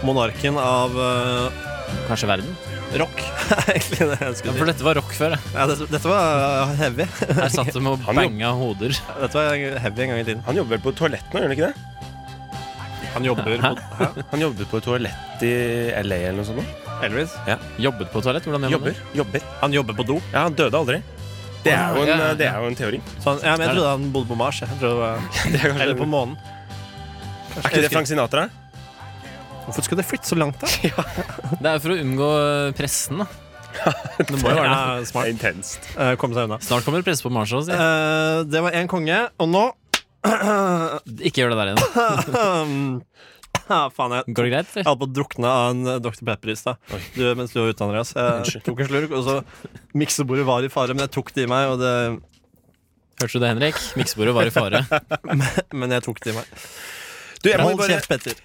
[SPEAKER 2] monarken av eh,
[SPEAKER 3] Kanskje verden?
[SPEAKER 2] rock. er Egentlig det jeg
[SPEAKER 3] Ja,
[SPEAKER 2] skulle
[SPEAKER 3] for
[SPEAKER 2] si.
[SPEAKER 3] dette var rock før. jeg.
[SPEAKER 2] Ja, dette, dette var eh, heavy.
[SPEAKER 3] Her satt de og
[SPEAKER 1] Han jo.
[SPEAKER 3] banga hoder.
[SPEAKER 2] Dette var heavy en gang i tiden.
[SPEAKER 1] Han jobber vel på toalett nå, gjør han ikke det?
[SPEAKER 2] Han jobber på
[SPEAKER 1] Han jobber på toalett i LA eller noe sånt. nå.
[SPEAKER 2] Elvis.
[SPEAKER 3] Jobbet på toalett? Hvordan gjør man
[SPEAKER 1] Jobber. Jobber.
[SPEAKER 2] Han jobber på do.
[SPEAKER 1] Ja, han døde aldri. Det er jo en,
[SPEAKER 3] Ja, ja.
[SPEAKER 1] det er jo en teori.
[SPEAKER 2] Så han, ja, men jeg trodde han bodde på Mars. Jeg Jeg trodde, det
[SPEAKER 1] Det er,
[SPEAKER 2] var- eller på
[SPEAKER 1] kanskje,
[SPEAKER 2] månen.
[SPEAKER 1] er ikke det Frank Sinatra?
[SPEAKER 2] Hvorfor skulle det flytte så langt, da?
[SPEAKER 3] det? Det er jo for å unngå pressen, da. Det må jo være det.
[SPEAKER 2] Ja, smart.
[SPEAKER 1] Intenst.
[SPEAKER 2] Eh, Komme seg unna.
[SPEAKER 3] Snart kommer det press på Mars også. sier jeg.
[SPEAKER 2] Eh, det var én konge, og nå
[SPEAKER 3] Ikke gjør det der igjen.
[SPEAKER 2] ah, Faen, jeg
[SPEAKER 3] Går det greit?
[SPEAKER 2] jeg
[SPEAKER 3] eller?
[SPEAKER 2] holdt på å drukne av en eh, Dr. Pepper i stad. Du, Mens du var ute, Andreas. Jeg tok en slurk, og så Miksebordet var i fare, men jeg tok det i meg. Og det,
[SPEAKER 3] Hørte du det, Henrik? Miksebordet var i fare.
[SPEAKER 2] men jeg tok det i meg.
[SPEAKER 1] Du, jeg må
[SPEAKER 2] Hold
[SPEAKER 1] bare
[SPEAKER 2] kjeft, Petter.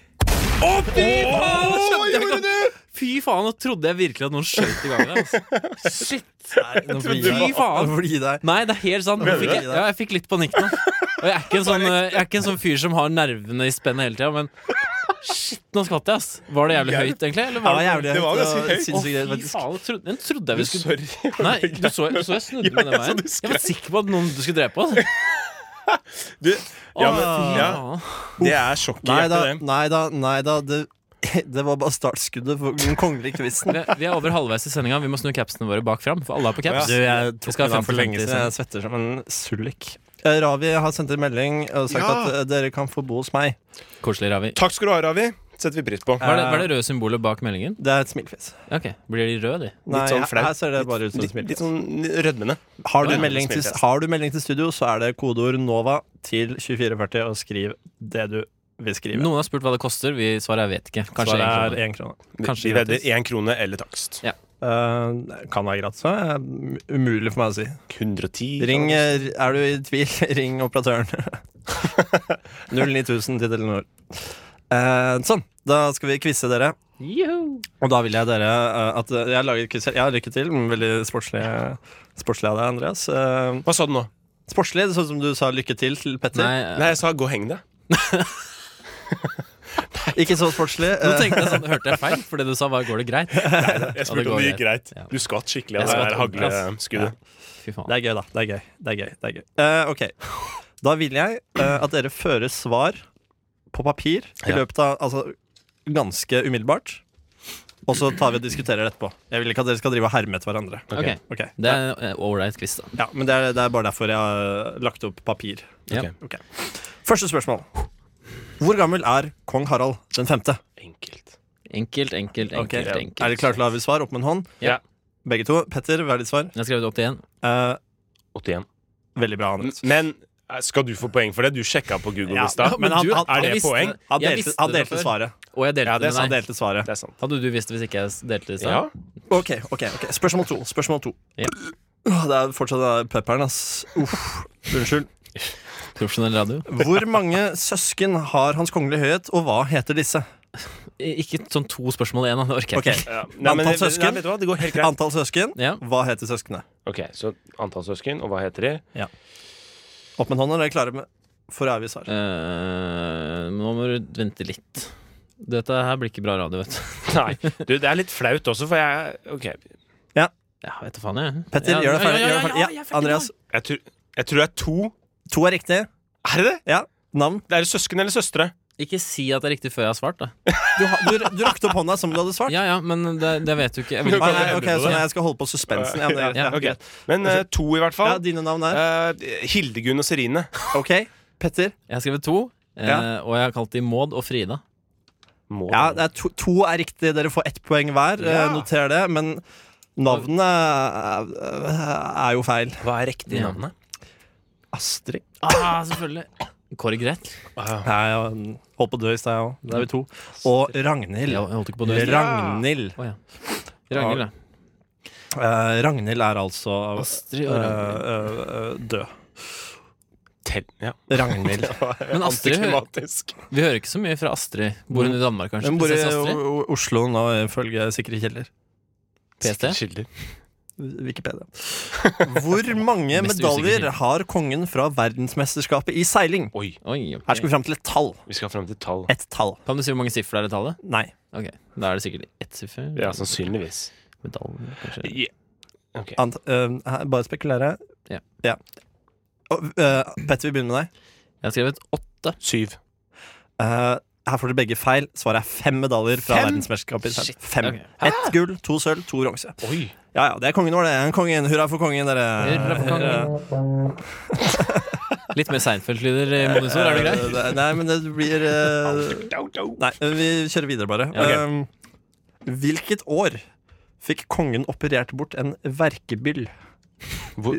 [SPEAKER 3] Fy faen, nå trodde jeg virkelig at noen skjøt i gangen. Altså. Shit.
[SPEAKER 2] Nå får
[SPEAKER 3] trodde
[SPEAKER 2] jeg
[SPEAKER 3] du
[SPEAKER 2] gi
[SPEAKER 3] var-
[SPEAKER 2] deg. Nå får du gi deg.
[SPEAKER 3] Nei, det er helt sant. Nå
[SPEAKER 1] Mener du
[SPEAKER 3] Fikk jeg,
[SPEAKER 2] det?
[SPEAKER 3] ja, jeg fikk litt panikk nå. Og jeg er ikke en sånn, eh, jeg er ikke en sånn fyr som har nervene i spennet hele tida, men shit, nå skvatt jeg, ass. Var det jævlig høyt, egentlig? Eller
[SPEAKER 2] Ja,
[SPEAKER 3] var det
[SPEAKER 2] jævlig
[SPEAKER 1] Det var
[SPEAKER 2] høyt,
[SPEAKER 1] ganske
[SPEAKER 2] og
[SPEAKER 1] høyt.
[SPEAKER 2] sinnssykt
[SPEAKER 3] Å,
[SPEAKER 2] greit,
[SPEAKER 3] fy
[SPEAKER 2] faktisk.
[SPEAKER 3] faen, jeg trodde, den trodde jeg vi skulle
[SPEAKER 1] Sorry.
[SPEAKER 3] Nei, du så, du så jeg snudde
[SPEAKER 1] Ja,
[SPEAKER 3] meg den
[SPEAKER 1] jeg så
[SPEAKER 3] veien.
[SPEAKER 1] du
[SPEAKER 3] Jeg var sikker på at noen du skulle drepe. Altså.
[SPEAKER 1] Du, ja, men, ja,
[SPEAKER 3] Faen.
[SPEAKER 1] det er sjokk i
[SPEAKER 2] Nei da,
[SPEAKER 1] hjertet, det.
[SPEAKER 2] nei da, nei da. Det, det var bare startskuddet for den kongelige quizen.
[SPEAKER 3] Vi er- vi er over halvveis i sendinga. Vi må snu capsene våre bak fram, for alle er på caps.
[SPEAKER 2] Du, jeg
[SPEAKER 3] Vi
[SPEAKER 2] tok
[SPEAKER 3] skal
[SPEAKER 2] den
[SPEAKER 3] ha
[SPEAKER 2] av for
[SPEAKER 3] 50-50
[SPEAKER 2] lenge siden. Jeg svetter som en sullik. Eh, Ravi har sendt en melding og sagt
[SPEAKER 1] Ja.
[SPEAKER 2] at eh, dere kan få bo hos meg.
[SPEAKER 3] sånn. Koselig, Ravi.
[SPEAKER 1] Takk skal du ha, Ravi. Setter vi pris på.
[SPEAKER 3] Hva er det, hva er det røde symbolet bak meldingen?
[SPEAKER 2] Det er et smilefjes.
[SPEAKER 3] Ok, Blir de røde, de?
[SPEAKER 2] Nei,
[SPEAKER 1] sånn
[SPEAKER 2] her,
[SPEAKER 1] flaut.
[SPEAKER 2] her ser det bare ut som et
[SPEAKER 1] Litt,
[SPEAKER 2] smilefjes.
[SPEAKER 1] litt sånn rødmende.
[SPEAKER 2] Har, du
[SPEAKER 1] Ja, ja,
[SPEAKER 2] melding til-
[SPEAKER 1] smilefjes.
[SPEAKER 2] har du melding til studio, så er det kodeord NOVA til 2440, og skriv det du vil skrive.
[SPEAKER 3] Noen har spurt hva det koster. Vi svarer jeg vet ikke. Kanskje
[SPEAKER 2] Svaret
[SPEAKER 3] egentlig.
[SPEAKER 2] er én krone.
[SPEAKER 1] Vi-
[SPEAKER 3] Kanskje
[SPEAKER 1] vi
[SPEAKER 3] gratis.
[SPEAKER 1] vedder én krone eller takst.
[SPEAKER 2] Eh, kan være gratis. eh, Umulig for meg å si.
[SPEAKER 1] 110
[SPEAKER 2] Ring, eh, er du i tvil, ring operatøren. 09000 til Telenor. Eh, sånn, da skal vi quize dere. Og da vil jeg dere eh, at eh, Jeg har laget quiz her. Ja, lykke til. men Veldig sportslig, sportslig av deg, Andreas. Eh,
[SPEAKER 1] Hva sa du nå?
[SPEAKER 2] sportslig, sånn som du sa lykke til til Petter.
[SPEAKER 3] Nei, eh,
[SPEAKER 1] Nei, jeg sa gå og heng deg.
[SPEAKER 2] Ikke så sportslig.
[SPEAKER 3] Nå
[SPEAKER 2] eh,
[SPEAKER 3] tenkte jeg sånn, Hørte jeg feil? For det du sa, var 'går det greit'?
[SPEAKER 1] Jeg
[SPEAKER 3] Ja, det
[SPEAKER 1] spurte om
[SPEAKER 3] går
[SPEAKER 1] det gikk greit.
[SPEAKER 3] Ja.
[SPEAKER 1] Du skvatt skikkelig av
[SPEAKER 3] Jeg
[SPEAKER 1] det der
[SPEAKER 3] skvatt ordentlig, ass.
[SPEAKER 1] hagleskuddet.
[SPEAKER 3] Fy faen.
[SPEAKER 2] det er gøy, da. Det er gøy. Det er gøy. Det er gøy. Eh, ok. Da vil jeg eh, at dere fører svar på papir i
[SPEAKER 1] Ja.
[SPEAKER 2] løpet av Altså ganske umiddelbart. Og så tar vi og diskuterer det etterpå. Jeg vil ikke at dere skal drive og herme etter hverandre.
[SPEAKER 3] Ok,
[SPEAKER 2] Ok.
[SPEAKER 3] Det er eh, ålreit quiz, da.
[SPEAKER 2] Ja, men det er, det er bare derfor jeg har lagt opp papir.
[SPEAKER 3] Ja.
[SPEAKER 2] Ok. Første spørsmål. Hvor gammel er kong Harald den femte?
[SPEAKER 1] Enkelt.
[SPEAKER 3] Enkelt, enkelt,
[SPEAKER 2] Ok.
[SPEAKER 3] enkelt. enkelt.
[SPEAKER 2] Er dere klare til å avgi svar? Opp med en hånd.
[SPEAKER 3] Ja.
[SPEAKER 2] Begge to. Petter, hva er ditt svar?
[SPEAKER 3] Jeg har skrevet opp til én.
[SPEAKER 2] Eh,
[SPEAKER 1] 81.
[SPEAKER 3] Mm,
[SPEAKER 2] veldig bra, Anders.
[SPEAKER 1] Men Nei, Skal du få poeng for det? Du sjekka på Google
[SPEAKER 2] Ja,
[SPEAKER 1] i stad.
[SPEAKER 2] men han-
[SPEAKER 3] du-
[SPEAKER 2] han-
[SPEAKER 1] er det
[SPEAKER 3] jeg visste
[SPEAKER 1] poeng?
[SPEAKER 3] det.
[SPEAKER 2] Han
[SPEAKER 3] mm. Jeg
[SPEAKER 2] delte,
[SPEAKER 3] visste
[SPEAKER 2] han
[SPEAKER 3] det
[SPEAKER 2] delte
[SPEAKER 3] før.
[SPEAKER 2] svaret.
[SPEAKER 3] Og jeg delte
[SPEAKER 2] Ja, det er
[SPEAKER 3] det
[SPEAKER 2] sant,
[SPEAKER 3] med deg.
[SPEAKER 2] delte svaret.
[SPEAKER 1] Det er sant.
[SPEAKER 3] Hadde du visst det hvis ikke jeg delte det? i
[SPEAKER 1] Ja.
[SPEAKER 3] stad?
[SPEAKER 2] Ok, ok, ok Spørsmål to. Spørsmål to.
[SPEAKER 3] Ja.
[SPEAKER 2] Åh, Det er fortsatt den der pepperen, ass. Uff. Unnskyld.
[SPEAKER 3] Profesjonell radio?
[SPEAKER 2] Hvor mange søsken har Hans Kongelige Høyhet, og hva heter disse?
[SPEAKER 3] I- Ikke sånn to spørsmål igjen, da. det orker jeg
[SPEAKER 2] Ok,
[SPEAKER 3] ikke.
[SPEAKER 1] Ja. Nei, men,
[SPEAKER 2] Antall søsken?
[SPEAKER 1] Nei, vet du hva? Det går helt greit.
[SPEAKER 2] Antall søsken.
[SPEAKER 3] Ja.
[SPEAKER 2] Hva heter søsknene?
[SPEAKER 1] Ok, Så antall søsken, og hva heter de?
[SPEAKER 2] Opp med hånda, dere er klare med for evig svar.
[SPEAKER 3] Eh, nå må du vente litt. Dette her blir ikke bra radio, vet du.
[SPEAKER 1] Nei, du, det er litt flaut også, for jeg Ok.
[SPEAKER 3] Ja, vet du faen, jeg.
[SPEAKER 2] Petter,
[SPEAKER 3] ja,
[SPEAKER 2] gjør deg ferdig.
[SPEAKER 3] Ja, ja,
[SPEAKER 2] gjør
[SPEAKER 3] ja,
[SPEAKER 2] deg ferdig.
[SPEAKER 3] ja,
[SPEAKER 2] Ja, Andreas.
[SPEAKER 1] Jeg tror, jeg tror det er to.
[SPEAKER 2] To er riktig.
[SPEAKER 1] Er det det?
[SPEAKER 2] Ja. Navn.
[SPEAKER 1] Det er søsken eller søstre?
[SPEAKER 3] Ikke si at det er riktig før jeg har svart, da.
[SPEAKER 2] Du, ha- du, du rakte opp hånda som du hadde svart.
[SPEAKER 3] Ja ja, men det, det vet du ikke. Jeg
[SPEAKER 2] Nei,
[SPEAKER 3] vil
[SPEAKER 2] nei,
[SPEAKER 3] ikke
[SPEAKER 2] ok, Så jeg skal holde på suspensen. Ja, det,
[SPEAKER 3] Ja,
[SPEAKER 2] ja,
[SPEAKER 1] ok.
[SPEAKER 2] greit.
[SPEAKER 1] Men eh, to, i
[SPEAKER 2] ja,
[SPEAKER 1] hvert fall.
[SPEAKER 2] dine navn er
[SPEAKER 1] Eh, Hildegunn og Serine.
[SPEAKER 2] Ok, Petter.
[SPEAKER 3] Jeg har skrevet to, eh,
[SPEAKER 2] Ja.
[SPEAKER 3] og jeg har kalt de Maud og Frida.
[SPEAKER 1] Må
[SPEAKER 2] Ja, det er to, to er riktig. Dere får ett poeng hver. eh,
[SPEAKER 1] Ja.
[SPEAKER 2] Noter det. Men navnet er, er jo feil.
[SPEAKER 1] Hva er riktig
[SPEAKER 3] Ja.
[SPEAKER 1] navnet?
[SPEAKER 2] Astrid.
[SPEAKER 3] Ah, selvfølgelig. Kåre Greth.
[SPEAKER 2] Nei, jeg holdt på å dø i stad, jeg òg. Da er vi to. Og Ragnhild.
[SPEAKER 3] Jeg holdt ikke på å dø.
[SPEAKER 2] Ragnhild.
[SPEAKER 3] Å, ja. Ragnhild, ja.
[SPEAKER 2] Eh, Ragnhild er altså
[SPEAKER 3] Astrid
[SPEAKER 2] eh,
[SPEAKER 3] og Ragnhild.
[SPEAKER 2] eh, død.
[SPEAKER 1] Tell, ja.
[SPEAKER 2] Ragnhild.
[SPEAKER 3] Men Astrid-
[SPEAKER 1] Antiklimatisk.
[SPEAKER 3] Vi hører ikke så mye fra Astrid. Bor hun i Danmark, kanskje?
[SPEAKER 2] Hun bor i
[SPEAKER 3] Prinsesse Astrid?
[SPEAKER 2] O- O- Oslo nå, ifølge sikre kilder.
[SPEAKER 3] PST?
[SPEAKER 1] Kilder.
[SPEAKER 2] Wikipedia. Hvor mange
[SPEAKER 3] Mest usikker
[SPEAKER 2] medaljer
[SPEAKER 3] kilde.
[SPEAKER 2] har kongen fra verdensmesterskapet i seiling?
[SPEAKER 1] Oi,
[SPEAKER 3] Oi, ok.
[SPEAKER 2] Her skal vi fram til et tall.
[SPEAKER 1] vi skal fram til tall.
[SPEAKER 2] Et tall.
[SPEAKER 3] Kan du si hvor mange siffer det er i tallet?
[SPEAKER 2] Nei.
[SPEAKER 3] Ok, Da er det sikkert ett siffer.
[SPEAKER 1] Ja, sannsynligvis. Ah,
[SPEAKER 3] Medalje, kanskje.
[SPEAKER 1] Ja. Ok.
[SPEAKER 2] Ant øh, her, bare spekulere.
[SPEAKER 3] Ja.
[SPEAKER 2] Og, øh, Petter, vi begynner med deg.
[SPEAKER 3] Jeg har skrevet åtte.
[SPEAKER 1] Syv.
[SPEAKER 2] Eh, her får dere begge feil. Svaret er fem medaljer fra verdensmesterskapet. i seiling. Fem.
[SPEAKER 3] Ok.
[SPEAKER 2] Ett gull, to sølv, to bronse.
[SPEAKER 1] Oi.
[SPEAKER 2] Ja ja, det er kongen vår, det. Kongen, Hurra for kongen, dere. Øh,
[SPEAKER 3] Hurra for
[SPEAKER 2] Eh,
[SPEAKER 3] kongen. Litt mer Seinfeld-lyder i monitor, er det greit?
[SPEAKER 2] Eh, det- Nei, men det blir eh, Nei, vi kjører videre, bare.
[SPEAKER 3] Ja, ok.
[SPEAKER 2] Eh, hvilket år fikk kongen operert bort en verkebyll
[SPEAKER 1] Hvor,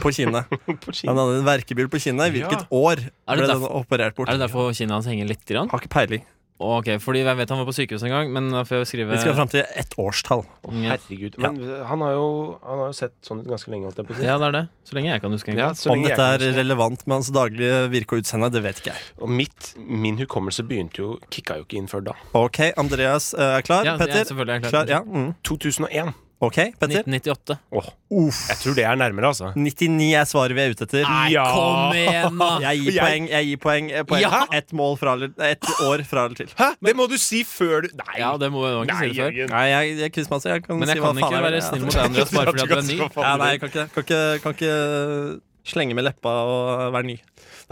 [SPEAKER 2] på kinnet?
[SPEAKER 1] på Kina.
[SPEAKER 2] Han hadde en verkebyll på kinnet. Hvilket
[SPEAKER 1] Ja.
[SPEAKER 2] år ble
[SPEAKER 3] Er det
[SPEAKER 2] den
[SPEAKER 3] derfor-
[SPEAKER 2] operert bort?
[SPEAKER 3] Er det derfor kinnet hans henger litt? Grann?
[SPEAKER 2] Har ikke peiling.
[SPEAKER 3] Ok, fordi jeg vet han var på sykehus en gang, men da får jeg skrive
[SPEAKER 2] Vi skal fram til ett årstall.
[SPEAKER 3] Ja.
[SPEAKER 1] Herregud. Men han har jo, han har jo sett sånn ut ganske lenge, holdt jeg på å si.
[SPEAKER 3] Ja, det er det. Så lenge jeg kan huske. egentlig.
[SPEAKER 1] så
[SPEAKER 2] Om
[SPEAKER 1] lenge jeg
[SPEAKER 2] dette
[SPEAKER 1] kan
[SPEAKER 2] er relevant med hans daglige virke og utseende, det vet ikke jeg.
[SPEAKER 1] huske. Og mitt, min hukommelse begynte jo Kicka jo ikke inn før da.
[SPEAKER 2] Ok, Andreas eh, er klar.
[SPEAKER 3] Ja, jeg
[SPEAKER 2] Petter?
[SPEAKER 3] er selvfølgelig klar.
[SPEAKER 2] Klar, ja. mm.
[SPEAKER 1] 2001.
[SPEAKER 2] Ok, Petter?
[SPEAKER 3] 1998.
[SPEAKER 1] Åh,
[SPEAKER 2] Uff.
[SPEAKER 1] jeg tror det er nærmere, altså.
[SPEAKER 2] 99 er svaret vi er ute etter.
[SPEAKER 1] Ja.
[SPEAKER 3] Kom igjen, da!
[SPEAKER 2] Jeg gir
[SPEAKER 1] Jeg-
[SPEAKER 2] poeng. jeg gir poeng, eh, poeng.
[SPEAKER 3] Ja.
[SPEAKER 2] Ett mål fra eller Ett år fra eller til.
[SPEAKER 1] Hæ? Det må du si før du Nei!
[SPEAKER 3] Ja, det må jeg jo ikke si det før.
[SPEAKER 1] Jørgen.
[SPEAKER 2] Nei, jeg, jeg, kryssmasse, jeg kan
[SPEAKER 3] Men
[SPEAKER 2] si
[SPEAKER 3] jeg
[SPEAKER 2] hva
[SPEAKER 3] kan
[SPEAKER 2] faen
[SPEAKER 3] ikke
[SPEAKER 2] jeg vil.
[SPEAKER 3] være snill mot deg, Andreas, bare fordi at du er ny.
[SPEAKER 2] Ja, nei, jeg kan ikke, det. kan ikke, kan ikke slenge med leppa og være ny.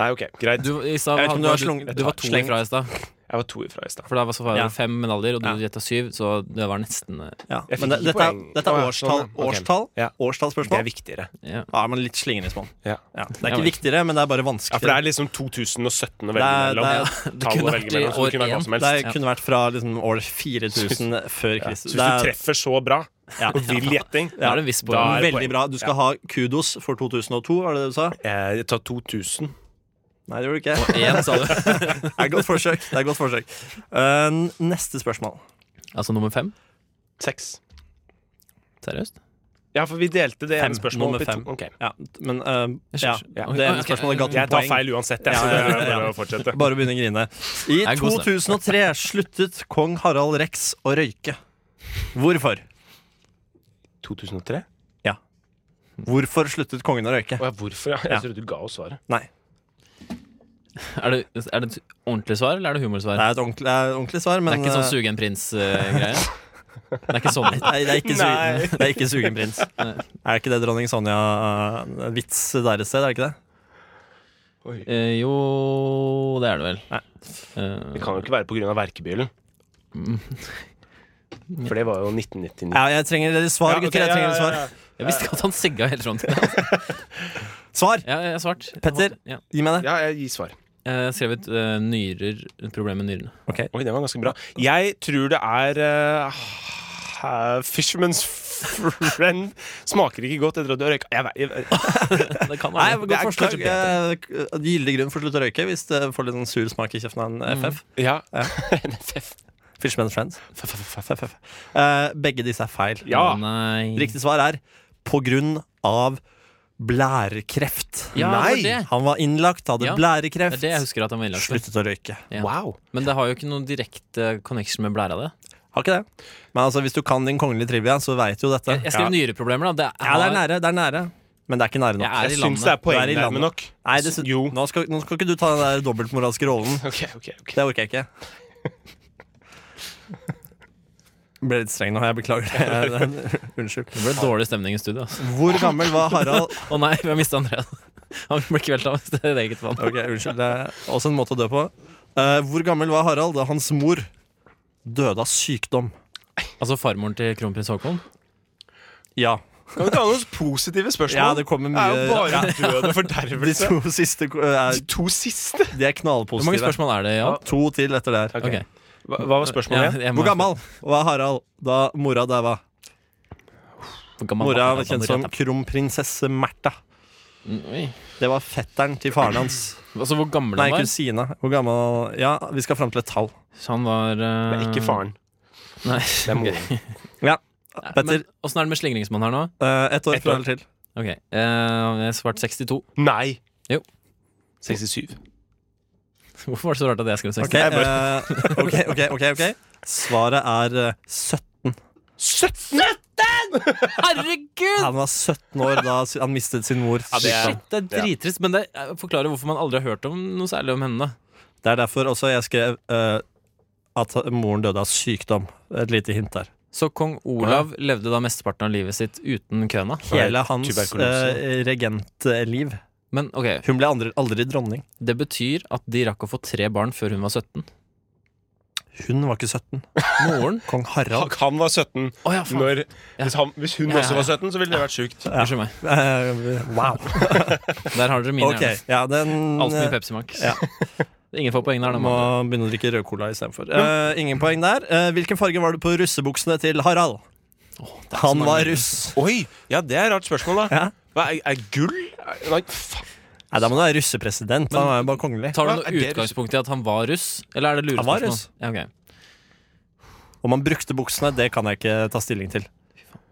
[SPEAKER 1] Nei, ok, greit.
[SPEAKER 3] Du, i
[SPEAKER 2] Jeg
[SPEAKER 3] stad
[SPEAKER 2] vet ikke om du har
[SPEAKER 3] hadde-
[SPEAKER 2] slung-
[SPEAKER 3] du var to
[SPEAKER 2] sleng-
[SPEAKER 3] fra i stad,
[SPEAKER 1] Jeg var to ifra i stad.
[SPEAKER 3] for da var så var
[SPEAKER 2] Ja.
[SPEAKER 3] det fem medaljer, og du
[SPEAKER 2] Ja.
[SPEAKER 3] gjetta syv, så det var nesten eh,
[SPEAKER 2] Ja.
[SPEAKER 1] Jeg
[SPEAKER 2] Men det,
[SPEAKER 1] fikk ikke
[SPEAKER 2] dette, er,
[SPEAKER 1] poeng.
[SPEAKER 2] dette
[SPEAKER 1] Å,
[SPEAKER 2] er
[SPEAKER 1] ja,
[SPEAKER 2] årstall.
[SPEAKER 1] sånn, ja. Ok.
[SPEAKER 2] Årstall?
[SPEAKER 1] Ja. Det
[SPEAKER 2] Årstallspørsmål?
[SPEAKER 1] er viktigere.
[SPEAKER 3] ja.
[SPEAKER 2] Ja, men litt slingringsmål.
[SPEAKER 1] Ja.
[SPEAKER 2] Ja. Det er ikke
[SPEAKER 3] Ja, vel.
[SPEAKER 2] viktigere, men det er bare
[SPEAKER 1] ja, for det
[SPEAKER 2] vanskeligere.
[SPEAKER 1] er liksom 2017 å velge
[SPEAKER 2] Det er-
[SPEAKER 1] mellom.
[SPEAKER 2] det er-
[SPEAKER 3] Det
[SPEAKER 1] Tall å
[SPEAKER 3] kunne vært i
[SPEAKER 1] velge mellom, så det
[SPEAKER 3] år
[SPEAKER 1] kunne vært hva
[SPEAKER 3] én.
[SPEAKER 1] som helst.
[SPEAKER 2] det kunne vært fra liksom, år 4000 før
[SPEAKER 1] Ja.
[SPEAKER 2] Kristus.
[SPEAKER 1] Så hvis du
[SPEAKER 2] Det er-
[SPEAKER 1] treffer så bra,
[SPEAKER 2] Ja.
[SPEAKER 1] og vill gjetting
[SPEAKER 3] Da er det en viss
[SPEAKER 1] Da
[SPEAKER 3] poeng.
[SPEAKER 1] er det
[SPEAKER 2] Veldig
[SPEAKER 1] poeng.
[SPEAKER 2] bra. Du skal ha kudos for 2002, var det det du sa?
[SPEAKER 1] eh, Ta 2000.
[SPEAKER 2] Nei, det gjorde du ikke.
[SPEAKER 3] Én, sa du.
[SPEAKER 2] Det er et godt forsøk. Det er et godt forsøk. Uh, neste spørsmål.
[SPEAKER 3] Altså nummer fem?
[SPEAKER 1] Seks.
[SPEAKER 3] Seriøst?
[SPEAKER 1] Ja, for vi delte det
[SPEAKER 2] Fem.
[SPEAKER 1] ene spørsmålet
[SPEAKER 2] Nummer
[SPEAKER 1] opp i to.
[SPEAKER 2] fem.
[SPEAKER 1] Ok.
[SPEAKER 2] Ja, men eh,
[SPEAKER 3] Jeg
[SPEAKER 2] ja,
[SPEAKER 3] skjønner.
[SPEAKER 1] Ja.
[SPEAKER 3] Ok,
[SPEAKER 2] det ene
[SPEAKER 3] ok,
[SPEAKER 2] spørsmålet ga to
[SPEAKER 1] Jeg tar
[SPEAKER 2] poeng.
[SPEAKER 1] feil uansett, jeg,
[SPEAKER 2] Ja,
[SPEAKER 1] så det
[SPEAKER 2] ja,
[SPEAKER 1] er
[SPEAKER 2] ja.
[SPEAKER 1] bare å fortsette.
[SPEAKER 2] Bare begynn å grine. I
[SPEAKER 3] Jeg er god snart.
[SPEAKER 2] 2003 sluttet kong Harald Rex å røyke. Hvorfor?
[SPEAKER 1] 2003?
[SPEAKER 2] Hvorfor sluttet kongen å røyke?
[SPEAKER 1] Å ja, hvorfor? Ja.
[SPEAKER 2] Ja.
[SPEAKER 1] Jeg trodde du ga oss svaret.
[SPEAKER 2] Nei,
[SPEAKER 3] Er det, er det et ordentlig svar, eller er det humorsvar?
[SPEAKER 2] det er et ordentlig, det er et ordentlig svar,
[SPEAKER 3] det
[SPEAKER 2] men
[SPEAKER 3] er ikke sånn
[SPEAKER 2] eh,
[SPEAKER 3] suge en prins-greie? det er ikke sånn?
[SPEAKER 2] Nei, det er ikke,
[SPEAKER 1] Nei.
[SPEAKER 2] sugen, det er ikke sugen prins.
[SPEAKER 3] Nei.
[SPEAKER 2] Er ikke det dronning Sonja-vits der et sted? Er det ikke det?
[SPEAKER 3] Eh, jo, det er det vel.
[SPEAKER 2] Nei.
[SPEAKER 1] Det
[SPEAKER 3] Eh,
[SPEAKER 1] kan jo ikke være pga. verkebylen. For det var jo 1999.
[SPEAKER 2] Ja, jeg trenger deres svar,
[SPEAKER 1] Ja, ok,
[SPEAKER 2] gutter. Jeg trenger deres
[SPEAKER 1] ja,
[SPEAKER 2] svar.
[SPEAKER 1] ja, ja.
[SPEAKER 3] jeg visste ikke at han segga helt sånn.
[SPEAKER 2] Svar!
[SPEAKER 3] Ja, jeg har svart.
[SPEAKER 2] Petter?
[SPEAKER 3] Ja.
[SPEAKER 2] Gi meg det.
[SPEAKER 1] Ja, jeg gir svar.
[SPEAKER 3] Jeg har skrevet eh, nyrer, problem med nyrene.
[SPEAKER 1] Oi, den var ganske bra. Jeg tror det er eh, ha- Fisherman's Friend smaker ikke godt etter at du har røyka. Jeg, vet- jeg, vet-
[SPEAKER 3] Det kan
[SPEAKER 2] Nei,
[SPEAKER 3] være det.
[SPEAKER 2] godt forslag.
[SPEAKER 1] kanskje
[SPEAKER 2] Eh, Gyldig grunn for å slutte å røyke hvis det får litt sånn sur smak i kjeften av en FF.
[SPEAKER 1] ja.
[SPEAKER 2] Fishman Friends. FFF. Eh, begge disse er feil.
[SPEAKER 1] Ja.
[SPEAKER 3] Å, Nei.
[SPEAKER 2] Riktig svar er på grunn av blærekreft.
[SPEAKER 3] Ja, det var Nei. det.
[SPEAKER 2] Han var innlagt, hadde
[SPEAKER 3] Ja, Det
[SPEAKER 2] blærekreft,
[SPEAKER 3] er det jeg husker at han var innlagt for.
[SPEAKER 2] sluttet å røyke.
[SPEAKER 3] Ja.
[SPEAKER 1] Wow.
[SPEAKER 3] Men det har jo ikke noen direkte connection med blæra, det.
[SPEAKER 2] Har ikke det. Men altså, hvis du kan din kongelige trivia, så veit du jo dette.
[SPEAKER 3] Jeg, jeg skrev
[SPEAKER 2] ja.
[SPEAKER 3] nyreproblemer, da. Det
[SPEAKER 2] ja, det er nære, det er nære. Men det er ikke nære nok.
[SPEAKER 3] Jeg er i
[SPEAKER 1] Jeg
[SPEAKER 3] landet.
[SPEAKER 1] syns det er
[SPEAKER 2] Du er i
[SPEAKER 1] poengnærme
[SPEAKER 2] landet.
[SPEAKER 1] nok.
[SPEAKER 2] Nei, det, sy-
[SPEAKER 1] Jo.
[SPEAKER 2] nå, skal, nå skal ikke du ta den der dobbeltmoralske rollen.
[SPEAKER 1] Ok, ok, ok
[SPEAKER 2] Det orker jeg ikke. Ble litt streng nå, jeg beklager. Unnskyld.
[SPEAKER 3] Det ble dårlig stemning i studio. altså.
[SPEAKER 2] Hvor gammel var Harald
[SPEAKER 3] Å nei, vi har mista Andrea. Han ble kvelta av sitt eget vann.
[SPEAKER 2] Ok, unnskyld, det er også en måte å dø på. Eh, hvor gammel var Harald da hans mor døde av sykdom?
[SPEAKER 3] Altså farmoren til kronprins Haakon.
[SPEAKER 2] Ja.
[SPEAKER 1] Kan vi ta noen positive spørsmål?
[SPEAKER 2] Ja, det kommer mye-
[SPEAKER 1] er jo bare død og fordervelse.
[SPEAKER 2] To siste ko- er,
[SPEAKER 1] De to siste?
[SPEAKER 2] De er knallpositive.
[SPEAKER 3] Hvor mange spørsmål er det? Ja?
[SPEAKER 2] To til etter det her.
[SPEAKER 3] Ok.
[SPEAKER 1] Hva, hva var spørsmålet igjen?
[SPEAKER 3] Ja, jeg må-
[SPEAKER 2] Hvor gammel var Harald da mora daua?
[SPEAKER 3] Hvor gammel
[SPEAKER 2] Mora var
[SPEAKER 3] var han da
[SPEAKER 2] kjent
[SPEAKER 3] han
[SPEAKER 2] som
[SPEAKER 3] ble tatt?
[SPEAKER 2] kronprinsesse Märtha.
[SPEAKER 3] Oi.
[SPEAKER 2] Det var fetteren til faren hans.
[SPEAKER 3] Altså, hvor gammel
[SPEAKER 2] Nei,
[SPEAKER 3] han var?
[SPEAKER 2] kusina. Hvor gammel Ja, vi skal fram til et tall.
[SPEAKER 3] Så han var eh,
[SPEAKER 1] Det er ikke faren.
[SPEAKER 3] Nei.
[SPEAKER 1] Det er moren.
[SPEAKER 2] Ja.
[SPEAKER 3] Men
[SPEAKER 2] Petter,
[SPEAKER 3] åssen er det med slingringsmonn her nå?
[SPEAKER 2] eh, ett år
[SPEAKER 1] ett år.
[SPEAKER 2] fra eller til.
[SPEAKER 3] Ok, eh, Jeg svarte 62.
[SPEAKER 1] Nei.
[SPEAKER 3] Jo.
[SPEAKER 1] 67.
[SPEAKER 3] Hvorfor var det så rart at jeg skrev 62?
[SPEAKER 2] Ok, eh, ok, ok, ok, ok. Svaret er eh, 17.
[SPEAKER 1] 17!
[SPEAKER 3] Herregud!
[SPEAKER 2] Han var 17 år da han mistet sin mor.
[SPEAKER 1] det er-
[SPEAKER 3] Shit, det er drittrist, men det eh, forklarer hvorfor man aldri har hørt om noe særlig om henne. da.
[SPEAKER 2] Det er derfor også jeg skrev eh, at moren døde av sykdom. Et lite hint der.
[SPEAKER 3] Så kong Olav levde da mesteparten av livet sitt uten køna.
[SPEAKER 2] Hele hans
[SPEAKER 1] tuberkulose.
[SPEAKER 2] eh, regentliv.
[SPEAKER 3] Men ok,
[SPEAKER 2] Hun ble aldri, aldri dronning.
[SPEAKER 3] det betyr at de rakk å få tre barn før hun var 17.
[SPEAKER 2] Hun var ikke 17.
[SPEAKER 3] Moren
[SPEAKER 2] Kong Harald.
[SPEAKER 1] Han var 17
[SPEAKER 3] Å ja, faen.
[SPEAKER 1] når hvis, han, hvis hun
[SPEAKER 3] Ja, ja,
[SPEAKER 1] også var 17, så ville det vært sjukt.
[SPEAKER 3] Unnskyld meg.
[SPEAKER 2] Eh, wow.
[SPEAKER 3] Der har dere min
[SPEAKER 2] Ok,
[SPEAKER 3] hjerne.
[SPEAKER 2] ja, den
[SPEAKER 3] Alt mye Pepsi Max.
[SPEAKER 2] Ja.
[SPEAKER 3] Ingen får poeng der. da,
[SPEAKER 2] Må
[SPEAKER 3] mann.
[SPEAKER 2] begynne å drikke rød cola istedenfor. Uh, ingen poeng der. Eh, hvilken farge var det på russebuksene til Harald? Han var russ.
[SPEAKER 1] Oi! Ja, det er et rart spørsmål, da.
[SPEAKER 2] Ja.
[SPEAKER 1] Hva, er, er gull? Er- Nei, faen.
[SPEAKER 2] Nei, da må du være russepresident. Han var jo bare kongelig.
[SPEAKER 3] Tar du
[SPEAKER 1] Ja,
[SPEAKER 3] noe
[SPEAKER 1] er det russ-
[SPEAKER 3] utgangspunkt i at han var russ, eller er det
[SPEAKER 2] Han
[SPEAKER 3] lurespørsmål?
[SPEAKER 2] var russ.
[SPEAKER 3] Ja, ok.
[SPEAKER 2] Om han brukte buksene, det kan jeg ikke ta stilling til.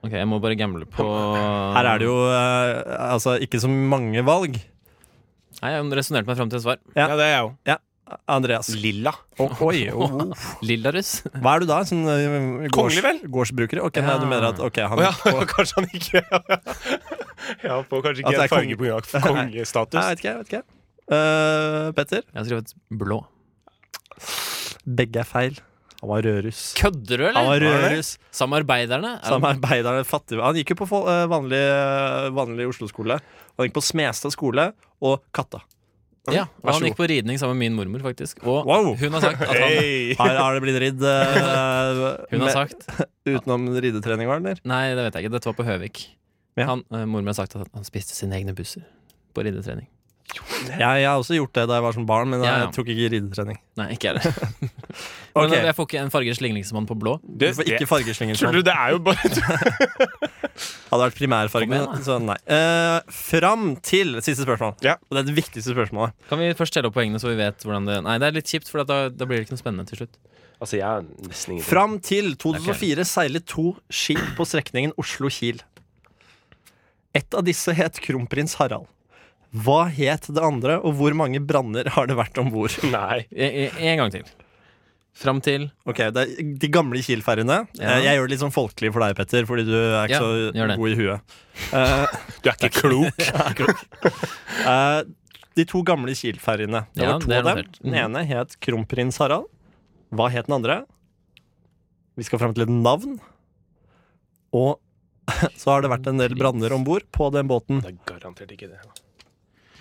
[SPEAKER 3] ok, jeg må bare gamble på
[SPEAKER 1] Ah.
[SPEAKER 2] Her er det jo eh, altså ikke så mange valg.
[SPEAKER 3] Nei, jeg resonnerte meg fram til et svar.
[SPEAKER 2] Ja.
[SPEAKER 1] Ja, det er jeg òg.
[SPEAKER 2] Andreas.
[SPEAKER 1] Lilla.
[SPEAKER 2] Å, oi, oh.
[SPEAKER 3] Lilla russ.
[SPEAKER 2] Hva er du da? En sånn eh,
[SPEAKER 1] Kongelig, vel?
[SPEAKER 2] gårdsbruker? Ok, nei,
[SPEAKER 3] Ja.
[SPEAKER 2] du mener at ok, han
[SPEAKER 1] Å ja, kanskje han ikke Ja, på
[SPEAKER 2] At
[SPEAKER 1] kanskje ikke
[SPEAKER 2] det er
[SPEAKER 1] en farge på grunn av
[SPEAKER 2] Nei,
[SPEAKER 1] kongestatus.
[SPEAKER 2] Jeg vet ikke, jeg vet ikke. Eh, Petter?
[SPEAKER 3] Jeg har skrevet blå.
[SPEAKER 2] Begge er feil. Han var rødruss.
[SPEAKER 3] Kødder du,
[SPEAKER 2] Han
[SPEAKER 3] eller?
[SPEAKER 2] var rødruss.
[SPEAKER 3] Samarbeiderne? Er
[SPEAKER 2] Sammen med arbeiderne fattig. Han gikk jo på fol- eh, vanlig, eh, vanlig Oslo-skole. Han gikk på Smestad skole og Katta.
[SPEAKER 3] Ja, og
[SPEAKER 1] Vær så
[SPEAKER 3] han gikk på ridning sammen med min mormor, faktisk. Og
[SPEAKER 2] Wow.
[SPEAKER 3] hun har sagt at han
[SPEAKER 1] Hei!
[SPEAKER 2] Har, har det blitt ridd eh,
[SPEAKER 3] Hun har
[SPEAKER 2] med-
[SPEAKER 3] sagt
[SPEAKER 2] utenom ridetrening, var det? eller?
[SPEAKER 3] Nei, det vet jeg ikke. Dette var på Høvik.
[SPEAKER 2] Ja.
[SPEAKER 3] Han, eh, mormor har sagt at han spiste sine egne busser på ridetrening.
[SPEAKER 2] Jeg, jeg har også gjort det da jeg var som barn, men
[SPEAKER 3] Ja, ja.
[SPEAKER 2] jeg tok ikke ridetrening.
[SPEAKER 3] Nei, ikke jeg heller.
[SPEAKER 2] Ok.
[SPEAKER 3] Men eh, Jeg får ikke en farger slingringsmann på blå.
[SPEAKER 2] Du får ikke fargeslinger
[SPEAKER 1] Tror
[SPEAKER 2] sånn.
[SPEAKER 1] du det er jo bare
[SPEAKER 2] Hadde vært
[SPEAKER 3] Kom igjen, da.
[SPEAKER 2] primærfargen, så nei. Eh, fram til siste spørsmål.
[SPEAKER 1] Ja.
[SPEAKER 2] Og det er det viktigste spørsmålet.
[SPEAKER 3] Kan vi først telle opp poengene, så vi vet hvordan det Nei, det er litt kjipt, for da, da blir det ikke noe spennende til slutt.
[SPEAKER 1] Altså, jeg er nesten ingenting.
[SPEAKER 2] Fram til 2004 seilet to skip på strekningen Oslo-Kiel. Et av disse het Kronprins Harald. Hva het det andre, og hvor mange branner har det vært om bord?
[SPEAKER 1] Nei.
[SPEAKER 3] E- e- En gang til. Fram til
[SPEAKER 2] Ok, det er De gamle Kiel-ferjene.
[SPEAKER 3] Ja.
[SPEAKER 2] Eh, Jeg gjør det litt sånn folkelig for deg, Petter, fordi du er ikke
[SPEAKER 3] Ja, gjør
[SPEAKER 2] så
[SPEAKER 3] det.
[SPEAKER 2] god i huet. Eh,
[SPEAKER 1] Du er ikke klok.
[SPEAKER 2] eh, de to gamle Kiel-ferjene. Det
[SPEAKER 3] Ja,
[SPEAKER 2] var to
[SPEAKER 3] det er
[SPEAKER 2] av dem.
[SPEAKER 3] notert.
[SPEAKER 2] Den
[SPEAKER 3] Mhm.
[SPEAKER 2] ene het Kronprins Harald. Hva het den andre? Vi skal fram til et navn. Og så har det vært en del branner om bord på den båten.
[SPEAKER 1] Det er garantert ikke det.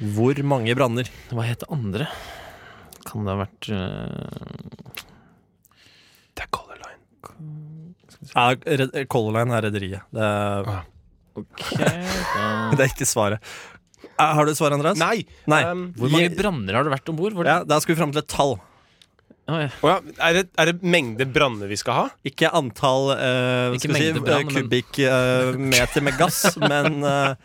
[SPEAKER 2] Hvor mange branner?
[SPEAKER 3] Hva het det andre? Kan det ha vært eh,
[SPEAKER 1] Det er Color Line.
[SPEAKER 2] Ja, Red- Color Line er rederiet. Det,
[SPEAKER 3] Ah.
[SPEAKER 2] er-
[SPEAKER 3] Ok, da-
[SPEAKER 2] det er ikke svaret. Eh, Har du et svar, Andreas?
[SPEAKER 1] Nei!
[SPEAKER 2] Nei.
[SPEAKER 1] Um,
[SPEAKER 3] Hvor mange branner har det vært om bord?
[SPEAKER 2] Ja, da skal vi fram til et tall.
[SPEAKER 3] Oi.
[SPEAKER 1] Å ja, er, det, er det mengde branner vi skal ha?
[SPEAKER 2] Ikke antall eh,
[SPEAKER 3] Ikke
[SPEAKER 2] skal vi si,
[SPEAKER 3] mengde brann,
[SPEAKER 2] eh,
[SPEAKER 3] men-
[SPEAKER 2] kubikkmeter med gass, men eh,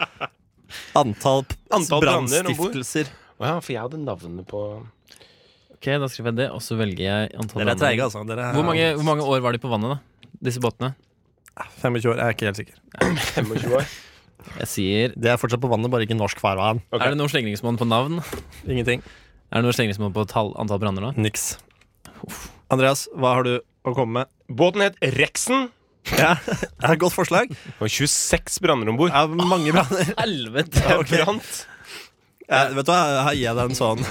[SPEAKER 2] antall, p- altså,
[SPEAKER 1] Antall branner om bord.
[SPEAKER 2] brannstiftelser.
[SPEAKER 1] Å ja, for jeg hadde navnet på
[SPEAKER 3] Ok, da skriver jeg det, og så velger jeg antall
[SPEAKER 2] Dere er
[SPEAKER 3] navn.
[SPEAKER 2] treige, altså. Dere er
[SPEAKER 3] Hvor mange, hvor mange år var de på vannet, da? Disse båtene?
[SPEAKER 2] 25 år, jeg er ikke helt sikker.
[SPEAKER 1] 25 år.
[SPEAKER 3] Jeg sier
[SPEAKER 2] Det er fortsatt på vannet, bare ikke norsk farvann.
[SPEAKER 1] Ok.
[SPEAKER 3] Er det noe slengringsmål på navn?
[SPEAKER 2] Ingenting.
[SPEAKER 3] Er det noe slengringsmål på tall, antall branner nå?
[SPEAKER 2] Niks. Andreas, hva har du å komme med?
[SPEAKER 1] Båten het Rexen.
[SPEAKER 2] Ja, er et godt forslag.
[SPEAKER 1] Det var 26 branner om bord.
[SPEAKER 2] Ja, mange branner.
[SPEAKER 3] Helvete!
[SPEAKER 2] ok. Ja, vet du hva, her gir jeg deg en sånn.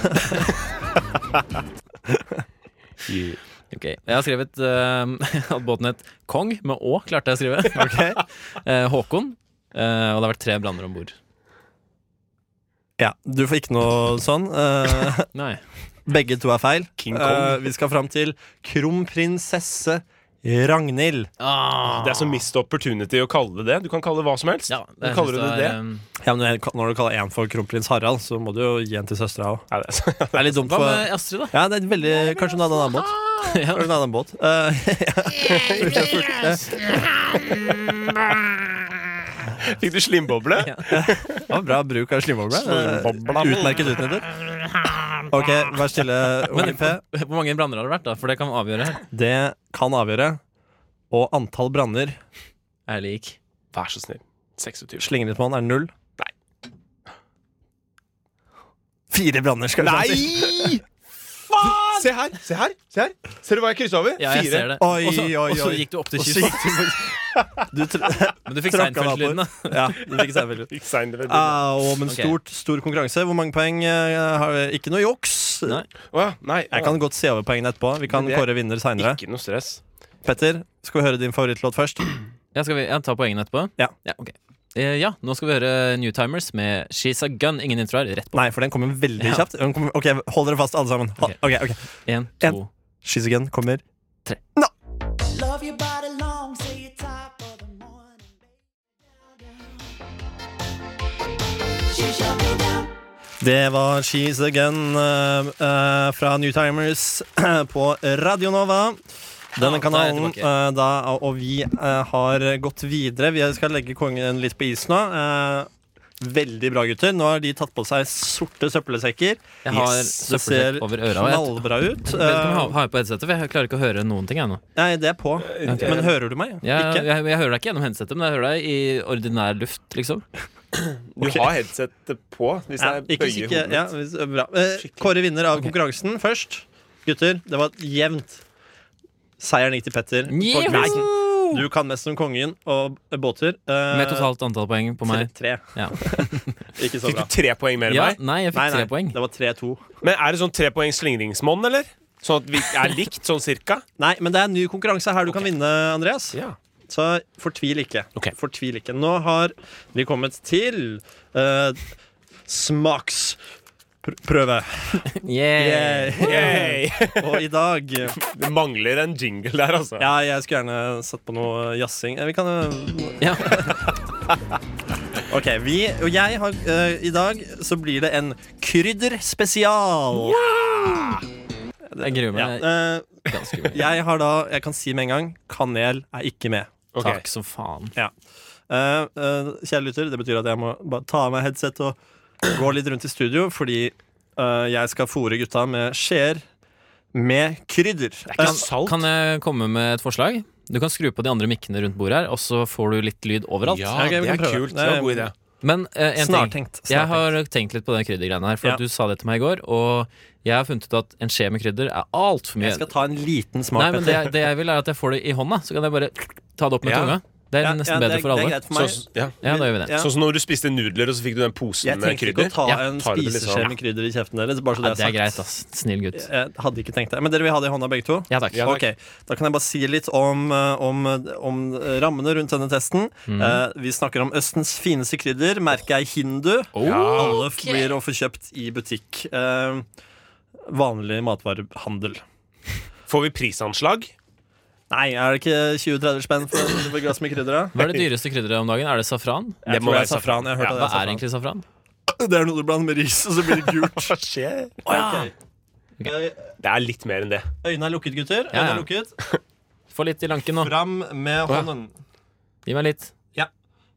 [SPEAKER 3] Ok, Jeg har skrevet eh, at båten het Kong, med Å klarte jeg å skrive.
[SPEAKER 2] Ok.
[SPEAKER 3] Eh, Håkon. eh, og det har vært tre branner om bord.
[SPEAKER 2] Ja, du får ikke noe sånn. Eh,
[SPEAKER 3] Nei.
[SPEAKER 2] begge to er feil.
[SPEAKER 1] King Kong.
[SPEAKER 2] Eh, vi skal fram til kronprinsesse Ragnhild.
[SPEAKER 3] Ah.
[SPEAKER 1] Det er så missed opportunity å kalle det det. Du kan kalle det hva som helst.
[SPEAKER 3] ja,
[SPEAKER 1] Nå kaller du
[SPEAKER 3] synes
[SPEAKER 1] det
[SPEAKER 3] er,
[SPEAKER 1] det?
[SPEAKER 3] eh,
[SPEAKER 2] Ja, men Når du kaller én for kronprins Harald, så må du jo gi en til søstera òg.
[SPEAKER 1] Ja, det er så-
[SPEAKER 2] Det er litt dumt
[SPEAKER 3] Hva
[SPEAKER 2] for
[SPEAKER 3] med Astrid, da?
[SPEAKER 2] ja, det er et veldig, Kanskje hun hadde en annen båt.
[SPEAKER 3] Ja.
[SPEAKER 2] Kanskje hun hadde en båt. Eh,
[SPEAKER 1] Fikk du slimboble?
[SPEAKER 2] det var bra bruk av slimboble. Eh, Utmerket utnyttet. Ok, vær stille, Onkel P.
[SPEAKER 3] Hvor mange branner har det vært, da? For det kan vi avgjøre her.
[SPEAKER 2] Det kan avgjøre. Og antall branner
[SPEAKER 3] Er lik
[SPEAKER 1] Vær så snill. 26.
[SPEAKER 2] Slingringsmålen er null. Nei. Fire branner, skal vi fram til.
[SPEAKER 1] Nei! Faen! Se her, se her. se her Ser du hva jeg kryssa over?
[SPEAKER 3] Ja, jeg
[SPEAKER 1] Fire.
[SPEAKER 3] ser det.
[SPEAKER 2] Oi,
[SPEAKER 3] og, så,
[SPEAKER 2] oi,
[SPEAKER 3] og så
[SPEAKER 2] oi.
[SPEAKER 3] gikk du opp til
[SPEAKER 2] Og så
[SPEAKER 3] kysten.
[SPEAKER 2] gikk du- Du tr-
[SPEAKER 3] Men du fikk
[SPEAKER 2] tråkka da på-
[SPEAKER 3] Seinfeld-lyden, da.
[SPEAKER 2] ja, du fikk Seinfeld.
[SPEAKER 1] Ikke sein, det vet du.
[SPEAKER 2] Au, men
[SPEAKER 3] Ok.
[SPEAKER 2] stort, stor konkurranse. Hvor mange poeng? eh, har vi? Ikke noe juks.
[SPEAKER 3] Nei.
[SPEAKER 1] Å ja, nei,
[SPEAKER 2] Jeg kan godt se over poengene etterpå. Vi kan
[SPEAKER 1] Men det-
[SPEAKER 2] kåre vinner seinere.
[SPEAKER 1] Ikke noe stress.
[SPEAKER 2] Petter, skal vi høre din favorittlåt først?
[SPEAKER 3] Ja, skal vi ja, ta poengene etterpå?
[SPEAKER 2] Ja.
[SPEAKER 3] ja ok. Eh, ja, nå skal vi høre Newtimers med She's a Gun. Ingen intro her. Rett på.
[SPEAKER 2] Nei, for den kommer veldig
[SPEAKER 3] Ja.
[SPEAKER 2] kjapt. Den kommer, ok, Hold dere fast, alle sammen. Hold, ok, ok
[SPEAKER 3] Én,
[SPEAKER 2] En.
[SPEAKER 3] to
[SPEAKER 2] She's Again kommer
[SPEAKER 3] Tre.
[SPEAKER 2] Nå!
[SPEAKER 4] Love your body long, say your top of the morning. She shut me down.
[SPEAKER 2] Det var She's Again eh, eh, fra Newtimers på Radio Nova. Denne
[SPEAKER 3] Ja, da er jeg
[SPEAKER 2] kanalen,
[SPEAKER 3] tilbake.
[SPEAKER 2] eh, da, og vi eh, har gått videre. Vi skal legge kongen litt på is nå. Eh, veldig bra, gutter. Nå har de tatt på seg sorte søppelsekker.
[SPEAKER 3] Jeg har
[SPEAKER 2] det ser
[SPEAKER 3] søppelsekk over øra. og Jeg,
[SPEAKER 2] knallbra ut.
[SPEAKER 3] jeg vet ikke om jeg
[SPEAKER 2] Eh,
[SPEAKER 3] har- har jeg på headsetet, for jeg klarer ikke å høre noen ting. Jeg, nå.
[SPEAKER 2] nei, det er på. Men hører du meg?
[SPEAKER 3] Jeg,
[SPEAKER 2] Ikke?
[SPEAKER 3] jeg, jeg hører deg ikke gjennom headsetet, men jeg hører deg i ordinær luft, liksom.
[SPEAKER 1] Du har headsetet på hvis
[SPEAKER 2] Ja,
[SPEAKER 1] jeg
[SPEAKER 2] ikke
[SPEAKER 1] bøyer
[SPEAKER 2] sikker-
[SPEAKER 1] hodet.
[SPEAKER 2] ja, hvis- bra. Eh, Kåre vinner av konkurransen først. Gutter, det var jevnt. Seieren gikk til Petter. på
[SPEAKER 3] Jeho!
[SPEAKER 2] quizen. Du kan mest om kongen og båter. Eh,
[SPEAKER 3] Med totalt antall poeng på meg.
[SPEAKER 2] Tre. tre.
[SPEAKER 3] Ja.
[SPEAKER 2] Ikke så
[SPEAKER 1] Fikk
[SPEAKER 2] bra.
[SPEAKER 1] du tre poeng mer enn
[SPEAKER 3] Ja,
[SPEAKER 1] meg?
[SPEAKER 3] nei, jeg fikk tre poeng.
[SPEAKER 2] det var 3-2.
[SPEAKER 1] Men er det sånn tre poengs slingringsmonn, eller? Sånn at vi er likt, sånn cirka?
[SPEAKER 2] Nei, men det er en ny konkurranse her du kan vinne, Andreas.
[SPEAKER 1] Ja.
[SPEAKER 2] Så fortvil ikke.
[SPEAKER 1] Ok.
[SPEAKER 2] Fortvil ikke. Nå har vi kommet til eh, smaksprøve.
[SPEAKER 3] Yeah.
[SPEAKER 1] Yay.
[SPEAKER 2] Og i dag
[SPEAKER 1] Det mangler en jingle der, altså.
[SPEAKER 2] Ja, jeg skulle gjerne satt på noe jazzing. Eh, Vi kan eh,
[SPEAKER 3] Ja.
[SPEAKER 2] Ok, vi og jeg har eh, I dag så blir det en krydderspesial.
[SPEAKER 3] Jeg gruer
[SPEAKER 2] Ja,
[SPEAKER 3] meg
[SPEAKER 2] eh,
[SPEAKER 3] ganske mye.
[SPEAKER 2] jeg har da Jeg kan si med en gang kanel er ikke med.
[SPEAKER 1] Ok.
[SPEAKER 3] Takk som faen.
[SPEAKER 2] Eh, eh, kjære lytter, det betyr at jeg må bare ta av meg headset og gå litt rundt i studio, fordi eh, jeg skal fôre gutta med skjeer med krydder.
[SPEAKER 1] Ikke
[SPEAKER 2] Eh,
[SPEAKER 1] salt.
[SPEAKER 3] Kan jeg komme med et forslag? Du kan skru på de andre mikkene rundt bordet her, og så får du litt lyd overalt.
[SPEAKER 1] Ja,
[SPEAKER 2] ok, vi
[SPEAKER 1] det
[SPEAKER 2] kan
[SPEAKER 1] er
[SPEAKER 2] prøve.
[SPEAKER 1] kult. Det var en god idé.
[SPEAKER 3] Men eh, en ting.
[SPEAKER 2] snartenkt. snartenkt.
[SPEAKER 3] Jeg har tenkt litt på den kryddergreiene her, for
[SPEAKER 2] Ja.
[SPEAKER 3] at du sa det til meg i går. Og jeg har funnet ut at en skje med krydder er altfor mye.
[SPEAKER 2] Jeg skal ta en liten smak.
[SPEAKER 3] Nei, men det, det jeg vil, er at jeg får det i hånda. Så kan jeg bare ta det opp med
[SPEAKER 1] Ja.
[SPEAKER 3] tunga. Det er
[SPEAKER 2] Ja,
[SPEAKER 3] nesten
[SPEAKER 2] ja,
[SPEAKER 3] bedre
[SPEAKER 2] det er-
[SPEAKER 3] for
[SPEAKER 2] Det er
[SPEAKER 3] alle.
[SPEAKER 2] greit for meg.
[SPEAKER 1] Sånn- ja.
[SPEAKER 3] Ja, da gjør vi det.
[SPEAKER 2] Ja.
[SPEAKER 1] Sånn som når du spiste nudler, og så fikk du den posen
[SPEAKER 2] Jeg
[SPEAKER 1] med
[SPEAKER 2] tenkte ikke
[SPEAKER 1] krydder.
[SPEAKER 2] å ta
[SPEAKER 3] Ja, liksom.
[SPEAKER 2] en
[SPEAKER 1] tar det litt
[SPEAKER 2] spiseskje
[SPEAKER 1] sånn.
[SPEAKER 2] med krydder i kjeften deres. Bare så
[SPEAKER 3] Ja,
[SPEAKER 2] det er
[SPEAKER 3] det er
[SPEAKER 2] sagt.
[SPEAKER 3] greit, ass. Snill gutt.
[SPEAKER 2] Jeg hadde ikke tenkt det. Men dere vil ha det i hånda, begge to?
[SPEAKER 3] Ja takk.
[SPEAKER 1] Ja,
[SPEAKER 2] Ok,
[SPEAKER 1] takk.
[SPEAKER 2] Da kan jeg bare si litt om, eh, om, eh, om rammene rundt denne testen.
[SPEAKER 3] Mhm.
[SPEAKER 2] Eh, vi snakker om Østens fineste krydder. Merket er hindu.
[SPEAKER 3] Oh.
[SPEAKER 2] Alle f- blir å få kjøpt i butikk. Eh, vanlig matvarehandel.
[SPEAKER 1] Får vi prisanslag?
[SPEAKER 2] Nei, er det ikke 20-30 spenn for for et glass med krydder? da?
[SPEAKER 3] Hva er det dyreste krydderet om dagen? Er det safran?
[SPEAKER 2] Jeg
[SPEAKER 1] Det må
[SPEAKER 2] tror det er
[SPEAKER 1] være
[SPEAKER 2] safran. Jeg har hørt
[SPEAKER 1] Ja,
[SPEAKER 2] at
[SPEAKER 3] Hva
[SPEAKER 2] det er
[SPEAKER 3] er egentlig safran?
[SPEAKER 2] safran. Det er noe du blander med ris, og så blir det gult.
[SPEAKER 1] Hva skjer?
[SPEAKER 3] Å ja.
[SPEAKER 1] Det er litt mer enn det.
[SPEAKER 2] Eh, Øynene er lukket, gutter.
[SPEAKER 3] Ja,
[SPEAKER 2] Øynene
[SPEAKER 3] ja.
[SPEAKER 2] er lukket.
[SPEAKER 3] Få litt i lanken nå.
[SPEAKER 2] Fram med hånden.
[SPEAKER 3] Gi meg litt.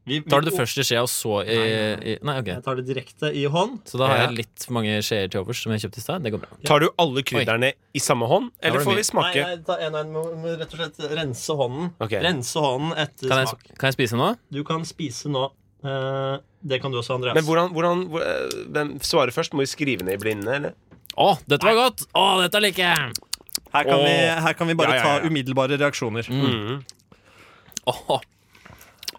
[SPEAKER 2] Vi, vi-
[SPEAKER 3] Tar du det først i skjea, og så i, i Nei, ok.
[SPEAKER 2] Jeg tar det direkte i hånd.
[SPEAKER 3] Så da har
[SPEAKER 1] Ja.
[SPEAKER 3] jeg litt for mange skjeer til overs som jeg kjøpte i stad. Det går bra.
[SPEAKER 1] Tar du alle krydderne i samme hånd,
[SPEAKER 3] var
[SPEAKER 1] eller
[SPEAKER 3] det
[SPEAKER 1] får vi
[SPEAKER 3] mye.
[SPEAKER 2] Nei,
[SPEAKER 1] smake?
[SPEAKER 2] nei, ta en og en. Må, må rett og slett rense hånden.
[SPEAKER 1] Ok.
[SPEAKER 2] Rense hånden etter
[SPEAKER 3] Kan jeg,
[SPEAKER 2] smak.
[SPEAKER 3] kan jeg spise nå?
[SPEAKER 2] Du kan spise nå. Eh, det kan du også, Andreas.
[SPEAKER 1] Men hvordan, hvordan hvor- eh, Hvem svarer først? Må vi skrive ned i blinde, eller?
[SPEAKER 3] Å, dette var godt! Å, dette liker jeg!
[SPEAKER 2] her, kan
[SPEAKER 1] Åh.
[SPEAKER 2] vi, her kan vi bare
[SPEAKER 1] Ja, ja, ja.
[SPEAKER 2] ta umiddelbare reaksjoner. Mm.
[SPEAKER 3] Å,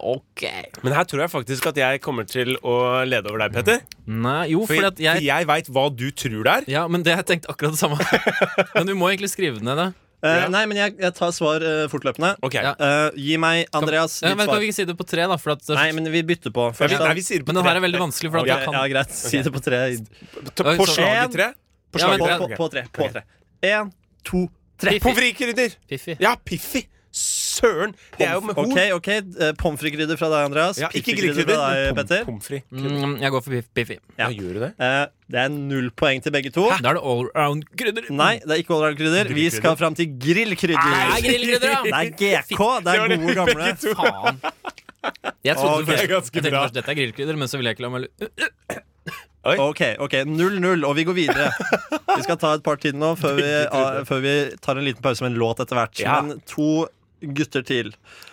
[SPEAKER 3] ok.
[SPEAKER 1] Men her tror jeg faktisk at jeg kommer til å lede over deg, Petter.
[SPEAKER 3] Nei, jo,
[SPEAKER 1] For
[SPEAKER 3] fordi
[SPEAKER 1] jeg,
[SPEAKER 3] at jeg
[SPEAKER 1] jeg veit hva du tror det er.
[SPEAKER 3] Ja, men det har jeg tenkt akkurat det samme. Men du må egentlig skrive det ned, da.
[SPEAKER 2] Eh,
[SPEAKER 1] Ja.
[SPEAKER 2] Nei, men jeg, jeg tar svar eh, fortløpende.
[SPEAKER 1] Ok,
[SPEAKER 3] Ja.
[SPEAKER 2] Eh, gi meg, Andreas,
[SPEAKER 3] Ja,
[SPEAKER 2] ditt
[SPEAKER 3] men kan
[SPEAKER 2] svar.
[SPEAKER 3] vi ikke si det på tre, da? For at
[SPEAKER 2] Nei, men vi bytter på.
[SPEAKER 1] Nei,
[SPEAKER 2] Først,
[SPEAKER 1] vi,
[SPEAKER 2] da.
[SPEAKER 1] nei, vi sier det på
[SPEAKER 3] Men den her
[SPEAKER 1] tre.
[SPEAKER 3] er veldig vanskelig, for at
[SPEAKER 2] ja,
[SPEAKER 3] jeg
[SPEAKER 2] ja,
[SPEAKER 3] kan
[SPEAKER 2] greit. Si det på tre.
[SPEAKER 1] Ta-
[SPEAKER 3] Oi,
[SPEAKER 1] På
[SPEAKER 3] sorry.
[SPEAKER 1] slaget
[SPEAKER 2] En.
[SPEAKER 1] tre. På
[SPEAKER 3] Ja, men-
[SPEAKER 2] På,
[SPEAKER 1] slaget
[SPEAKER 2] på,
[SPEAKER 1] tre. Ok.
[SPEAKER 2] på tre. På tre. En, to, tre.
[SPEAKER 1] Pommes frites-krydder!
[SPEAKER 3] Piffi.
[SPEAKER 1] Ja, Piffi! Søren! Det er jo med horn.
[SPEAKER 2] Ok, ok, eh, Pommes frites-krydder fra deg, Andreas.
[SPEAKER 1] Ja, ikke
[SPEAKER 2] Piffi-krydder
[SPEAKER 1] grillkrydder,
[SPEAKER 2] fra deg,
[SPEAKER 1] men
[SPEAKER 2] eh, Petter.
[SPEAKER 1] pom- pommes frites.
[SPEAKER 3] Mm, jeg går for piff- Piffi.
[SPEAKER 2] Ja.
[SPEAKER 1] Ja, gjør du det?
[SPEAKER 2] Eh, det er null poeng til begge to.
[SPEAKER 3] Da er det allround-krydder.
[SPEAKER 2] Nei, det er ikke allround-krydder. Vi skal fram til grillkrydder.
[SPEAKER 3] Nei, grillkrydder, ja.
[SPEAKER 2] Det er GK. Det er
[SPEAKER 1] var det
[SPEAKER 2] gode, gamle.
[SPEAKER 1] begge to.
[SPEAKER 3] Faen. Jeg trodde
[SPEAKER 2] Ok,
[SPEAKER 3] først,
[SPEAKER 1] ganske
[SPEAKER 3] jeg tenkte
[SPEAKER 1] bra.
[SPEAKER 3] først dette er grillkrydder, men så ville jeg ikke la meg lu-
[SPEAKER 2] Ok, ok, 0-0, og vi går videre. Vi skal ta et par til nå før vi, ah, før vi tar en liten pause med en låt etter hvert.
[SPEAKER 1] Ja.
[SPEAKER 2] Men to gutter til.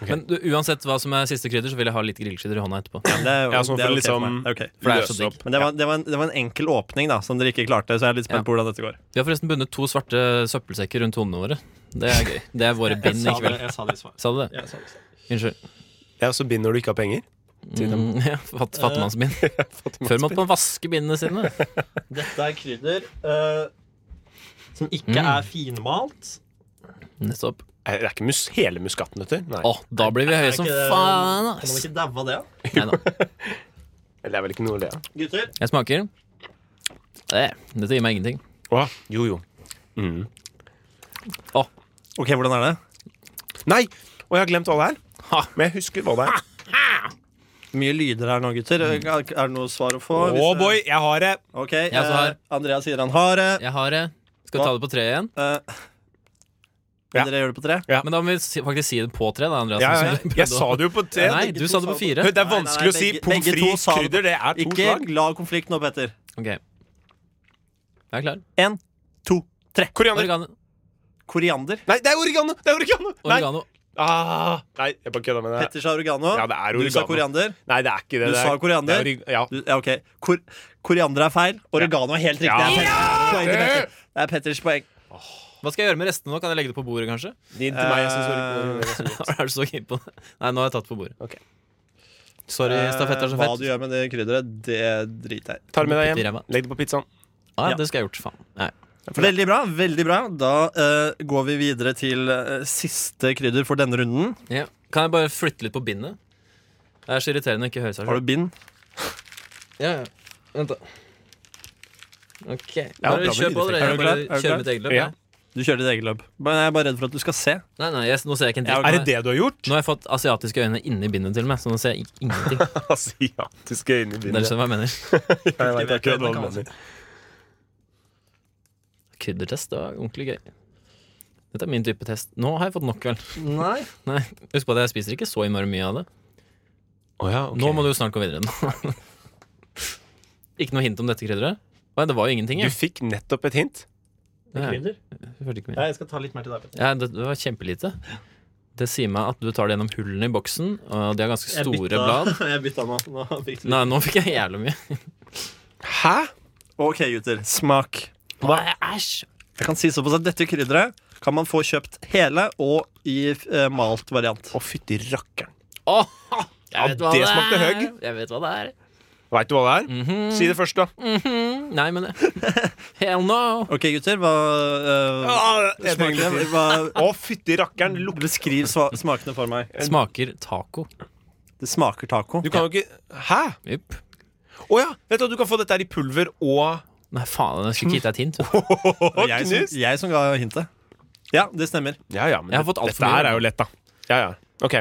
[SPEAKER 3] Men du, uansett hva som er siste krydder, så vil jeg ha litt grillkrydder i hånda etterpå.
[SPEAKER 2] Det er,
[SPEAKER 1] Ja, sånn
[SPEAKER 2] det er ok for
[SPEAKER 1] for liksom-
[SPEAKER 2] meg. Det er ok.
[SPEAKER 3] For det er så
[SPEAKER 1] Løse opp.
[SPEAKER 3] digg.
[SPEAKER 2] Men det var, det, var en, det var en enkel åpning da som dere ikke klarte, så jeg er litt spent på hvordan dette går.
[SPEAKER 3] Vi har forresten bundet to svarte søppelsekker rundt hodene våre. Det er gøy. Det er våre bind i kveld.
[SPEAKER 2] jeg sa det i svar.
[SPEAKER 3] Sa du det? Unnskyld.
[SPEAKER 1] Det er også bind når du ikke har penger.
[SPEAKER 3] Mm, ja, fatt, fattigmannsbind. Før måtte man vaske bindene sine.
[SPEAKER 2] Dette er krydder eh, som ikke
[SPEAKER 3] Mm.
[SPEAKER 2] er finmalt.
[SPEAKER 3] Nettopp.
[SPEAKER 1] Nei, Det er ikke mus hele muskatnøtter. Nei.
[SPEAKER 3] Å, da blir vi høye som faen,
[SPEAKER 2] Kan man
[SPEAKER 3] ass.
[SPEAKER 2] ikke daue av det?
[SPEAKER 3] Nei da.
[SPEAKER 1] Eller Det er vel ikke noe å le av.
[SPEAKER 2] Gutter?
[SPEAKER 3] Jeg smaker. Det, dette gir meg ingenting.
[SPEAKER 1] Å, Jo, jo. Mm.
[SPEAKER 2] Ok, hvordan er det?
[SPEAKER 1] Nei! Og jeg har glemt hva det er.
[SPEAKER 3] Ha.
[SPEAKER 1] Men jeg husker hva det er.
[SPEAKER 2] Mye lyder her nå, gutter.
[SPEAKER 3] Mm.
[SPEAKER 2] Er det noe svar å få?
[SPEAKER 1] Å
[SPEAKER 2] Hvis- eh,
[SPEAKER 1] boy, jeg har det!
[SPEAKER 2] Ok,
[SPEAKER 3] så har-
[SPEAKER 2] eh, Andreas sier han har det.
[SPEAKER 3] Jeg har det. Skal vi ta det på tre igjen?
[SPEAKER 2] Eh,
[SPEAKER 1] Ja.
[SPEAKER 2] Dere gjør det på tre?
[SPEAKER 1] Ja.
[SPEAKER 3] Men da må vi si- faktisk si det på tre, da, Andreas.
[SPEAKER 1] Ja,
[SPEAKER 3] som
[SPEAKER 1] ja,
[SPEAKER 3] du
[SPEAKER 1] Jeg
[SPEAKER 3] prøvde å-
[SPEAKER 1] sa det jo på te.
[SPEAKER 3] Nei, du sa det på fire.
[SPEAKER 1] Hør, Det er
[SPEAKER 2] Nei, nei, nei,
[SPEAKER 1] vanskelig å si
[SPEAKER 2] begge-
[SPEAKER 1] pommes
[SPEAKER 2] begge to
[SPEAKER 1] frites,
[SPEAKER 2] sa det på-
[SPEAKER 1] krydder. Det er to
[SPEAKER 2] Ikke
[SPEAKER 1] slag.
[SPEAKER 2] la konflikt nå, Petter.
[SPEAKER 3] Ok, jeg er klar.
[SPEAKER 2] Én, to, tre.
[SPEAKER 1] Koriander.
[SPEAKER 3] Oregano.
[SPEAKER 2] Koriander.
[SPEAKER 1] Nei, det er oregano! Det er oregano! Nei,
[SPEAKER 3] oregano.
[SPEAKER 1] ah, nei jeg bare kødda med det.
[SPEAKER 2] Petter sa oregano.
[SPEAKER 1] Ja, det er
[SPEAKER 2] Du sa
[SPEAKER 1] oregano.
[SPEAKER 2] koriander.
[SPEAKER 1] Nei, det er ikke
[SPEAKER 2] Du
[SPEAKER 1] det. det er,
[SPEAKER 2] sa koriander?
[SPEAKER 1] det er oreg- ja.
[SPEAKER 2] Du, ja, ok. Kor koriander er feil. Oregano er helt riktig.
[SPEAKER 1] Ja.
[SPEAKER 2] Det, er Petter- poeng til Petter. det er Petters poeng.
[SPEAKER 3] Hva skal jeg gjøre med restene nå? Kan jeg legge det på bordet, kanskje?
[SPEAKER 1] Din til meg, jeg synes oregano er så godt.
[SPEAKER 3] er du så keen på det? Nei, nå har jeg tatt på bordet.
[SPEAKER 1] Ok.
[SPEAKER 3] Sorry, stafett er så
[SPEAKER 2] Eh, Hva
[SPEAKER 3] fett.
[SPEAKER 2] du gjør med det krydderet, det driter jeg i.
[SPEAKER 1] Tar det med
[SPEAKER 3] Putt i
[SPEAKER 1] deg hjem.
[SPEAKER 3] ræva.
[SPEAKER 1] Legg det på pizzaen.
[SPEAKER 3] Ah,
[SPEAKER 2] Ja.
[SPEAKER 3] Det skulle jeg gjort, faen. Nei.
[SPEAKER 2] Veldig bra. veldig bra Da eh, går vi videre til eh, siste krydder for denne runden.
[SPEAKER 3] Ja. Kan jeg bare flytte litt på bindet? Det er så irriterende å ikke høre seg
[SPEAKER 2] Har du
[SPEAKER 3] selv.
[SPEAKER 2] bind?
[SPEAKER 3] Ja, ja. Vent, da. Ok.
[SPEAKER 1] Ja,
[SPEAKER 3] Bare
[SPEAKER 1] bra med
[SPEAKER 3] kjør på,
[SPEAKER 1] lydeffekter.
[SPEAKER 3] dere.
[SPEAKER 2] Er du klar?
[SPEAKER 3] Jeg bare
[SPEAKER 2] Er du klar?
[SPEAKER 3] kjører mitt eget løp.
[SPEAKER 1] Ja.
[SPEAKER 3] jeg.
[SPEAKER 2] Du kjører ditt eget løp. Men jeg er bare redd for at du skal se.
[SPEAKER 3] Nei, nei, jeg, nå ser jeg ikke en dritt.
[SPEAKER 1] Er det det du har gjort?
[SPEAKER 3] Nå har jeg fått asiatiske øyne inni bindet til meg, så nå ser jeg i- ingenting.
[SPEAKER 1] Asiatiske øyne i
[SPEAKER 3] Dere skjønner hva jeg mener.
[SPEAKER 1] Jeg vet akkurat hva du mener.
[SPEAKER 3] Kryddertest, det var ordentlig gøy. Dette er min type test. Nå har jeg fått nok, vel.
[SPEAKER 2] Nei
[SPEAKER 3] Nei, Husk på at jeg spiser ikke så innmari mye av det.
[SPEAKER 1] Å ja,
[SPEAKER 3] Nå
[SPEAKER 1] ok.
[SPEAKER 3] må du jo snart gå videre. nå. ikke noe hint om dette krydderet? Nei, det var jo ingenting.
[SPEAKER 1] Du
[SPEAKER 3] Jeg.
[SPEAKER 1] fikk nettopp et hint.
[SPEAKER 3] Jeg,
[SPEAKER 2] Krydder?
[SPEAKER 3] hørte ikke
[SPEAKER 2] Ja,
[SPEAKER 3] mye.
[SPEAKER 2] jeg skal ta litt mer til deg. Petter.
[SPEAKER 3] Ja, det, det var kjempelite. Det sier meg at du tar det gjennom hullene i boksen, og de har ganske
[SPEAKER 2] Jeg
[SPEAKER 3] store
[SPEAKER 2] bytta-
[SPEAKER 3] blad.
[SPEAKER 2] Jeg bytta nå. nå fikk du-
[SPEAKER 3] Nei, nå fikk jeg jævlig mye.
[SPEAKER 1] Hæ?
[SPEAKER 2] ok, gutter. Smak.
[SPEAKER 3] Æsj!
[SPEAKER 2] Jeg kan si såpass at dette krydderet kan man få kjøpt hele og i eh, malt variant.
[SPEAKER 1] Å, fytti rakkeren.
[SPEAKER 3] Åh,
[SPEAKER 1] Ja,
[SPEAKER 3] jeg vet hva
[SPEAKER 1] det
[SPEAKER 3] det
[SPEAKER 1] smakte
[SPEAKER 3] er.
[SPEAKER 1] høgg.
[SPEAKER 3] Jeg vet hva det er.
[SPEAKER 1] Veit du hva det er? Si det først, da.
[SPEAKER 3] Nei, men Hell no!
[SPEAKER 2] Ok, gutter. Hva
[SPEAKER 1] Ah,
[SPEAKER 2] uh,
[SPEAKER 1] jeg trenger litt
[SPEAKER 2] smakene,
[SPEAKER 1] tid.
[SPEAKER 2] hva,
[SPEAKER 1] Å, fytti rakkeren. Lukt.
[SPEAKER 2] Beskriv sva- smakene for meg.
[SPEAKER 3] Smaker taco.
[SPEAKER 2] Det smaker taco.
[SPEAKER 1] Du kan jo ikke Hæ?
[SPEAKER 3] Jupp.
[SPEAKER 1] Å ja! Vet du, hva, du kan få dette her i pulver og
[SPEAKER 3] Nei, faen, jeg skulle ikke gitt deg et hint. vet du.
[SPEAKER 1] og
[SPEAKER 2] Og jeg, som, jeg som ga hintet. Ja, det stemmer.
[SPEAKER 1] Ja, ja, men
[SPEAKER 3] Jeg har fått alt
[SPEAKER 1] dette
[SPEAKER 3] for mye.
[SPEAKER 1] her er jo lett, da. Ja, ja. OK,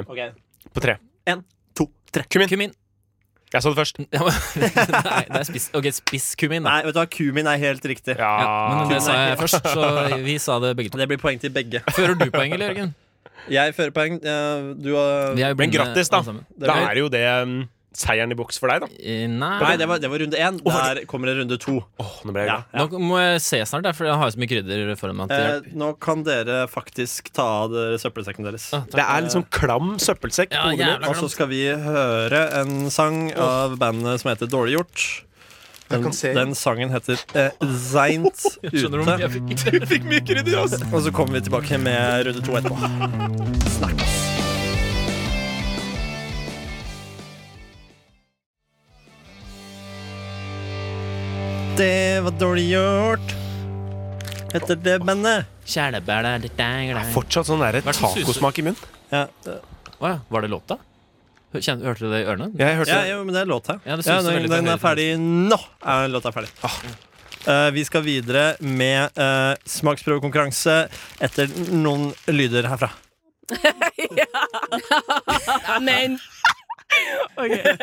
[SPEAKER 1] på tre.
[SPEAKER 2] En, to, tre.
[SPEAKER 1] Kumin.
[SPEAKER 3] Kumin.
[SPEAKER 1] Jeg sa det først.
[SPEAKER 3] Ja, men, nei, det er spiss, ok, spisskummin, da.
[SPEAKER 2] Nei, Ah. vet du hva, kumin er helt riktig.
[SPEAKER 1] Ja.
[SPEAKER 3] Ja, men det sa jeg først, så vi sa det begge to.
[SPEAKER 2] Det blir poeng til begge.
[SPEAKER 3] Fører du poeng, eller, Jørgen?
[SPEAKER 2] Jeg fører poeng. eh, Du har
[SPEAKER 3] Vi er jo
[SPEAKER 1] Men
[SPEAKER 3] blinde,
[SPEAKER 1] grattis, da.
[SPEAKER 3] alle sammen.
[SPEAKER 1] Da er jo det um, seieren i boks for deg, da.
[SPEAKER 3] Eh, Nei,
[SPEAKER 2] Nei, det var, det var runde én. Der kommer det runde to.
[SPEAKER 1] Åh, nå ble jeg
[SPEAKER 2] Ja,
[SPEAKER 1] glad.
[SPEAKER 2] ja.
[SPEAKER 3] Nå må jeg se snart, da, for jeg har jo så mye krydder foran meg. at det
[SPEAKER 2] Eh,
[SPEAKER 3] hjelper.
[SPEAKER 2] nå kan dere faktisk ta av dere søppelsekken deres.
[SPEAKER 3] Ah,
[SPEAKER 1] Det
[SPEAKER 3] takk.
[SPEAKER 1] er litt sånn klam søppelsekk.
[SPEAKER 3] Ja,
[SPEAKER 1] på hodet
[SPEAKER 3] jævla
[SPEAKER 1] mitt.
[SPEAKER 2] Og så skal vi høre en sang av bandet som heter Dårlig gjort. Den, den sangen heter eh, Seint
[SPEAKER 3] Skjønner du hvor mye
[SPEAKER 2] ute.
[SPEAKER 3] jeg fikk?
[SPEAKER 2] Og så kommer vi tilbake med runde to etterpå. Snakkes. Det var dårlig gjort. Heter det bandet.
[SPEAKER 3] Kjælebæla, det er glad.
[SPEAKER 1] Fortsatt sånn derre
[SPEAKER 3] Hva er det som
[SPEAKER 1] tacosmak i munnen.
[SPEAKER 2] Ja,
[SPEAKER 3] Å ja, Var det låta? Hør- kjen- Hørte du det i ørene?
[SPEAKER 1] Jeg hørte
[SPEAKER 2] ja, jo, men det er låt her.
[SPEAKER 3] Ja, det synes
[SPEAKER 2] Ja,
[SPEAKER 3] jeg
[SPEAKER 2] den,
[SPEAKER 3] veldig Ah.
[SPEAKER 2] den
[SPEAKER 3] fra
[SPEAKER 2] er
[SPEAKER 3] høyre.
[SPEAKER 2] ferdig nå. Er låta ferdig. Eh, vi skal videre med eh, smaksprøvekonkurranse etter noen lyder herfra.
[SPEAKER 10] Men Jeg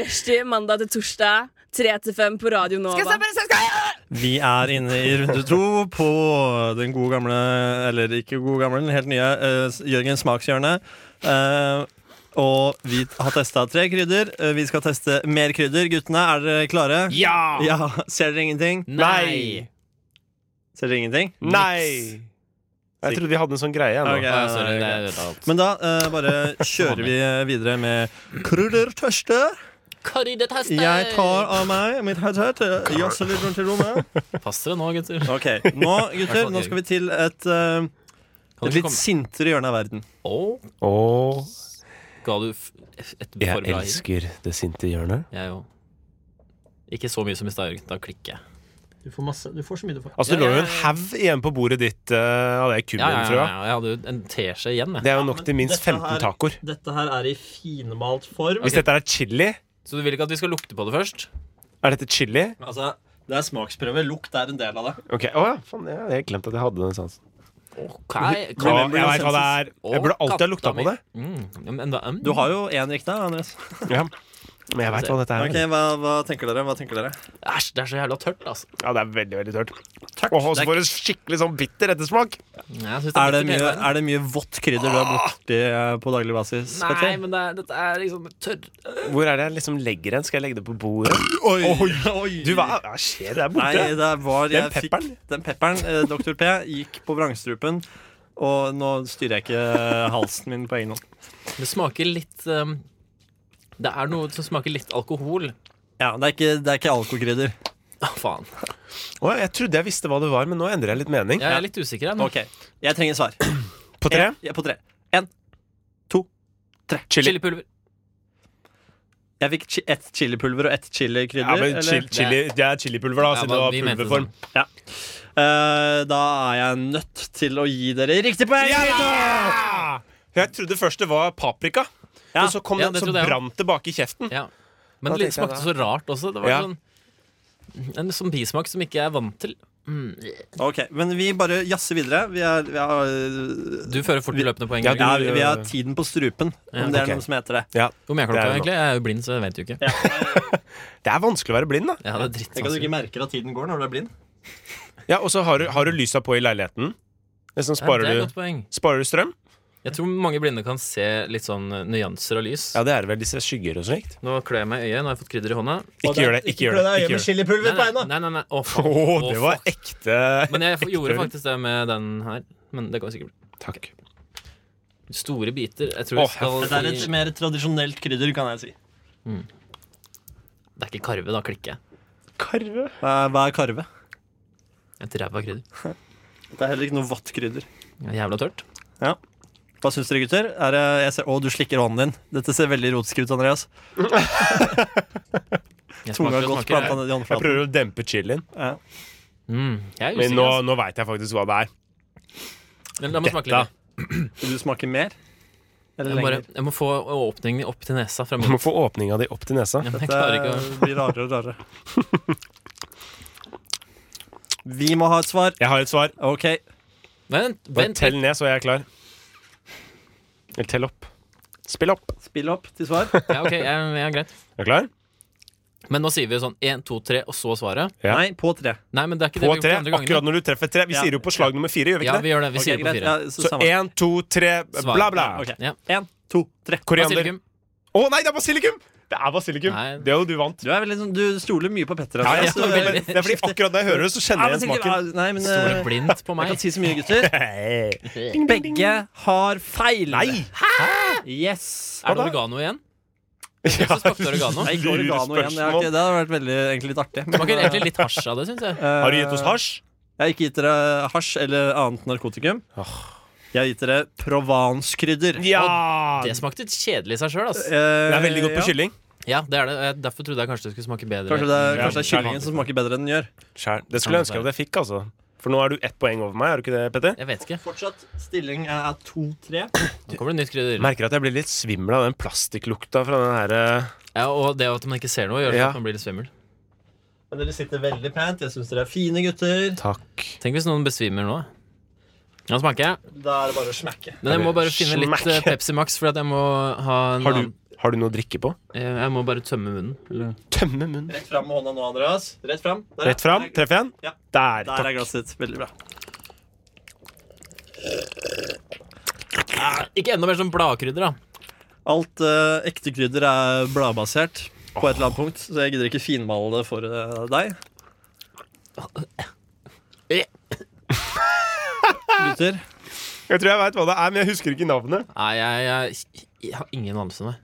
[SPEAKER 10] rushtid mandag til torsdag, 3 til 5 på Radio Nova.
[SPEAKER 2] Vi er inne i runde to på den gode gamle, eller ikke gode gamle, den helt nye eh, Jørgen Smakshjørne. Eh, og vi har testa tre krydder. Eh, vi skal teste mer krydder. Guttene, er dere klare?
[SPEAKER 1] Ja!
[SPEAKER 2] Ja, Ser dere ingenting?
[SPEAKER 3] Nei!
[SPEAKER 2] Ser dere ingenting?
[SPEAKER 1] Nei! Jeg trodde vi hadde en sånn greie ennå.
[SPEAKER 2] Ok,
[SPEAKER 3] Å, sorry, det er alt.
[SPEAKER 2] Men da eh, bare kjører vi videre med kryddertørste. Jeg tar av meg mitt headset, eh, jazzer litt rundt i rommet.
[SPEAKER 3] Pass dere nå, gutter.
[SPEAKER 2] Ok, Nå gutter, nå skal vi til et, eh,
[SPEAKER 3] Kan
[SPEAKER 2] et
[SPEAKER 3] du ikke
[SPEAKER 2] litt
[SPEAKER 3] komme-
[SPEAKER 2] sintere hjørne av verden.
[SPEAKER 3] Å,
[SPEAKER 1] Åh,
[SPEAKER 3] ga du f et for
[SPEAKER 1] jeg
[SPEAKER 3] bra hint?
[SPEAKER 1] elsker det sinte hjørnet.
[SPEAKER 3] Jeg jo. Ikke så mye som i stad, Jørgen. Da klikker jeg.
[SPEAKER 2] Du får, så mye du får.
[SPEAKER 1] Altså, Det
[SPEAKER 3] Ja,
[SPEAKER 1] lå jo
[SPEAKER 3] ja,
[SPEAKER 1] en
[SPEAKER 3] ja.
[SPEAKER 1] haug igjen på bordet ditt eh, av det
[SPEAKER 3] Ja, ja, ja,
[SPEAKER 1] kummenfrøa.
[SPEAKER 3] ja, jeg hadde jo en teskje igjen. Jeg.
[SPEAKER 1] Det er jo nok til minst
[SPEAKER 2] Dette her-
[SPEAKER 1] 15 tacoer.
[SPEAKER 2] Dette her er i finmalt form.
[SPEAKER 1] Hvis dette er chili,
[SPEAKER 3] Så du vil ikke at vi skal lukte på det først?
[SPEAKER 1] er dette chili?
[SPEAKER 2] Altså, det er smaksprøve. Lukt er en del av det.
[SPEAKER 1] Ok, Å ja, faen, jeg hadde helt glemt at jeg hadde den sansen.
[SPEAKER 3] Ok,
[SPEAKER 1] Ja,
[SPEAKER 3] kan-
[SPEAKER 1] jeg vet hva det er.
[SPEAKER 3] Å,
[SPEAKER 1] Jeg burde alltid ha
[SPEAKER 3] katta
[SPEAKER 1] lukta
[SPEAKER 3] mi.
[SPEAKER 1] på det.
[SPEAKER 3] Mm, ja, men da- mm.
[SPEAKER 2] Du har jo én riktig, Andres.
[SPEAKER 1] Ja. Men jeg veit hva dette
[SPEAKER 2] Ok,
[SPEAKER 1] er.
[SPEAKER 2] hva, hva tenker dere? Hva tenker dere?
[SPEAKER 3] Æsj, det er så jævla tørt, altså.
[SPEAKER 1] Ja, det er veldig, veldig tørt. Og så får du skikkelig sånn bitter ettersmak.
[SPEAKER 3] Nei, jeg synes
[SPEAKER 2] Er det mye,
[SPEAKER 3] bitter hele veien.
[SPEAKER 2] er det mye vått krydder du er borti eh, på daglig basis?
[SPEAKER 3] Nei, men det er, dette er liksom tørr
[SPEAKER 1] Hvor er det jeg liksom legger den? Skal jeg legge det på bordet?
[SPEAKER 2] Oi,
[SPEAKER 1] Du, hva hva skjer der
[SPEAKER 2] Nei,
[SPEAKER 1] borte?
[SPEAKER 2] det var
[SPEAKER 1] Den
[SPEAKER 2] jeg fikk-
[SPEAKER 1] pepperen?
[SPEAKER 2] Den pepperen, eh, Dr. P, gikk på vrangstrupen. Og nå styrer jeg ikke eh, halsen min på egen hånd.
[SPEAKER 3] Det smaker litt um, Det er noe som smaker litt alkohol.
[SPEAKER 2] Ja, det er ikke, det er ikke alkokrydder.
[SPEAKER 3] Å, faen.
[SPEAKER 1] Å, jeg trodde jeg visste hva det var, men nå endrer jeg litt mening.
[SPEAKER 3] Jeg er litt usikker her nå.
[SPEAKER 2] Ok, jeg trenger svar.
[SPEAKER 1] På Mm. tre?
[SPEAKER 2] Jeg, jeg er på tre.
[SPEAKER 1] Chili.
[SPEAKER 3] Chilipulver.
[SPEAKER 2] Jeg fikk chi ett chilipulver og ett chilikrydder.
[SPEAKER 1] Ja, men
[SPEAKER 2] eller?
[SPEAKER 1] chili, chili, det er chilipulver, da,
[SPEAKER 3] Ja,
[SPEAKER 1] siden
[SPEAKER 3] men
[SPEAKER 1] det var
[SPEAKER 3] vi mente det sånn.
[SPEAKER 1] pulverform.
[SPEAKER 2] Eh, da er jeg nødt til å gi dere riktig poeng!
[SPEAKER 1] Jeg trodde først det var paprika,
[SPEAKER 2] Ja,
[SPEAKER 1] men så, kom
[SPEAKER 3] ja,
[SPEAKER 1] den,
[SPEAKER 3] det
[SPEAKER 1] så
[SPEAKER 3] trodde jeg også.
[SPEAKER 1] brant det bak i kjeften.
[SPEAKER 3] Ja. Men
[SPEAKER 1] Da
[SPEAKER 3] det
[SPEAKER 1] tenkte jeg
[SPEAKER 3] smakte så rart også. Det var
[SPEAKER 1] Ja.
[SPEAKER 3] sånn En sånn bismak som ikke jeg er vant til. Mm.
[SPEAKER 2] Ok, Men vi bare jazzer videre. Vi er, vi er
[SPEAKER 3] Du fører fortløpende poeng.
[SPEAKER 1] Ja,
[SPEAKER 3] Jørgen.
[SPEAKER 2] ja, vi vi har tiden på strupen, om
[SPEAKER 3] Ja,
[SPEAKER 2] det
[SPEAKER 1] ok.
[SPEAKER 2] er noe som heter det.
[SPEAKER 3] Hvor mye er
[SPEAKER 1] Det
[SPEAKER 3] klokka
[SPEAKER 1] er jo
[SPEAKER 3] egentlig? Jeg er jo blind, så jeg vet jo ikke. Ja,
[SPEAKER 1] Det er vanskelig å være blind, da.
[SPEAKER 3] det er dritt altså.
[SPEAKER 2] Tenk at du
[SPEAKER 3] vanskelig.
[SPEAKER 2] ikke merker at tiden går når du er blind.
[SPEAKER 1] Ja, Og så har du, har du lysa på i leiligheten.
[SPEAKER 3] Ja,
[SPEAKER 1] Liksom
[SPEAKER 3] det er
[SPEAKER 1] sparer,
[SPEAKER 3] et
[SPEAKER 1] du,
[SPEAKER 3] godt poeng.
[SPEAKER 1] sparer du strøm?
[SPEAKER 3] Jeg tror mange blinde kan se litt sånn eh, nyanser av lys.
[SPEAKER 1] Ja, det er vel disse skygger og slikt.
[SPEAKER 3] Nå klør jeg meg i øyet. Nå har jeg fått krydder i hånda.
[SPEAKER 1] Ikke gjør det. ikke gjør det, ikke gjør det.
[SPEAKER 2] chilipulver
[SPEAKER 3] Nei, nei, nei. nei, nei. Å, faen.
[SPEAKER 1] Å,
[SPEAKER 3] Å,
[SPEAKER 1] det var
[SPEAKER 3] fuck.
[SPEAKER 1] ekte
[SPEAKER 3] Men jeg gjorde
[SPEAKER 1] øl.
[SPEAKER 3] faktisk det med den her. Men det går sikkert bra.
[SPEAKER 1] Takk.
[SPEAKER 3] Store biter. Jeg tror
[SPEAKER 1] Å,
[SPEAKER 3] vi skal
[SPEAKER 2] Det er et
[SPEAKER 3] i-
[SPEAKER 2] mer tradisjonelt krydder, kan jeg si.
[SPEAKER 3] det er ikke karve, da klikker jeg.
[SPEAKER 1] Karve.
[SPEAKER 2] Hva hva er karve?
[SPEAKER 3] Et ræva krydder.
[SPEAKER 2] Det er heller ikke noe vått krydder.
[SPEAKER 3] Det er Jævla tørt.
[SPEAKER 2] Hva syns dere, gutter? Er det, jeg ser, å, du slikker hånden din. Dette ser veldig erotisk ut, Andreas.
[SPEAKER 3] Jeg
[SPEAKER 2] Tunga er
[SPEAKER 3] smaker og
[SPEAKER 2] godt
[SPEAKER 3] smaker.
[SPEAKER 2] planta ned i
[SPEAKER 1] Jeg
[SPEAKER 2] håndflaten.
[SPEAKER 1] prøver å dempe chilien,
[SPEAKER 3] Mm, jeg er
[SPEAKER 1] men
[SPEAKER 3] usikker.
[SPEAKER 1] nå,
[SPEAKER 3] altså.
[SPEAKER 1] nå veit jeg faktisk hva det er.
[SPEAKER 3] Men La meg smake
[SPEAKER 1] Dette.
[SPEAKER 3] litt.
[SPEAKER 2] Vil du smake mer? Eller
[SPEAKER 3] Jeg, må bare,
[SPEAKER 2] lenger?
[SPEAKER 3] jeg må få åpningen opp til nesa fra
[SPEAKER 1] Du
[SPEAKER 3] munnen.
[SPEAKER 1] må få åpninga di opp til nesa.
[SPEAKER 3] Ja, men jeg
[SPEAKER 2] Det
[SPEAKER 3] klarer ikke å
[SPEAKER 2] blir rarere og rarere. Vi må ha et svar.
[SPEAKER 1] Jeg har et svar.
[SPEAKER 2] OK.
[SPEAKER 3] Vent,
[SPEAKER 1] Bare
[SPEAKER 3] vent.
[SPEAKER 1] tell ned, så er jeg klar. Eller tell opp. Spill opp.
[SPEAKER 2] Spill opp til svar.
[SPEAKER 3] Ja, ok, ja, ja, greit
[SPEAKER 1] Er du klar?
[SPEAKER 3] Men nå sier vi jo sånn 1, 2, 3 og så svaret
[SPEAKER 1] Ja.
[SPEAKER 2] Nei, på tre.
[SPEAKER 3] Nei, men det er ikke
[SPEAKER 1] På
[SPEAKER 3] det vi
[SPEAKER 1] tre.
[SPEAKER 3] gjorde andre
[SPEAKER 1] Akkurat
[SPEAKER 3] gangene
[SPEAKER 1] når du treffer tre. Vi
[SPEAKER 2] Ja.
[SPEAKER 1] sier jo på slag nummer fire, gjør vi
[SPEAKER 3] Ja,
[SPEAKER 1] ikke det?
[SPEAKER 3] vi gjør det, vi
[SPEAKER 2] Ok,
[SPEAKER 3] sier det på
[SPEAKER 2] greit,
[SPEAKER 3] fire
[SPEAKER 2] ja, så
[SPEAKER 1] Så
[SPEAKER 2] samme.
[SPEAKER 1] én, to, tre,
[SPEAKER 3] Svar.
[SPEAKER 1] bla, bla.
[SPEAKER 2] Ok.
[SPEAKER 3] Ja.
[SPEAKER 2] En, to, tre.
[SPEAKER 1] Koriander.
[SPEAKER 3] Basilikum.
[SPEAKER 1] Å nei, det er basilikum! Det er basilikum.
[SPEAKER 3] Nei.
[SPEAKER 1] Det er jo du vant.
[SPEAKER 2] Du, er veldig, sånn- du stoler mye på Petter.
[SPEAKER 1] Ja,
[SPEAKER 2] Andreas.
[SPEAKER 1] jeg står
[SPEAKER 2] Du er
[SPEAKER 1] veldig- det er fordi akkurat når jeg hører det, så kjenner jeg igjen
[SPEAKER 2] Ja,
[SPEAKER 1] smaken.
[SPEAKER 2] men sikkert- Nei, men
[SPEAKER 3] Stoler
[SPEAKER 2] eh,
[SPEAKER 3] blindt på
[SPEAKER 2] jeg
[SPEAKER 3] meg
[SPEAKER 2] kan si så mye, gutter.
[SPEAKER 1] Hei.
[SPEAKER 2] Begge har feil.
[SPEAKER 1] Nei!
[SPEAKER 2] Yes.
[SPEAKER 3] Er det oregano igjen?
[SPEAKER 1] Ja.
[SPEAKER 3] smakte oregano.
[SPEAKER 2] Nei, ikke oregano igjen. Jeg har ikke, det hadde vært veldig, egentlig litt artig. men,
[SPEAKER 3] Smaker
[SPEAKER 2] eh,
[SPEAKER 3] egentlig litt hasj av det, synes jeg
[SPEAKER 2] eh,
[SPEAKER 1] Har du gitt oss hasj?
[SPEAKER 2] Jeg har ikke gitt dere hasj eller annet narkotikum. Jeg har gitt dere provanskrydder. Eh,
[SPEAKER 1] Ja!
[SPEAKER 3] Det smakte kjedelig i seg selv, ass
[SPEAKER 1] Det er veldig godt på
[SPEAKER 2] ja.
[SPEAKER 1] kylling.
[SPEAKER 3] Ja, det er det og jeg- Derfor trodde jeg kanskje det skulle smake bedre
[SPEAKER 2] Kanskje det er,
[SPEAKER 1] Ja,
[SPEAKER 2] kanskje det er kyllingen som smaker bedre enn den gjør.
[SPEAKER 1] Skjær. Det skulle jeg ønske at jeg fikk, altså. For nå er du ett poeng over meg, er du ikke det, Petter?
[SPEAKER 3] Jeg vet ikke
[SPEAKER 2] Fortsatt stilling er 2-3.
[SPEAKER 3] Nå kommer det nytt krydder
[SPEAKER 1] Merker at jeg blir litt svimmel av den plastikklukta fra den her eh,
[SPEAKER 3] ja, Og det at man ikke ser noe gjør
[SPEAKER 1] Ja.
[SPEAKER 3] at man blir litt svimmel
[SPEAKER 2] Men dere sitter veldig pent. Jeg syns dere er fine gutter.
[SPEAKER 1] Takk.
[SPEAKER 3] Tenk hvis noen besvimer nå Nå smaker jeg
[SPEAKER 2] Da er det bare å smekke.
[SPEAKER 3] Men jeg må bare finne litt
[SPEAKER 1] Smack.
[SPEAKER 3] eh, Pepsi Max, for at jeg må ha en
[SPEAKER 1] Har du,
[SPEAKER 3] annen-
[SPEAKER 1] har du noe å drikke på?
[SPEAKER 3] Jeg jeg må bare tømme munnen. Eller?
[SPEAKER 1] Tømme munnen.
[SPEAKER 2] Rett fram med hånda nå, Andreas. Rett fram. Der, ja.
[SPEAKER 1] Rett fram. Treffer jeg
[SPEAKER 2] Ja.
[SPEAKER 1] den? Der.
[SPEAKER 2] Der er
[SPEAKER 1] Takk.
[SPEAKER 2] glasset ditt. Veldig bra.
[SPEAKER 3] Ikke enda mer sånn bladkrydder, da.
[SPEAKER 2] Alt eh, ekte krydder er bladbasert på et eller annet punkt, så jeg gidder ikke finmale det for eh, deg. Gutter.
[SPEAKER 1] Jeg tror jeg veit hva det er, men jeg husker ikke navnet.
[SPEAKER 3] Nei, jeg, jeg, jeg har ingen anelse om det.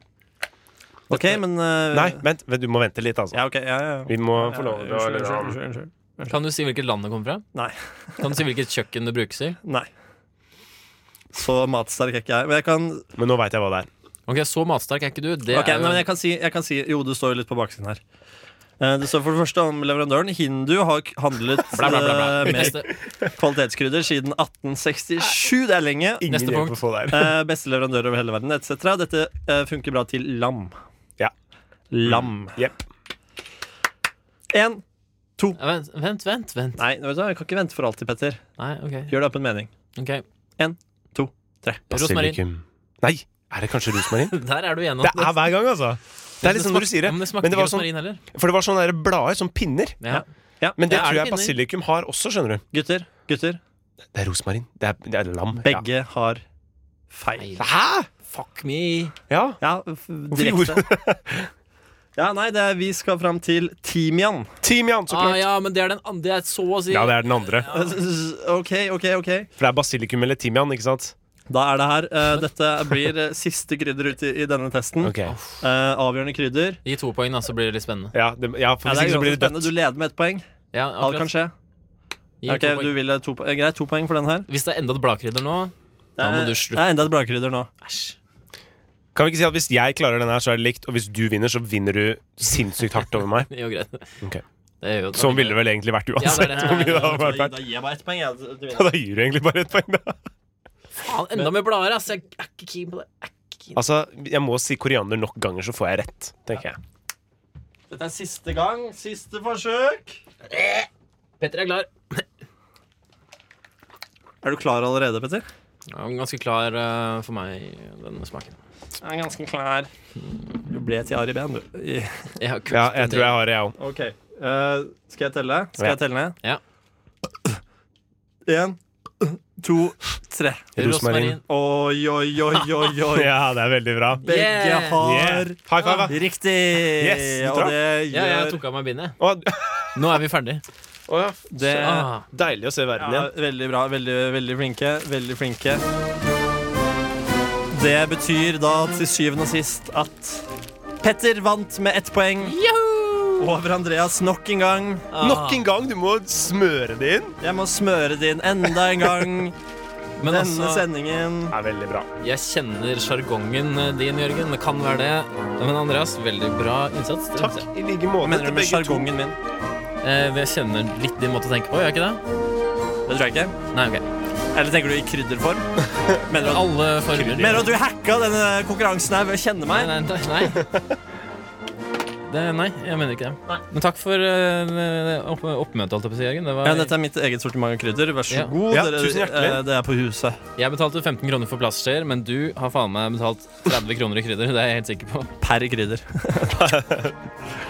[SPEAKER 2] OK, men eh,
[SPEAKER 1] Nei, vent. vent, Du må vente litt, altså.
[SPEAKER 2] Ja, ok, ja, ja.
[SPEAKER 1] Vi må
[SPEAKER 2] Ja,
[SPEAKER 1] få lov til å
[SPEAKER 2] unnskyld,
[SPEAKER 1] liksom-
[SPEAKER 2] unnskyld, unnskyld,
[SPEAKER 3] Kan du si hvilket land det kommer fra?
[SPEAKER 2] Nei.
[SPEAKER 3] Kan du si hvilket kjøkken det brukes i?
[SPEAKER 2] unnskyld. Nei. Så matsterk er ikke jeg. Men jeg kan,
[SPEAKER 1] Men nå veit jeg hva det er.
[SPEAKER 3] Ok, Så matsterk er ikke du. Det
[SPEAKER 2] ok,
[SPEAKER 3] er jo-
[SPEAKER 2] nei, men jeg kan, si, jeg kan si Jo, det står jo litt på baksiden her. Eh, Det står for det første om leverandøren. Hindu har k- handlet
[SPEAKER 3] Bla, bla, bla, bla.
[SPEAKER 2] eh, med
[SPEAKER 3] Neste.
[SPEAKER 2] kvalitetskrydder siden 1867. Det er lenge.
[SPEAKER 1] Ingen
[SPEAKER 3] Neste
[SPEAKER 1] hjelp
[SPEAKER 3] punkt.
[SPEAKER 1] å få der.
[SPEAKER 2] Eh, beste leverandør over hele verden, etc. Dette eh, funker bra til lam.
[SPEAKER 1] Ja.
[SPEAKER 2] Lam.
[SPEAKER 1] Eh, Jepp.
[SPEAKER 2] Én.
[SPEAKER 3] Ja, Vent, vent, vent. vent.
[SPEAKER 2] Nei, vet du, hva, jeg kan ikke vente for alltid, Petter.
[SPEAKER 3] Nei, ok.
[SPEAKER 2] Gjør det opp en mening.
[SPEAKER 3] Ok.
[SPEAKER 2] Tre.
[SPEAKER 3] Eh, Rosmarin.
[SPEAKER 1] Basilikum. Nei, er det kanskje rosmarin?
[SPEAKER 3] Der er du igjennom.
[SPEAKER 1] Det er hver gang, altså. Det er litt sånn når du
[SPEAKER 3] smak-
[SPEAKER 1] sier det.
[SPEAKER 3] Men det smakte
[SPEAKER 1] Men det
[SPEAKER 3] ikke
[SPEAKER 1] var sånn,
[SPEAKER 3] rosmarin heller.
[SPEAKER 1] for det var sånne der blader, som pinner.
[SPEAKER 3] Ja.
[SPEAKER 1] Men det
[SPEAKER 3] Ja, er det
[SPEAKER 1] tror jeg
[SPEAKER 3] pinner?
[SPEAKER 1] basilikum har også, skjønner du.
[SPEAKER 2] Gutter, gutter.
[SPEAKER 1] Det er rosmarin. Det er, det er lam. Ja.
[SPEAKER 2] Begge har feil.
[SPEAKER 3] Nei,
[SPEAKER 1] Hæ?
[SPEAKER 3] fuck me.
[SPEAKER 1] Ja.
[SPEAKER 2] Ja, f- direkte. Ja, nei, det er, vi skal fram til timian.
[SPEAKER 1] Timian, så
[SPEAKER 3] Ah,
[SPEAKER 1] klart.
[SPEAKER 3] ja, men det er den andre. Det er så å si
[SPEAKER 1] Ja, det er den andre.
[SPEAKER 2] OK, OK, OK.
[SPEAKER 1] For det er basilikum eller timian, ikke sant?
[SPEAKER 2] Da er det her. eh, dette blir eh, siste krydder ut i, i denne
[SPEAKER 3] Mm.
[SPEAKER 2] testen.
[SPEAKER 1] Ok
[SPEAKER 2] Eh, avgjørende krydder.
[SPEAKER 3] Gi to poeng, da, så blir det litt spennende.
[SPEAKER 1] Ja, det, ja for
[SPEAKER 2] Ja, det
[SPEAKER 1] hvis
[SPEAKER 2] er
[SPEAKER 1] ikke så blir
[SPEAKER 2] uansett
[SPEAKER 1] det dødt.
[SPEAKER 2] spennende. Du leder med ett poeng.
[SPEAKER 3] Ja,
[SPEAKER 2] Alt kan
[SPEAKER 3] akkurat.
[SPEAKER 2] skje.
[SPEAKER 3] Gi to
[SPEAKER 2] Ok,
[SPEAKER 3] poeng.
[SPEAKER 2] du ville to, po- eh, greit, to poeng for den her.
[SPEAKER 3] Hvis det er enda et bladkrydder nå
[SPEAKER 2] Det
[SPEAKER 3] Da må
[SPEAKER 1] Eh,
[SPEAKER 2] er,
[SPEAKER 3] du
[SPEAKER 2] det
[SPEAKER 3] slutte.
[SPEAKER 2] er enda et bladkrydder nå.
[SPEAKER 3] Æsj.
[SPEAKER 1] Kan vi ikke si at hvis jeg klarer den her, så er det likt, og hvis du vinner, så vinner du sinnssykt hardt over meg?
[SPEAKER 3] Det er jo greit.
[SPEAKER 1] Ok.
[SPEAKER 3] Det er jo-
[SPEAKER 1] Sånn ville det vel egentlig vært
[SPEAKER 3] Ja, det er
[SPEAKER 1] uansett.
[SPEAKER 3] det.
[SPEAKER 1] hvor mye det hadde vært verdt.
[SPEAKER 2] gir jeg bare ett poeng.
[SPEAKER 1] Ja, da gir du egentlig bare ett poeng, da.
[SPEAKER 3] Faen, enda mer blader, ass. Jeg er ikke keen på det. Jeg er ikke keen.
[SPEAKER 1] Altså, jeg må si koriander nok ganger, så får jeg rett, tenker jeg.
[SPEAKER 2] Dette er siste gang. Siste forsøk.
[SPEAKER 3] Petter er klar.
[SPEAKER 2] Er du klar allerede, Petter?
[SPEAKER 3] Ja, ganske klar eh, for meg, den smaken.
[SPEAKER 2] Jeg er ganske klar. Du ble til Ari Behn, du. I-
[SPEAKER 3] Jeg har
[SPEAKER 1] Ja, jeg tror jeg har det, jeg òg.
[SPEAKER 2] Ok. eh, skal jeg telle? Skal
[SPEAKER 1] Ja.
[SPEAKER 2] jeg telle ned?
[SPEAKER 3] Ja.
[SPEAKER 2] Én, to, tre.
[SPEAKER 1] Rosmarin.
[SPEAKER 2] Oi, oi, oi, oi, oi.
[SPEAKER 1] Ja, det er veldig bra.
[SPEAKER 2] Begge
[SPEAKER 3] Yeah.
[SPEAKER 2] har
[SPEAKER 1] Yeah. High five, da.
[SPEAKER 2] riktig.
[SPEAKER 1] Yes, du
[SPEAKER 2] Og
[SPEAKER 1] traff.
[SPEAKER 2] det
[SPEAKER 3] Ja, jeg
[SPEAKER 2] gjør
[SPEAKER 3] tok av meg bindet.
[SPEAKER 1] Å,
[SPEAKER 3] Nå er vi ferdig.
[SPEAKER 1] å ja.
[SPEAKER 2] det
[SPEAKER 3] Ah,
[SPEAKER 1] Deilig å se verden
[SPEAKER 2] Ja,
[SPEAKER 1] igjen.
[SPEAKER 2] veldig bra. Veldig, veldig flinke. Veldig flinke. Det betyr da til syvende og sist at Petter vant med ett poeng. Over Andreas nok en gang.
[SPEAKER 1] Nok en gang, du må smøre det inn.
[SPEAKER 2] Jeg må smøre det inn enda en gang.
[SPEAKER 3] men
[SPEAKER 2] Denne
[SPEAKER 3] altså,
[SPEAKER 2] sendingen.
[SPEAKER 1] Det er veldig bra.
[SPEAKER 3] jeg kjenner sjargongen eh, din, Jørgen. Det kan være det. Men Andreas, veldig bra innsats. Det
[SPEAKER 1] Takk
[SPEAKER 3] synes jeg.
[SPEAKER 1] i like måte
[SPEAKER 2] Mener
[SPEAKER 1] til
[SPEAKER 2] du med
[SPEAKER 1] begge to.
[SPEAKER 2] sjargongen min?
[SPEAKER 3] Eh, jeg kjenner litt din måte å tenke på, gjør jeg ikke det?
[SPEAKER 2] Det tror jeg ikke.
[SPEAKER 3] Nei, ok.
[SPEAKER 2] Eller tenker du i krydderform? Mener du at,
[SPEAKER 3] Alle former.
[SPEAKER 2] mener du at du hacka denne konkurransen her ved å kjenne
[SPEAKER 3] Nei,
[SPEAKER 2] meg?
[SPEAKER 3] nei, nei. nei. Det, nei, jeg mener ikke det.
[SPEAKER 7] Nei.
[SPEAKER 3] Men takk for eh, opp, oppmøtet, holdt jeg på å si, Jørgen. Det var,
[SPEAKER 2] Ja, dette er mitt eget sortiment av krydder. Vær så
[SPEAKER 3] Ja.
[SPEAKER 2] god.
[SPEAKER 1] Ja,
[SPEAKER 2] dere,
[SPEAKER 1] tusen hjertelig.
[SPEAKER 2] eh, det er på huset.
[SPEAKER 3] Jeg betalte 15 kroner for plastskjeer, men du har faen meg betalt 30 kroner i krydder. Det er jeg helt sikker på.
[SPEAKER 2] Per krydder.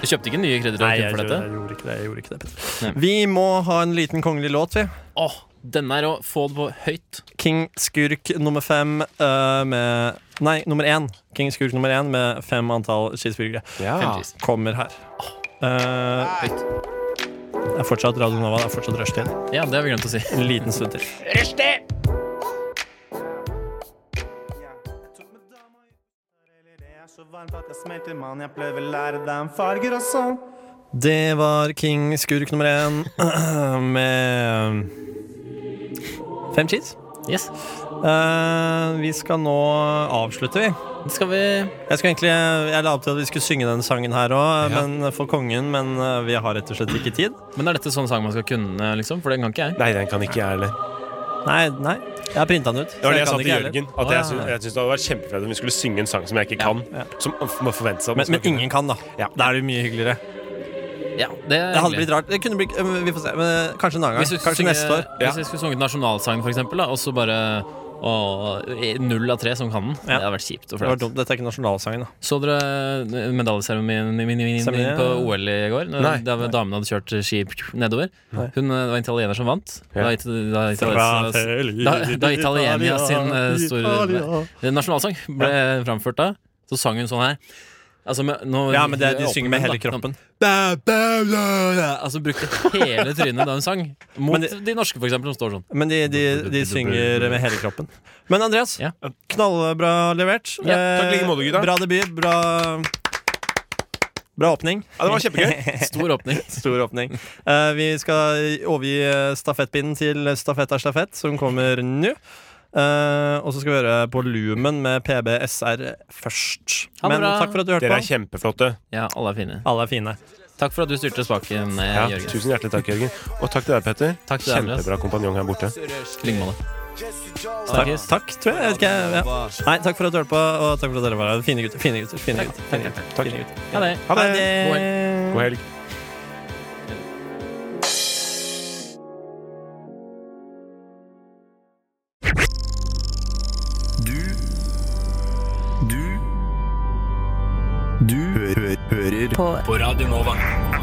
[SPEAKER 3] Du kjøpte ikke nye
[SPEAKER 2] jeg,
[SPEAKER 3] krydder for
[SPEAKER 2] gjorde,
[SPEAKER 3] dette?
[SPEAKER 2] jeg gjorde ikke det. Jeg gjorde ikke det Petter.
[SPEAKER 3] Nei.
[SPEAKER 2] Vi må ha en liten kongelig låt, vi.
[SPEAKER 3] Åh, denne er å få det på høyt.
[SPEAKER 2] King Skurk nummer fem eh, med Nei, nummer én. King Skurk nummer én med fem antall cheeseburgere
[SPEAKER 3] Fem cheese.
[SPEAKER 2] kommer her. Eh, det er fortsatt Radio Nova. Det er fortsatt rushtid.
[SPEAKER 3] Ja, det har vi glemt å si.
[SPEAKER 2] En liten stund til. Det var King Skurk nummer én med fem cheese.
[SPEAKER 3] Yes.
[SPEAKER 2] Eh, vi skal nå avslutte, vi.
[SPEAKER 3] Det skal vi
[SPEAKER 2] Jeg, skulle egentlig, jeg la opp til at vi skulle synge den sangen her òg,
[SPEAKER 3] Ja.
[SPEAKER 2] men for kongen. Men eh, vi har rett og slett ikke tid.
[SPEAKER 3] Men er dette sånn sang man skal kunne, liksom? For den kan ikke jeg.
[SPEAKER 1] Nei, den kan ikke jeg heller.
[SPEAKER 2] Nei, nei. Jeg har printa den ut. så
[SPEAKER 1] Det var det
[SPEAKER 2] jeg
[SPEAKER 1] jeg
[SPEAKER 2] kan
[SPEAKER 1] sa
[SPEAKER 2] ikke
[SPEAKER 1] til
[SPEAKER 2] heller.
[SPEAKER 1] Jørgen. At
[SPEAKER 2] Å,
[SPEAKER 1] jeg
[SPEAKER 2] ja.
[SPEAKER 1] syns, jeg syns det hadde vært kjempeflaut om vi skulle synge en sang som jeg ikke kan.
[SPEAKER 2] ja.
[SPEAKER 1] Som må forventes at man
[SPEAKER 2] men,
[SPEAKER 1] skal
[SPEAKER 2] men
[SPEAKER 1] kunne.
[SPEAKER 2] ingen kan, da.
[SPEAKER 1] Ja.
[SPEAKER 2] Da er det jo mye hyggeligere.
[SPEAKER 3] Ja, det er
[SPEAKER 2] Det hadde
[SPEAKER 3] hyggelig.
[SPEAKER 2] blitt rart. Det kunne blitt, eh, vi får se. Men, eh, kanskje en annen
[SPEAKER 3] Hvis vi
[SPEAKER 2] gang.
[SPEAKER 3] skulle
[SPEAKER 2] Kanskje
[SPEAKER 3] synge-
[SPEAKER 2] neste år.
[SPEAKER 1] Ja.
[SPEAKER 3] Hvis vi skulle sunget nasjonalsangen, for eksempel, da, og så bare å, null av tre som kan den. Det hadde vært kjipt
[SPEAKER 2] Det
[SPEAKER 3] og
[SPEAKER 2] var
[SPEAKER 3] flaut.
[SPEAKER 2] dumt. Dette er ikke nasjonalsangen, da.
[SPEAKER 3] Så dere eh, medaljeseremonien min- min-
[SPEAKER 2] Seremonien?
[SPEAKER 3] på OL i går?
[SPEAKER 1] Nei.
[SPEAKER 3] Da damene hadde kjørt ski nedover.
[SPEAKER 2] Nei.
[SPEAKER 3] Hun eh, var italiener som vant.
[SPEAKER 1] Ja.
[SPEAKER 3] Da, it- da, italiensa-
[SPEAKER 1] Eh,
[SPEAKER 3] da- da Italienia sin eh, store nasjonalsang ble framført da, så sang hun sånn her. Altså, med, nå,
[SPEAKER 2] Ja, men det, de
[SPEAKER 3] åpen
[SPEAKER 2] synger med
[SPEAKER 3] munn,
[SPEAKER 2] hele
[SPEAKER 3] da.
[SPEAKER 2] kroppen.
[SPEAKER 3] Ba, ba, la, la. Altså brukte hele trynet da hun sang. Mot
[SPEAKER 2] Men det-
[SPEAKER 3] de norske, for eksempel, som står sånn.
[SPEAKER 2] Men de, de, de synger med hele kroppen. Men Andreas,
[SPEAKER 3] Ja.
[SPEAKER 2] knallbra levert. Eh,
[SPEAKER 3] Ja,
[SPEAKER 1] takk i like måte, gutta.
[SPEAKER 2] Bra debut. Bra, bra åpning.
[SPEAKER 1] Ja, det var kjempegøy.
[SPEAKER 3] Stor åpning.
[SPEAKER 2] Stor åpning. Eh, vi skal overgi eh, stafettpinnen til Stafett er stafett, som kommer nå. Eh, og så skal vi høre på Lumen med PBSR først.
[SPEAKER 3] Ha det
[SPEAKER 2] Men
[SPEAKER 3] bra.
[SPEAKER 2] takk for at du hørte
[SPEAKER 1] Dere er
[SPEAKER 2] på.
[SPEAKER 1] kjempeflotte.
[SPEAKER 3] Ja, alle er fine.
[SPEAKER 2] Alle er fine.
[SPEAKER 3] Takk for at du styrte spaken, eh,
[SPEAKER 1] Ja,
[SPEAKER 3] Jørgen.
[SPEAKER 1] tusen hjertelig takk, Jørgen. Og takk til deg, Petter.
[SPEAKER 3] Takk til deg, Andreas.
[SPEAKER 1] Kjempebra kompanjong her borte.
[SPEAKER 3] Lignemål.
[SPEAKER 2] Takk, takk tror jeg. jeg vet ikke, ja. Nei, takk for at du hørte på, og takk for at dere var her. Fine gutter. Fine gutter. Fine gutter. Fine gutter.
[SPEAKER 1] Takk.
[SPEAKER 2] Fine gutter.
[SPEAKER 3] Ha det.
[SPEAKER 1] Ha det.
[SPEAKER 3] God
[SPEAKER 1] God helg.
[SPEAKER 11] På Radio Nova.